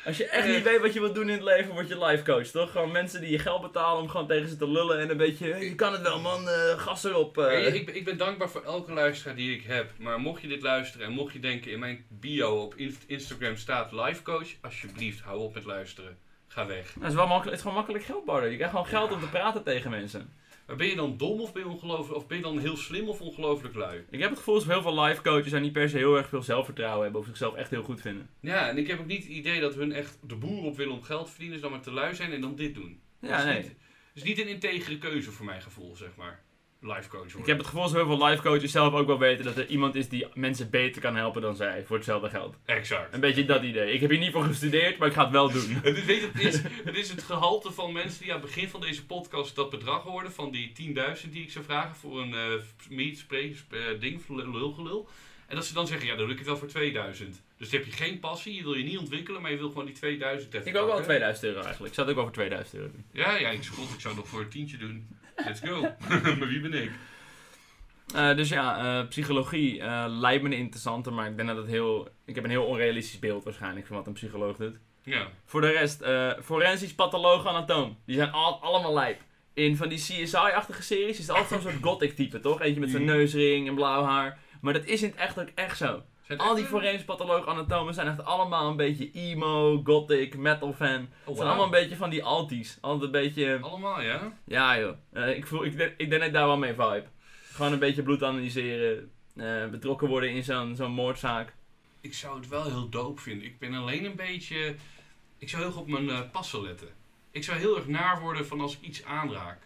S1: Als je echt niet weet wat je wilt doen in het leven, word je live coach, toch? Gewoon mensen die je geld betalen om gewoon tegen ze te lullen en een beetje... "Hey, Je kan het wel, man. eh, gas erop. eh."
S2: Hey, ik, ben- ik ben dankbaar voor elke luisteraar die ik heb. Maar mocht je dit luisteren en mocht je denken in mijn bio op in- Instagram staat lifecoach, alsjeblieft hou op met luisteren. Ga weg.
S1: Nou, het, is wel makkelijk, het is gewoon makkelijk geld, Bardo. Je krijgt gewoon geld om te praten tegen mensen.
S2: Maar ben je dan dom of ben je, ongelooflijk, of ben je dan heel slim of ongelooflijk lui?
S1: Ik heb het gevoel dat heel veel life coaches daar niet per se heel erg veel zelfvertrouwen hebben of zichzelf echt heel goed vinden.
S2: Ja, en ik heb ook niet het idee dat hun echt de boer op willen om geld te verdienen, dus dan maar te lui zijn en dan dit doen.
S1: Ja,
S2: dat is
S1: nee.
S2: Niet, dat is niet een integere keuze voor mijn gevoel, zeg maar. Life coach worden.
S1: Ik heb het gevoel dat heel veel life coaches zelf ook wel weten dat er iemand is die mensen beter kan helpen dan zij voor hetzelfde geld.
S2: Exact.
S1: Een beetje dat idee. Ik heb hier niet voor gestudeerd, maar ik ga het wel doen.
S2: Het is, weet je, het, is, het is het gehalte van mensen die aan het begin van deze podcast dat bedrag hoorden van die 10.000 die ik zou vragen voor een eh meet, spreek, sp- eh, ding, lul- lulgelul. En dat ze dan zeggen, ja, dan lukt het wel voor 2000. Dus dan heb je geen passie, je wil je niet ontwikkelen, maar je wil gewoon die 2000 even
S1: Ik ook wel
S2: pakken.
S1: 2000 euro eigenlijk. Ik zou het ook wel voor 2000 euro doen.
S2: Ja, ja, ik, schot, ik zou nog voor een tientje doen. Let's go. maar wie ben ik?
S1: Eh, dus ja, eh, psychologie eh, lijkt me een interessante, maar ik denk dat het heel... Ik heb een heel onrealistisch beeld waarschijnlijk van wat een psycholoog doet.
S2: Ja.
S1: Voor de rest, eh, forensisch patholoog anatoom. Die zijn al, allemaal lijp. In van die CSI-achtige series is het altijd zo'n soort gothic type, toch? Eentje met zijn
S2: Mhm.
S1: neusring en blauw haar. Maar dat is in het echt ook echt zo.
S2: Zijn het
S1: Al
S2: echt,
S1: die
S2: eh,
S1: forensisch patholoog anatomen zijn echt allemaal een beetje emo, gothic, metal fan. Het zijn
S2: Oh, wauw.
S1: allemaal een beetje van die alties. Altijd een beetje...
S2: Allemaal, ja?
S1: Ja joh, Eh, ik, voel, ik, denk, ik denk dat ik daar wel mee vibe. Gewoon een beetje bloed analyseren. eh, betrokken worden in zo'n zo'n moordzaak.
S2: Ik zou het wel heel dope vinden. Ik ben alleen een beetje... Ik zou heel goed op mijn eh, passen letten. Ik zou heel erg naar worden van als ik iets aanraak.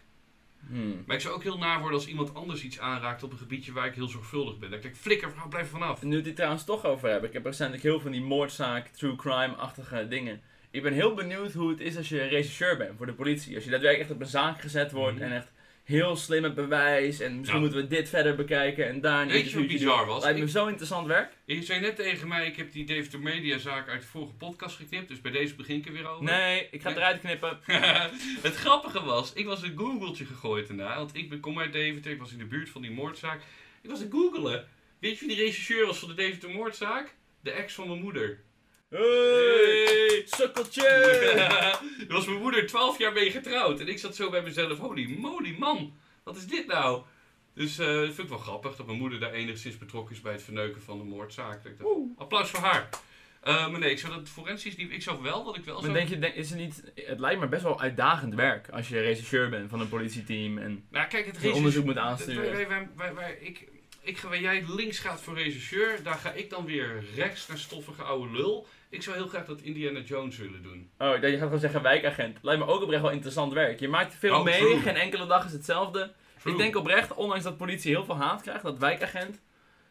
S1: Hmm.
S2: Maar ik zou ook heel naar worden als iemand anders iets aanraakt op een gebiedje waar ik heel zorgvuldig ben. Dat ik denk, flikker, vrouw, blijf er vanaf.
S1: Nu we het hier trouwens toch over hebben. Ik heb recentelijk heel veel van die moordzaak, true crime-achtige dingen. Ik ben heel benieuwd hoe het is als je regisseur bent voor de politie. Als je daadwerkelijk echt op een zaak gezet wordt
S2: Mhm.
S1: en echt heel slim met bewijs. En misschien
S2: Ja.
S1: moeten we dit verder bekijken en daar een
S2: Weet je
S1: interviewtje
S2: wat bizar
S1: doen.
S2: was?
S1: Lijkt me
S2: Ik-
S1: zo interessant werk.
S2: Je zei net tegen mij, ik heb die Dave de Media zaak uit de vorige podcast geknipt. Dus bij deze begin ik er weer over.
S1: Nee, ik ga het
S2: Nee.
S1: eruit knippen.
S2: het grappige was, ik was een googeltje gegooid daarna. Want ik ben- kom uit Deventer, ik was in de buurt van die moordzaak. Ik was te googelen. Weet je wie de regisseur was van de Deventer moordzaak? De ex van mijn moeder.
S1: Hey!
S2: Hey!
S1: Sukkeltje!
S2: Daar was mijn moeder 12 jaar mee getrouwd. En ik zat zo bij mezelf, holy moly man, wat is dit nou? Dus eh dat vind ik wel grappig dat mijn moeder daar enigszins betrokken is bij het verneuken van de moordzaak. Ik dacht, Applaus voor haar. Eh, maar nee, ik zou dat forensisch niet... Ik zou wel dat ik wel
S1: Maar
S2: zou...
S1: denk je, denk, is het, niet, het lijkt me best wel uitdagend werk als je regisseur bent van een politieteam en
S2: Nou, kijk, het
S1: je
S2: regisseur-
S1: onderzoek moet
S2: Dat- Wij,
S1: aansturen.
S2: wij, wij, wij- wij- ik, ik ga, waar jij links gaat voor regisseur, daar ga ik dan weer rechts naar stoffige oude lul. Ik zou heel graag dat Indiana Jones willen doen.
S1: Oh, ik dacht, je gaat gewoon zeggen wijkagent. Lijkt me ook oprecht wel interessant werk. Je maakt veel
S2: Oh,
S1: mee,
S2: true.
S1: geen enkele dag is hetzelfde.
S2: True.
S1: Ik denk oprecht, ondanks dat politie heel veel haat krijgt, dat wijkagent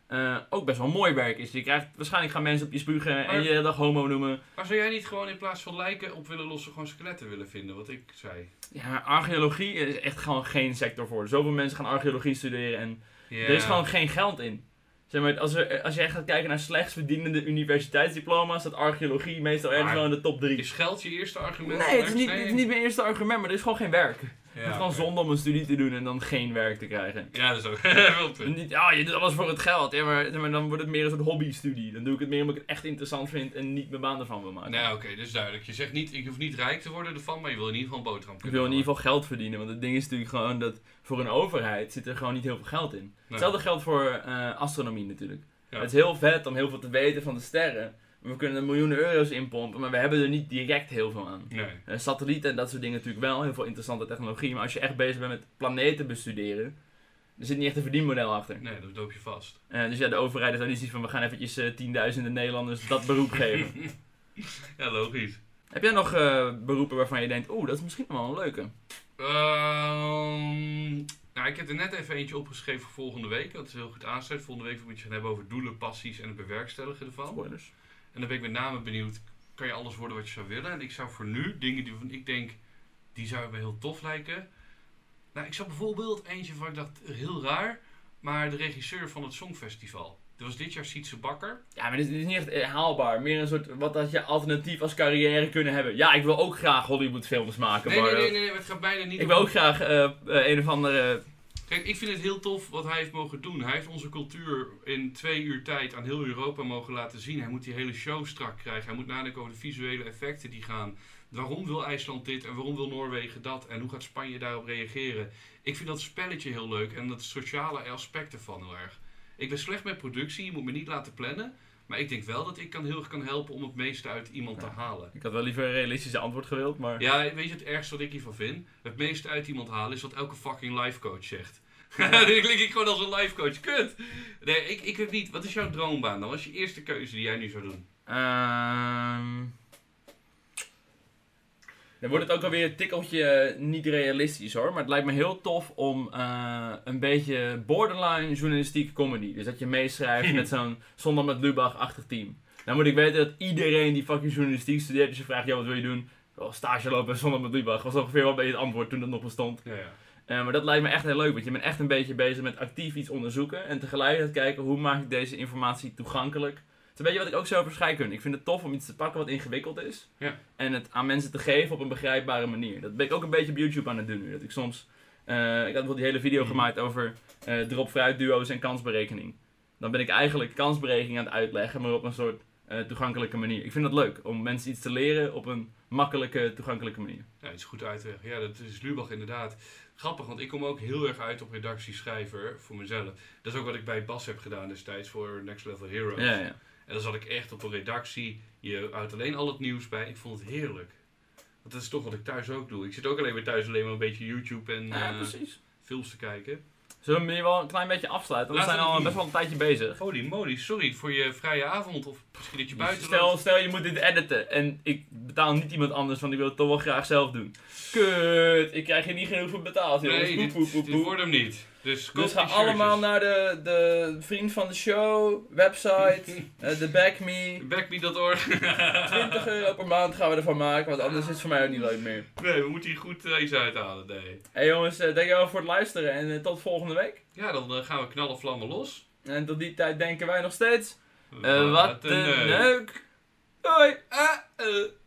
S1: eh, ook best wel mooi werk is. Je krijgt, waarschijnlijk gaan mensen op je spugen en
S2: Maar-
S1: je de hele dag homo noemen.
S2: Maar zou jij niet gewoon in plaats van lijken op willen lossen, gewoon skeletten willen vinden? Wat ik zei.
S1: Ja, archeologie is echt gewoon geen sector voor. Zoveel mensen gaan archeologie studeren en Er is gewoon geen geld in. Zeg maar, als, er, als je echt gaat kijken naar slechts verdienende universiteitsdiploma's, staat archeologie meestal ergens
S2: Maar-
S1: wel in de top 3.
S2: Is geld je eerste argument?
S1: Nee, het is, niet, het is niet mijn eerste argument, maar er is gewoon geen werk.
S2: Ja,
S1: het is gewoon
S2: oké.
S1: zonde om een studie te doen en dan geen werk te krijgen.
S2: Ja, dat is ook wel
S1: En
S2: punt.
S1: niet, ja, je doet alles voor het geld. Ja, maar, maar dan wordt het meer een soort hobby-studie. Dan doe ik het meer omdat ik het echt interessant vind en niet mijn baan ervan wil maken.
S2: Nou, oké, dus duidelijk. Je zegt niet, ik hoef niet rijk te worden ervan, maar je wil in ieder geval een boterham
S1: Ik
S2: kunnen
S1: wil in ieder geval geld verdienen, want het ding is natuurlijk gewoon dat voor een overheid zit er gewoon niet heel veel geld in. Hetzelfde geldt voor eh, astronomie natuurlijk.
S2: Ja.
S1: Het is heel vet om heel veel te weten van de sterren. Maar we kunnen er miljoenen euro's in pompen, maar we hebben er niet direct heel veel aan.
S2: Nee.
S1: Eh, satellieten en dat soort dingen natuurlijk wel, heel veel interessante technologie. Maar als je echt bezig bent met planeten bestuderen, er zit niet echt een verdienmodel achter.
S2: nee, dat doop je vast.
S1: Eh, dus ja, de overheid is dan niet zoiets van, we gaan eventjes eh, tienduizenden Nederlanders dat beroep geven.
S2: Ja, logisch.
S1: Heb jij nog eh, beroepen waarvan je denkt, oeh, dat is misschien wel een leuke?
S2: Oh. Ehm, nou, ik heb er net even eentje opgeschreven voor volgende week. Dat is heel goed aanzet. Volgende week moet je het gaan hebben over doelen, passies en het bewerkstelligen ervan.
S1: Spoilers.
S2: En dan ben ik met name benieuwd, kan je alles worden wat je zou willen? En ik zou voor nu dingen die van ik denk, die zouden me heel tof lijken. Nou, ik zou bijvoorbeeld eentje van, ik dacht, heel raar, maar de regisseur van het Songfestival. Dat was dit jaar Sietse Bakker.
S1: Ja, maar dit is, dit is niet echt eh, haalbaar. Meer een soort, wat had je alternatief als carrière kunnen hebben? Ja, ik wil ook graag Hollywoodfilms maken,
S2: Nee, nee,
S1: maar dat-
S2: nee, nee, nee, het gaat bijna niet
S1: Ik
S2: om-
S1: wil ook graag eh, eh, een of andere.
S2: Kijk, ik vind het heel tof wat hij heeft mogen doen. Hij heeft onze cultuur in twee uur tijd aan heel Europa mogen laten zien. Hij moet die hele show strak krijgen. Hij moet nadenken over de visuele effecten die gaan. Waarom wil IJsland dit en waarom wil Noorwegen dat? En hoe gaat Spanje daarop reageren? Ik vind dat spelletje heel leuk en dat sociale aspect ervan heel erg. Ik ben slecht met productie, je moet me niet laten plannen. Maar ik denk wel dat ik kan heel erg kan helpen om het meeste uit iemand
S1: Ja.
S2: te halen.
S1: Ik had wel liever een realistische antwoord gewild, maar.
S2: Ja, weet je het ergste wat ik hiervan vind? Het meeste uit iemand halen is wat elke fucking lifecoach zegt. ik klink ik gewoon als een lifecoach. Kut! Nee, ik, ik weet niet. Wat is jouw droombaan dan? Wat is je eerste keuze die jij nu zou doen?
S1: Ehm, dan wordt het ook alweer een tikkeltje eh, niet realistisch hoor. Maar het lijkt me heel tof om eh, een beetje borderline journalistieke comedy. Dus dat je meeschrijft met zo'n Zondag met Lubach-achtig team. Dan moet ik weten dat iedereen die fucking journalistiek studeert, dus je vraagt, joh, wat wil je doen? Oh, stage lopen bij Zondag met Lubach. Was ongeveer wel een beetje het antwoord toen dat nog bestond.
S2: Ja, ja.
S1: Eh, maar dat lijkt me echt heel leuk, want je bent echt een beetje bezig met actief iets onderzoeken en tegelijkertijd kijken hoe maak ik deze informatie toegankelijk. Het is een beetje wat ik ook zou voor scheikunde. Ik vind het tof om iets te pakken wat ingewikkeld is
S2: Ja.
S1: en het aan mensen te geven op een begrijpbare manier. Dat ben ik ook een beetje op YouTube aan het doen nu. Dat ik soms, eh, ik had bijvoorbeeld die hele video
S2: Mhm.
S1: gemaakt over eh drop-fruit duo's en kansberekening. Dan ben ik eigenlijk kansberekening aan het uitleggen, maar op een soort eh, toegankelijke manier. Ik vind dat leuk, om mensen iets te leren op een makkelijke, toegankelijke manier.
S2: het is goed uitweg. Ja, dat is Lubach inderdaad. Grappig, want ik kom ook heel erg uit op redactieschrijver voor mezelf. Dat is ook wat ik bij Bas heb gedaan destijds voor Next Level Heroes.
S1: Ja, ja.
S2: En dan zat ik echt op een redactie. Je houdt alleen al het nieuws bij. Ik vond het heerlijk. Want dat is toch wat ik thuis ook doe. Ik zit ook alleen maar thuis alleen maar een beetje YouTube en
S1: Ja,
S2: eh,
S1: precies.
S2: films te kijken.
S1: Zullen we hem hier wel een klein beetje afsluiten? Want we
S2: Laten
S1: zijn
S2: we
S1: al
S2: het
S1: best wel een tijdje bezig.
S2: Holy moly, sorry voor je vrije avond of misschien dat je buiten
S1: Stel,
S2: loopt.
S1: stel je moet dit editen en ik betaal niet iemand anders, want ik wil het toch wel graag zelf doen. Kut, ik krijg hier niet genoeg voor betaald. jongens.
S2: Nee,
S1: Poep,
S2: dit,
S1: poep, poep,
S2: dit
S1: poep.
S2: wordt hem niet. Dus koop
S1: Dus ga
S2: die shirtjes.
S1: allemaal naar de, de vriend van de show, website, eh, de Back Me.
S2: Backme.org.
S1: 20 euro per maand gaan we ervan maken, want anders is het voor mij ook niet leuk meer.
S2: Nee, we moeten hier goed eh, iets uithalen. Nee.
S1: Hey jongens, eh, dankjewel voor het luisteren en eh, tot volgende week.
S2: Ja, dan eh, gaan we knallen vlammen los.
S1: En tot die tijd denken wij nog steeds...
S2: Eh,
S1: Eh, wat een
S2: neuk.
S1: leuk! Hoi!
S2: Ah, eh.